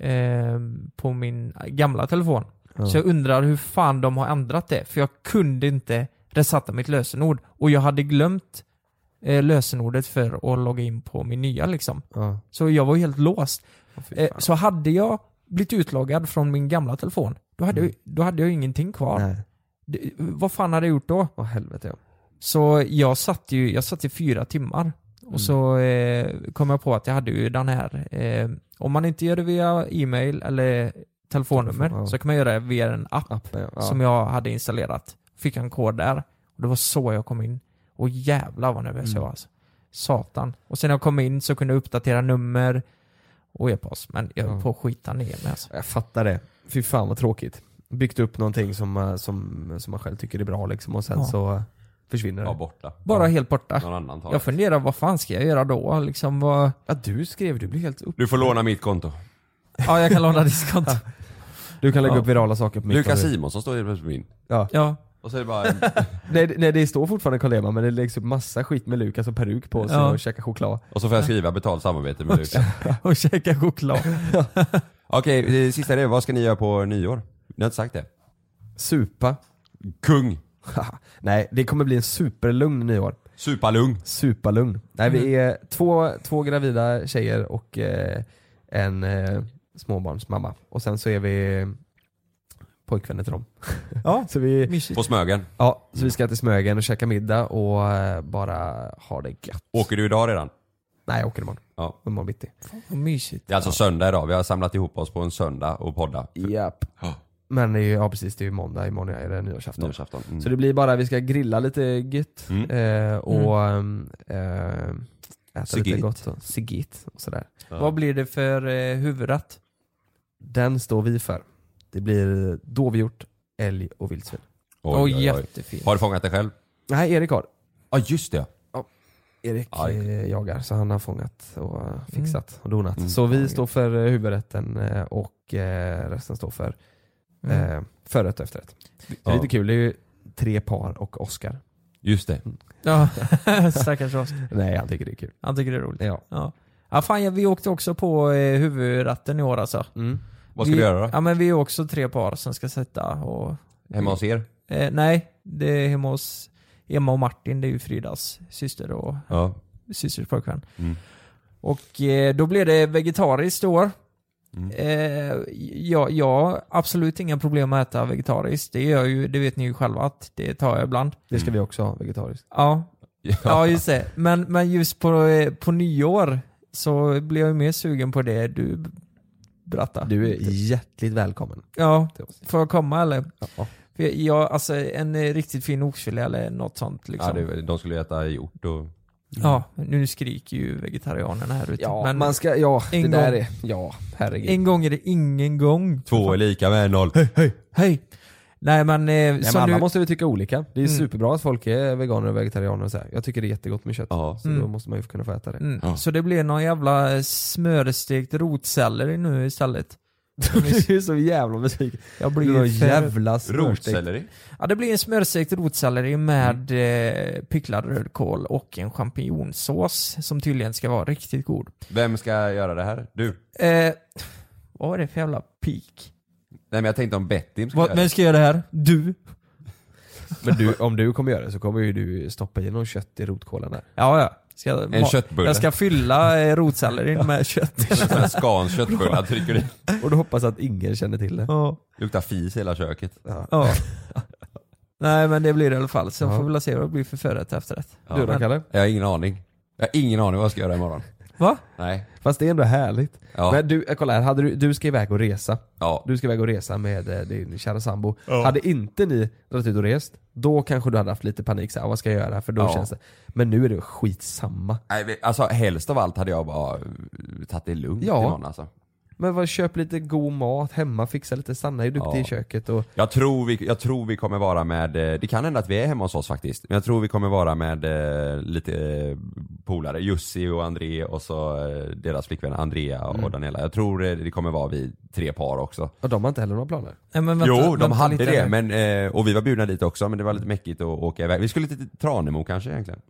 S3: eh, på min gamla telefon.
S2: Ja.
S3: Så jag undrar hur fan de har ändrat det, för jag kunde inte resatta mitt lösenord. Och jag hade glömt eh, lösenordet för att logga in på min nya liksom.
S2: Ja.
S3: Så jag var ju helt låst.
S2: Åh, fy
S3: Eh,
S2: fan.
S3: så hade jag blivit utloggad från min gamla telefon, då hade, jag, då hade jag ju ingenting kvar.
S2: Mm. Nej.
S3: Det, vad fan hade jag gjort då?
S2: Åh helvete ja.
S3: Så jag satt ju, jag satt i fyra timmar. Och
S2: Mm.
S3: så eh, kom jag på att jag hade ju den här, eh, om man inte gör det via e-mail eller telefonnummer
S2: Telefon, ja.
S3: så kan man göra det via en app
S2: Appen ja. ja.
S3: som jag hade installerat. Fick en kod där. Och det var så jag kom in. Och jävlar vad nervös
S2: Mm.
S3: jag var alltså. Satan. Och sen när jag kom in så kunde jag uppdatera nummer och e-post. Men jag höll
S2: Ja.
S3: på att skita ner mig alltså.
S2: Jag fattar det. Fy fan vad tråkigt. Byggt upp någonting som, eh, som, som man själv tycker är bra liksom och sen
S3: Ja.
S2: så eh, försvinner det.
S4: ja,
S2: Ja,
S4: borta.
S3: Bara
S4: ja.
S3: helt borta.
S4: Någon annan tar
S3: Jag
S4: det.
S3: funderar, vad fan ska jag göra då? Liksom, vad...
S2: du skrev, du blev helt upp.
S4: Du får låna mitt konto.
S3: Ja, jag kan låna diskont.
S2: Du kan lägga
S3: Ja.
S2: upp virala saker på mitt
S4: Lukas
S2: konto.
S4: Simonsson står helt plötsligt på min.
S2: ja.
S3: Ja.
S4: Och så är det bara en,
S2: Nej, nej det står fortfarande Carl Lema men det läggs upp massa skit med Lukas och peruk på sig
S3: Ja.
S2: och käkar choklad.
S4: Och så får jag skriva betalt samarbete med Lukas.
S3: och käka choklad.
S4: Okej, det sista är det. Vad ska ni göra på nyår? Ni har inte sagt det.
S2: Supa.
S4: Kung.
S2: Nej, det kommer bli en superlugn nyår.
S4: Supalung.
S2: Superlugn. Nej, vi är två, två gravida tjejer och eh, en eh, småbarnsmamma. Och sen så är vi pojkvänner till dem.
S3: Ja,
S2: Så vi,
S4: På Smögen.
S2: ja, så vi ska till Smögen och käka middag och eh, bara ha det gött.
S4: Åker du idag redan?
S2: Nej, jag åker imorgon.
S4: Ja.
S2: Imorgon bitti.
S3: Vad mysigt.
S4: Det är alltså söndag idag. Vi har samlat ihop oss på en söndag och podda.
S2: Japp.
S4: Ja.
S2: Men det är ju, ja precis, det är ju måndag. Imorgon är det nyårsafton.
S4: Nyårsafton. Mm.
S2: Så det blir bara, vi ska grilla lite gött
S4: Mm.
S2: eh, och eh, äta
S4: Sigit.
S2: lite gott. Och, sigit och sådär.
S3: Vad blir det för eh, huvudrätt?
S2: Den står vi för. Det blir dovhjort, älg och vildsvin.
S3: Åh,
S4: Oj, oj, oj.
S3: jättefint.
S4: Har du fångat det själv?
S2: Nej, Erik har.
S4: Ja, just det.
S2: Erik
S4: Aj.
S2: eh, jagar, så han har fångat och eh, fixat och donat. Så vi står för eh, huvudrätten eh, och eh, resten står för
S3: Mm.
S2: eh, förrätt och efterrätt. Det är
S4: Ja.
S2: lite kul, det är ju tre par och Oscar.
S4: Just det.
S3: Ja, stackars Oscar.
S2: Nej, han tycker det är kul.
S3: Han tycker det är roligt.
S2: Ja.
S3: Ja. Ja, fan, ja, vi åkte också på eh, huvudrätten i år alltså.
S2: Mm.
S4: Vad ska
S3: vi,
S4: du göra då?
S3: Ja, men vi är också tre par som ska sätta och...
S4: Hemma hos er?
S3: Eh, nej, det är hemma hos Emma och Martin. Det är ju Fridas syster och
S4: Ja.
S3: systers pojkvän.
S4: Mm.
S3: Och eh, då blev det vegetariskt i år. Eh, jag, jag har absolut inga problem med att äta vegetariskt. Det gör ju, det vet ni ju själva att det tar jag ibland.
S2: Det ska vi också ha vegetariskt.
S3: Ja,
S4: Ja.
S3: ja just det. Men, men just på, eh, på nyår så blev jag ju mer sugen på det du berättade.
S2: Du är hjärtligt välkommen.
S3: Ja,
S2: till oss.
S3: får jag komma eller?
S2: typ. Ja.
S3: För jag- jag, alltså en eh, riktigt fin oxfilé eller något sånt
S4: Ja,
S3: liksom. Ja,
S4: det, de skulle äta hjort och...
S3: nu skriker ju vegetarianerna här ute.
S2: Ja,
S3: men
S2: man ska, ja det
S3: en
S2: där
S3: gång-
S2: är, ja herregud.
S3: en gång är det ingen gång.
S4: Två är lika med noll. Hej, hej!
S3: Hej! Nej men, eh,
S2: Nej,
S3: så
S2: men alla
S3: nu,
S2: måste vi tycka olika. Det är
S3: Mm.
S2: superbra att folk är veganer och vegetarianer och så här. Jag tycker det är jättegott med kött.
S4: Ja.
S2: Så då
S3: Mm.
S2: måste man ju kunna få äta det.
S3: mm,
S4: Ja.
S3: Så det blir någon jävla eh, smörstekt rotselleri nu istället.
S2: Du är så jävla besviken.
S3: Jag
S2: Du
S3: blir
S2: har
S3: ju för...
S2: jävla smörstekt.
S4: Rotselleri?
S3: Ja det blir en smörstekt rotselleri med eh, picklad rödkål och en champinjonsås som tydligen ska vara riktigt god.
S4: Vem ska göra det här? Du?
S3: Eh, vad är det för jävla pik?
S4: Nej men jag tänkte om Bettim ska
S3: Vad,
S4: göra
S3: vem
S4: det.
S3: ska göra det här? Du?
S2: Men du, om du kommer göra det så kommer ju du stoppa i någon kött i rotkålen där.
S3: Ja, ja. Ska, jag-
S4: En köttbulle.
S3: Jag ska fylla eh, rotsellerin med kött.
S4: En Scans köttbullar trycker i.
S2: Och du hoppas att ingen känner till det.
S3: ja.
S4: Luktar fis i hela köket.
S3: ja. Nej men det blir det i alla fall, så
S2: Ja.
S3: får vi väl se vad det blir för förrätt och efterrätt.
S2: Du då Kalle?
S4: Jag har ingen aning. Jag har ingen aning vad jag ska göra imorgon.
S3: Va?
S4: Nej.
S2: Fast det är ändå härligt.
S4: Ja.
S2: Men du, eh, kolla här. Hade du, du ska iväg och resa.
S4: Ja.
S2: Du ska iväg och resa med eh, din kära sambo. Hade inte ni dragit ut och rest, då kanske du hade haft lite panik. Så här, "Ah, vad ska jag göra? För då
S4: Ja.
S2: känns det. Men nu är det skitsamma.
S4: Nej, men Alltså helst av allt hade jag bara eh, tagit det lugnt
S2: Ja.
S4: imorgon alltså.
S2: Men vad, köp lite god mat hemma, fixa lite. Sanna är ju duktig
S4: Ja.
S2: i köket och
S4: Jag tror, vi, jag tror vi kommer vara med, eh, det kan hända att vi är hemma hos oss faktiskt, men jag tror vi kommer vara med eh, lite eh, polare, Jussi och André och så eh, deras flickvän Andrea och
S3: Mm.
S4: Daniela. Jag tror eh, det kommer vara vi tre par också.
S2: Och de har inte heller några planer.
S3: Nej, men vänta,
S4: jo, de
S3: vänta
S4: hade
S3: lite
S4: det,
S3: nu.
S4: men, eh, och vi var bjudna dit också men det var lite mäckigt att åka iväg. Vi skulle till Tranemo kanske egentligen.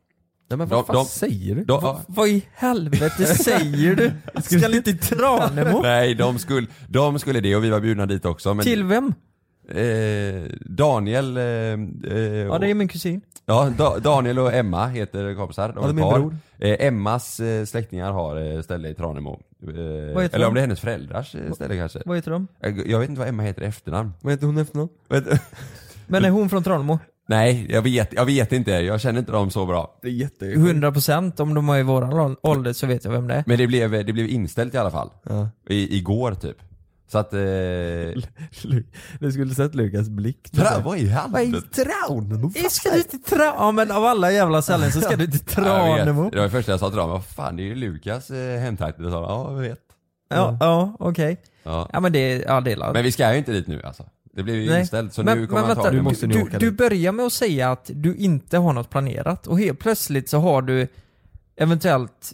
S2: Nej men vad
S4: De-
S2: fan
S4: de-
S2: säger du?
S4: De,
S3: Vad i helvete säger du? Ska ni till Tranemo?
S4: Nej, de skulle, de skulle det och vi var bjudna dit också. Men,
S3: Till vem?
S4: eh, Daniel, eh, eh,
S3: Ja det är min kusin.
S4: Ja, da Daniel och Emma heter kompisar. De
S2: Ja,
S4: är
S2: det är min
S4: par.
S2: bror.
S4: Eh, Emmas eh, släktingar har eh, ställe i Tranemo. Eh,
S3: heter
S4: eller
S3: de?
S4: om det är hennes föräldrars eh, ställe kanske.
S3: Vad heter de?
S4: Jag, jag vet inte vad Emma heter i efternamn.
S2: Vad heter hon efter någon?
S3: Men är hon från Tranemo?
S4: Nej, jag vet, jag vet inte. Jag känner inte dem så bra.
S2: Det är jätte...
S3: 100% om de är i våran ål- ålder så vet jag vem det är.
S4: Men det blev, det blev inställt i alla fall.
S2: Ja.
S4: I, igår typ. Så att... Eh,
S2: Du skulle sett Lukas blick.
S4: tra- vad i helvete?
S2: Traun!
S3: Jag Ska du till Tra... Ja men av alla jävla ställen så ska du till
S4: Ja, jag vet.
S3: Tranemo.
S4: Det var det första jag sa till dem. Vad fan, det är ju Lukas eh, hemtrakter. Och sa de, Ja, jag vet.
S3: Ja, ja okej.
S4: Ja.
S3: Ja men det, ja det är la-
S4: Men vi ska ju inte dit nu alltså. Det blev ju
S3: Nej.
S4: inställt. Så
S3: men,
S4: nu kommer
S3: men
S4: han ta
S3: vänta,
S4: det
S3: du,
S4: med-
S2: måste ni
S3: du,
S2: åka
S3: du
S2: dit.
S3: börjar med att säga att du inte har något planerat och helt plötsligt så har du eventuellt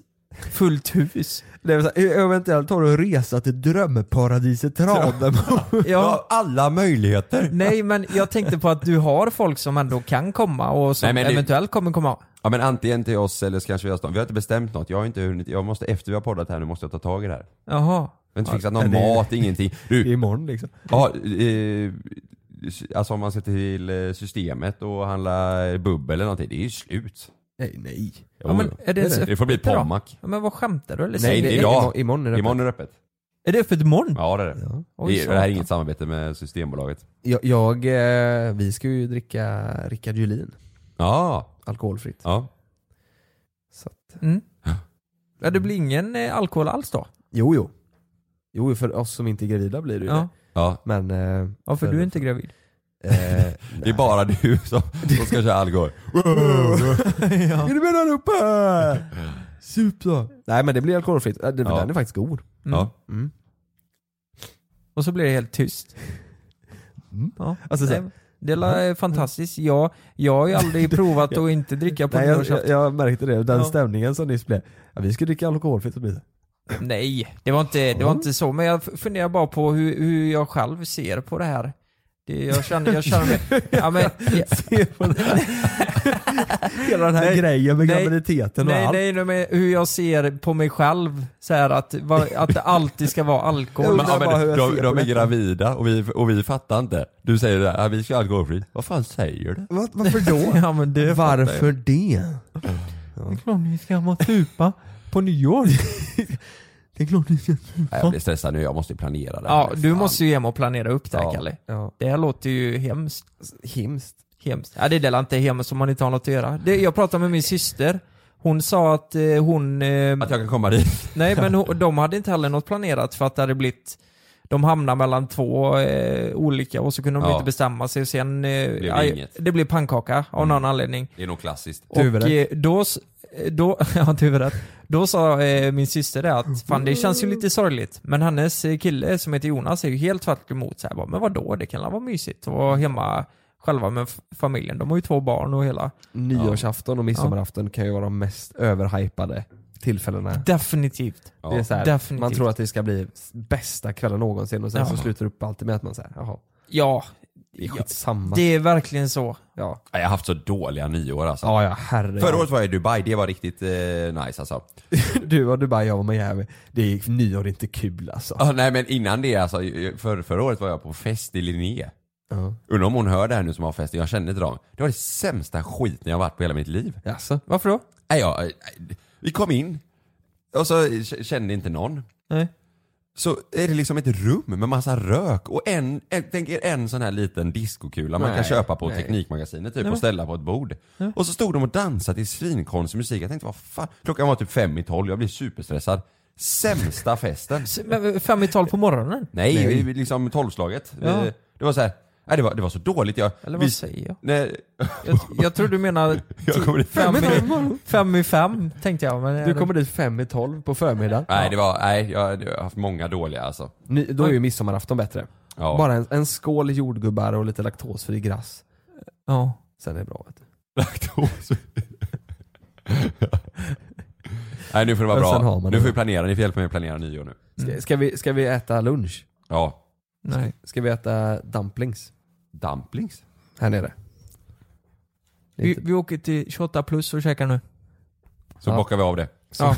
S3: fullt hus.
S2: Det är väl så här, eventuellt har du resa till drömparadiset Tranemo.
S4: Ja. Alla möjligheter.
S3: Nej men jag tänkte på att du har folk som ändå kan komma och som
S4: Nej, men det-
S3: eventuellt kommer komma.
S4: Ja men antingen till oss eller så kanske vi har stan. Vi har inte bestämt något. Jag har inte hunnit. Jag måste, efter vi har poddat här nu måste jag ta tag i det här.
S3: Jaha.
S4: Jag har inte fixat någon
S2: det är-
S4: mat, ingenting.
S2: Det är
S4: Du,
S2: imorgon liksom.
S4: ja, eh, alltså om man ser till eh, systemet och handlar bubbel eller någonting. Det är ju slut.
S2: Nej, nej.
S3: Ja, men är det,
S4: det får bli
S3: öppet idag?
S4: Pommac.
S3: Ja, men vad skämtar du eller?
S4: Nej,
S3: det
S4: det är idag.
S2: imorgon- Imorgon är det.
S4: Imorgon är det öppet.
S3: Är det öppet imorgon?
S4: Ja det är det.
S3: Oj,
S4: det, är- det här är
S3: satan.
S4: inget samarbete med Systembolaget.
S2: Jag, jag, eh, vi ska ju dricka Rickard Julin,
S4: Ja.
S2: alkoholfritt.
S4: ja.
S2: Så att,
S3: Mm. Ja, det blir ingen eh, alkohol alls då?
S2: jo, jo. Jo, för oss som inte är gravida blir det ju
S3: Ja.
S2: det.
S4: Ja,
S2: Men... Eh,
S3: ja, för du är inte gravid.
S2: Eh,
S4: det är bara du som, som ska köra alkohol.
S2: Är du med allihopa? Sup då. Nej men det blir alkoholfritt. Eh, Det,
S4: Ja.
S2: Den är faktiskt god.
S3: Mm.
S4: Ja.
S2: Mm.
S3: Och så blir det helt tyst. Ja.
S2: Alltså, så-
S3: Nej, det är fantastiskt. Jag, jag har ju aldrig provat att inte dricka på
S2: Nej, jag, jag,
S3: nyårsafton.
S2: jag märkte det, den
S3: Ja.
S2: stämningen som nyss blev. Ja, vi ska dricka alkoholfritt och bli det.
S3: Nej, det var inte, det var inte så. Men jag f- funderar bara på hur, hur jag själv ser på det här. Det, jag känner, jag känner mig... Ja, men,
S2: Se på den här. Hela den här
S3: Nej,
S2: grejen med
S3: nej,
S2: graviditeten och
S3: nej,
S2: allt.
S3: nej, nej, men hur jag ser på mig själv. Så här, att, va- att det alltid ska vara alkohol.
S4: Men,
S2: undrar
S4: ja,
S2: bara hur jag
S4: men, de,
S2: ser
S4: de
S2: på
S4: är
S2: detta.
S4: gravida och vi, och vi fattar inte. Du säger det här, "Ja, vi ska ha alkoholfritt. Vad fan säger du?
S2: Vad- varför då?
S3: Ja, men det
S2: varför det?
S3: Det är klart ni ska vara supa på nyår.
S2: Det är klart ni ska.
S4: Nej, jag blir stressad nu, jag måste ju planera det här.
S3: Ja, du
S4: Fan.
S3: måste ju hem och planera upp det här
S4: Ja.
S3: Kalle.
S2: Ja.
S3: Det här låter ju hemskt.
S2: Hemskt.
S3: Hemskt. Ja, det är väl inte hemskt om man inte har något att göra. Det, jag pratade med min syster. Hon sa att eh, hon... Eh,
S4: Att jag kan komma dit.
S3: Nej, men hon, de hade inte heller något planerat för att det hade blivit... De hamnade mellan två eh, olika och så kunde de
S4: Ja.
S3: inte bestämma sig och sen... Eh,
S4: det
S3: aj,
S4: inget.
S3: det blev pannkaka av någon
S2: Mm.
S3: anledning.
S4: Det är nog klassiskt.
S3: Och eh, då, s- eh, då, ja, du vet rätt. då sa eh, min syster det att fan det känns ju lite sorgligt. Men hennes eh, kille som heter Jonas är ju helt tvärt emot så här, bara, men vadå det kan väl vara mysigt att vara hemma själva med f- familjen. De har ju två barn och hela.
S2: Nyårsafton och midsommarafton kan ju vara de mest överhypade tillfällena.
S3: Definitivt.
S4: Ja.
S2: Det är så här,
S3: Definitivt.
S2: man tror att det ska bli bästa kvällen någonsin och sen
S3: Ja.
S2: så slutar det upp alltid med att man säger jaha,
S3: Ja,
S2: det är
S3: Ja,
S2: skitsamma.
S3: det är verkligen så.
S2: Ja.
S4: Nej, Jag har haft så dåliga nyår alltså.
S2: ja, ja herregud.
S4: Förra året var jag i Dubai, det var riktigt eh, nice alltså.
S2: Du var Dubai, jag var Miami. Det gick nyår är inte kul alltså.
S4: Ja, nej men innan det alltså, för, förra året var jag på fest i Linné.
S2: Ja.
S4: Undrar om hon hör det här nu som har fest, jag känner inte dem. Det var det sämsta skiten jag varit på hela mitt liv.
S2: Jaså?
S3: Varför då?
S4: Nej, jag, nej, vi kom in och så k- kände inte någon.
S3: Nej.
S4: Så är det liksom ett rum med massa rök och en, en, tänk er en sån här liten diskokula man kan köpa på Teknikmagasinet typ och ställa på ett bord. Och så stod de och dansade till svinkonstig musik. Jag tänkte vad fan, klockan var typ fem i tolv, jag blev superstressad. Sämsta festen.
S3: S- men eh, Fem i tolv på morgonen?
S4: Nej, vi- liksom tolvslaget.
S3: Ja.
S4: Vi- Det var så här, nej det var, det var så dåligt. Jag,
S3: Eller
S4: vi-
S3: vad säger jag?
S4: Nej,
S3: Jag, jag tror du menar
S4: jag kommer dit
S3: fem i, fem i fem, tänkte jag. Men
S2: Du kommer dit fem i tolv på förmiddagen.
S4: Nej, det var, nej jag, jag har haft många dåliga alltså.
S2: Ny, då är ju midsommarafton bättre.
S4: Ja.
S2: Bara en, en skål jordgubbar och lite laktosfri glass.
S3: Ja.
S2: Sen är det bra. Vet du.
S4: Laktos. Nej nu får det vara
S2: Men sen har
S4: bra.
S2: man
S4: Nu
S2: det.
S4: får vi planera, ni får hjälpa mig att planera nyår nu.
S2: Ska, ska, vi, ska vi äta lunch?
S4: Ja.
S3: Nej.
S2: Ska vi äta dumplings?
S4: Dumplings?
S2: Här nere. Det är
S3: Vi,
S2: inte-
S3: vi åker till 28 plus och käkar nu.
S4: Så
S2: Ja.
S4: bockar vi av det.
S3: Ja.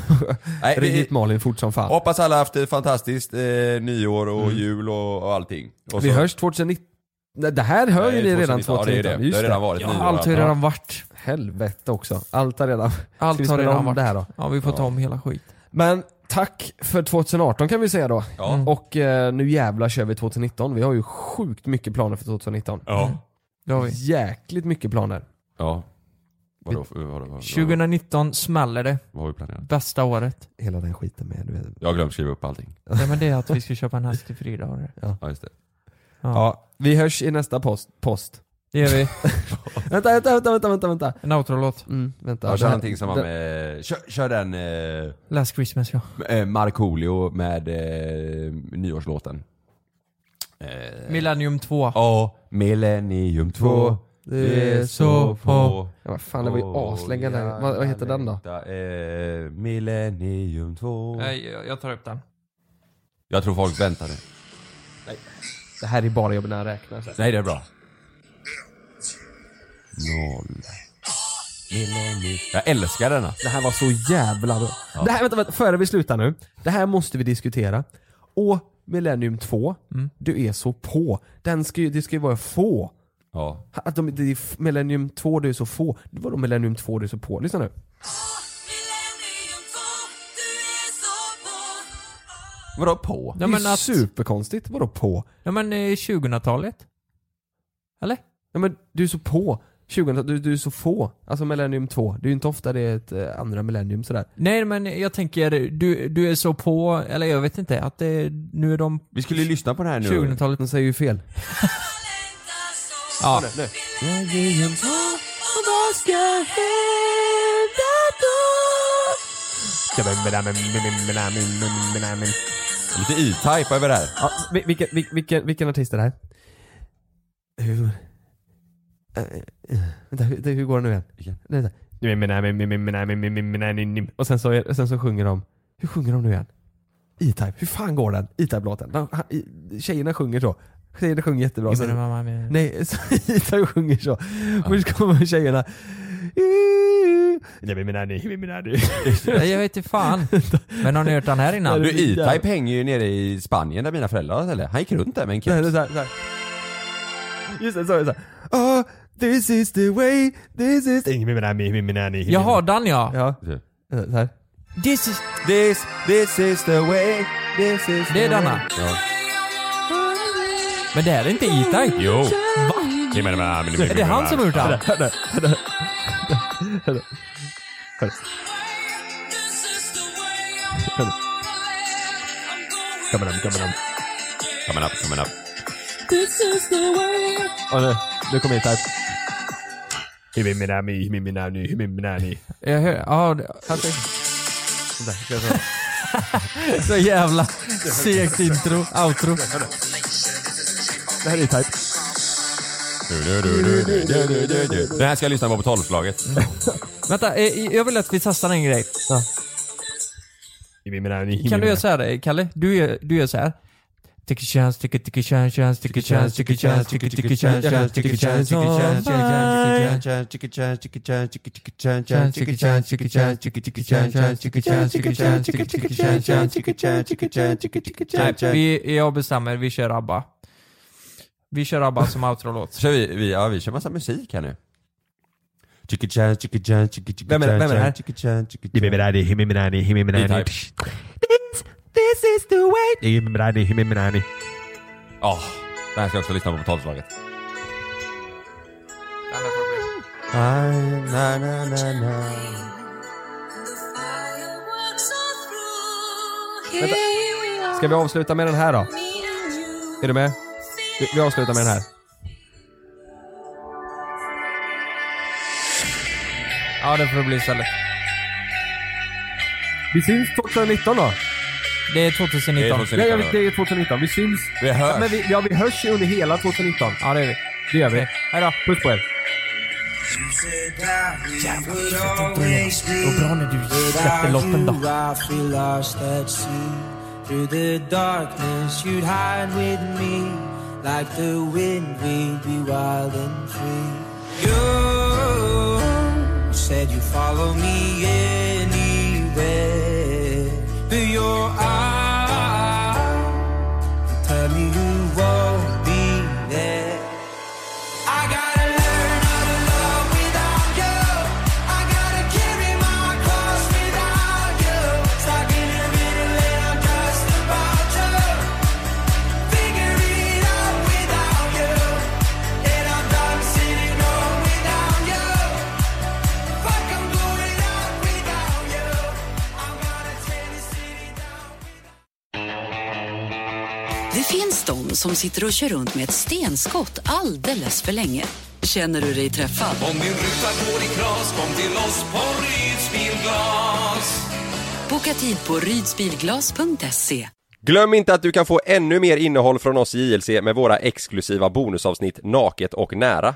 S4: Nej,
S2: Ring hit
S4: vi,
S2: Malin fort som fan.
S4: hoppas alla haft ett fantastiskt eh, nyår och jul och, och allting. Och
S2: Mm. Vi
S4: så-
S2: hörs 2019. Nej, Det här hör ju
S4: Nej,
S2: ni redan
S4: 2019.
S2: 2019.
S4: Ja, det är det.
S2: Just
S4: Det har redan varit
S3: Ja,
S4: nyår.
S3: allt har
S4: Ja.
S3: redan varit.
S2: Helvete också. Allt har redan...
S3: Allt
S2: Ska
S3: har
S2: vi spela
S3: redan
S2: om
S3: varit.
S2: det här då?
S3: Ja, vi får ta om hela skit.
S2: Men tack för 2018 kan vi säga då.
S4: Ja.
S2: Och eh, nu jävlar kör vi 2019. Vi har ju sjukt mycket planer för 2019.
S4: Ja.
S3: Det har vi.
S2: Jäkligt mycket planer.
S4: Ja. Vadå, vadå, vadå, vadå,
S3: 2019 smäller det.
S4: vad har vi planerat?
S3: Bästa året.
S2: Hela den skiten med. Du vet.
S4: Jag har glömt skriva upp allting.
S3: Nej men det är att vi ska köpa en häst till Frida. har det.
S4: Ja just det.
S3: Ja.
S2: Ja, vi hörs i nästa post. post.
S3: Det gör vi.
S2: Vänta, vänta, vänta, vänta, vänta, vänta.
S3: En outro-låt.
S2: Mm, vänta.
S4: Jag
S2: Det
S4: kör
S2: här-
S4: någonting som var
S2: det-
S4: med, kör, kör den eh,
S3: Last Christmas ja.
S4: eh, Markoolio med eh, nyårslåten. Eh,
S3: Millennium 2.
S4: Ja, Millennium 2.
S2: Det är så på... Ja, vad fan, det var ju
S4: Oh.
S2: aslänge den. Vad, vad heter den då?
S4: Eh, Millennium 2.
S3: Nej, jag, jag tar upp den.
S4: Jag tror folk väntade.
S2: Det här är bara jobbet när han räknar.
S4: Nej, det är bra. Noll. Millennium. Jag älskar denna.
S2: Det här var så jävla bra. Det här, vänta, vänta, före vi slutar nu. Det här måste vi diskutera. Och Millennium 2,
S4: Mm.
S2: du är så på. Den ska ju, det ska ju vara få.
S4: Ja.
S2: Att de, det är f- Millennium 2, du är så få. Det var då Millennium 2, du är så på. Lyssna nu.
S4: Vadå på?
S2: Det är
S3: men
S2: ju
S3: att-
S2: superkonstigt. Vadå på?
S3: Ja men eh, 2000-talet? Eller?
S2: Ja, men du är så på. 2000, du, du är så få. Alltså Millennium 2. Det är ju inte ofta det är ett eh, andra Millennium sådär.
S3: Nej men jag tänker, du, du är så på, eller jag vet inte, att det, nu är de
S4: Vi skulle ju lyssna på den här nu.
S3: 2000-talet.
S2: De säger ju fel.
S3: Ja.
S4: Lite E-Type över det här.
S2: Ja, vil- vilken, vil- vilken, vilken artist är det här? Hur... Eh, eh, Vänta, hur, det- hur går den nu igen?
S4: Vilken?
S2: Nej, vänta. Och sen så, och sen så sjunger de... Hur sjunger de nu igen? E-Type. Hur fan går den? E-Type-låten. De- han- i- Tjejerna sjunger så. Tjejerna sjunger jättebra. Sen, nej, så E-Type sjunger så. Först kommer tjejerna...
S3: Nej, Jag vet inte fan. Men har ni hört den här innan?
S4: Du, E-Type hänger ju nere i Spanien där mina föräldrar eller? Han gick runt där med en
S2: Nej,
S4: keps.
S2: det är såhär, såhär. Just det, så är det såhär. Oh, this is the way, this is...
S3: Jag har den ja.
S2: Ja,
S4: Typ.
S2: såhär.
S3: This is...
S4: This, this is the way, this is
S3: Det är
S4: the way.
S3: denna.
S4: Ja.
S3: Men det här är inte E-Type.
S4: Jo.
S3: Är det han som har gjort den?
S2: Coming up, coming up.
S4: Coming up, coming up.
S2: Åh nu, nu kommer E-Type.
S3: Jag hör, ja, det-
S2: Sådär,
S3: så jävla segt intro, outro.
S2: Det här är E-Type.
S4: Den här ska jag lyssna på på tolvslaget.
S2: Mm.
S3: Vänta, eh, jag vill att vi testar en grej. Kan du göra så här, eh, Kalle? Du gör, du gör så här. Tycker känns, tycker tycker känns, känns, tycker känns, tycker känns, tycker tycker känns, känns, tycker känns, tycker känns, tycker känns, tycker känns, tycker känns, tycker tycker känns, känns, tycker känns, tycker känns, tycker tycker känns, känns, tycker känns, tycker känns, tycker tycker känns. Nej, vi, jag bestämmer, vi kör ABBA. Vi kör ABBA som outro-låt.
S4: Kör vi, vi, ja, vi kör massa musik här nu. Vem
S2: är det- vem är det här?
S3: This is the way
S4: Ja, den här ska jag också lyssna på på tolvslaget.
S2: Ska vi avsluta med den här då? Är du med? Vi, vi avslutar med den här.
S3: Ja, det får bli istället.
S2: Vi syns 2019 då.
S3: Det är
S4: Det är
S3: 2019.
S4: 2019.
S2: Ja, ja, det är 2019. Vi syns.
S4: Vi hörs.
S2: Men vi, ja, vi hörs ju under hela 2019.
S3: Ja, det är vi.
S2: Det gör vi.
S3: Hej då.
S2: Puss på er.
S3: Vad bra när du släppte loppen då.
S9: Det finns de som sitter och kör runt med ett stenskott alldeles för länge. Känner du dig träffad? Boka tid på rydsbilglas.se.
S10: Glöm inte att du kan få ännu mer innehåll från oss i JLC med våra exklusiva bonusavsnitt Naket och nära.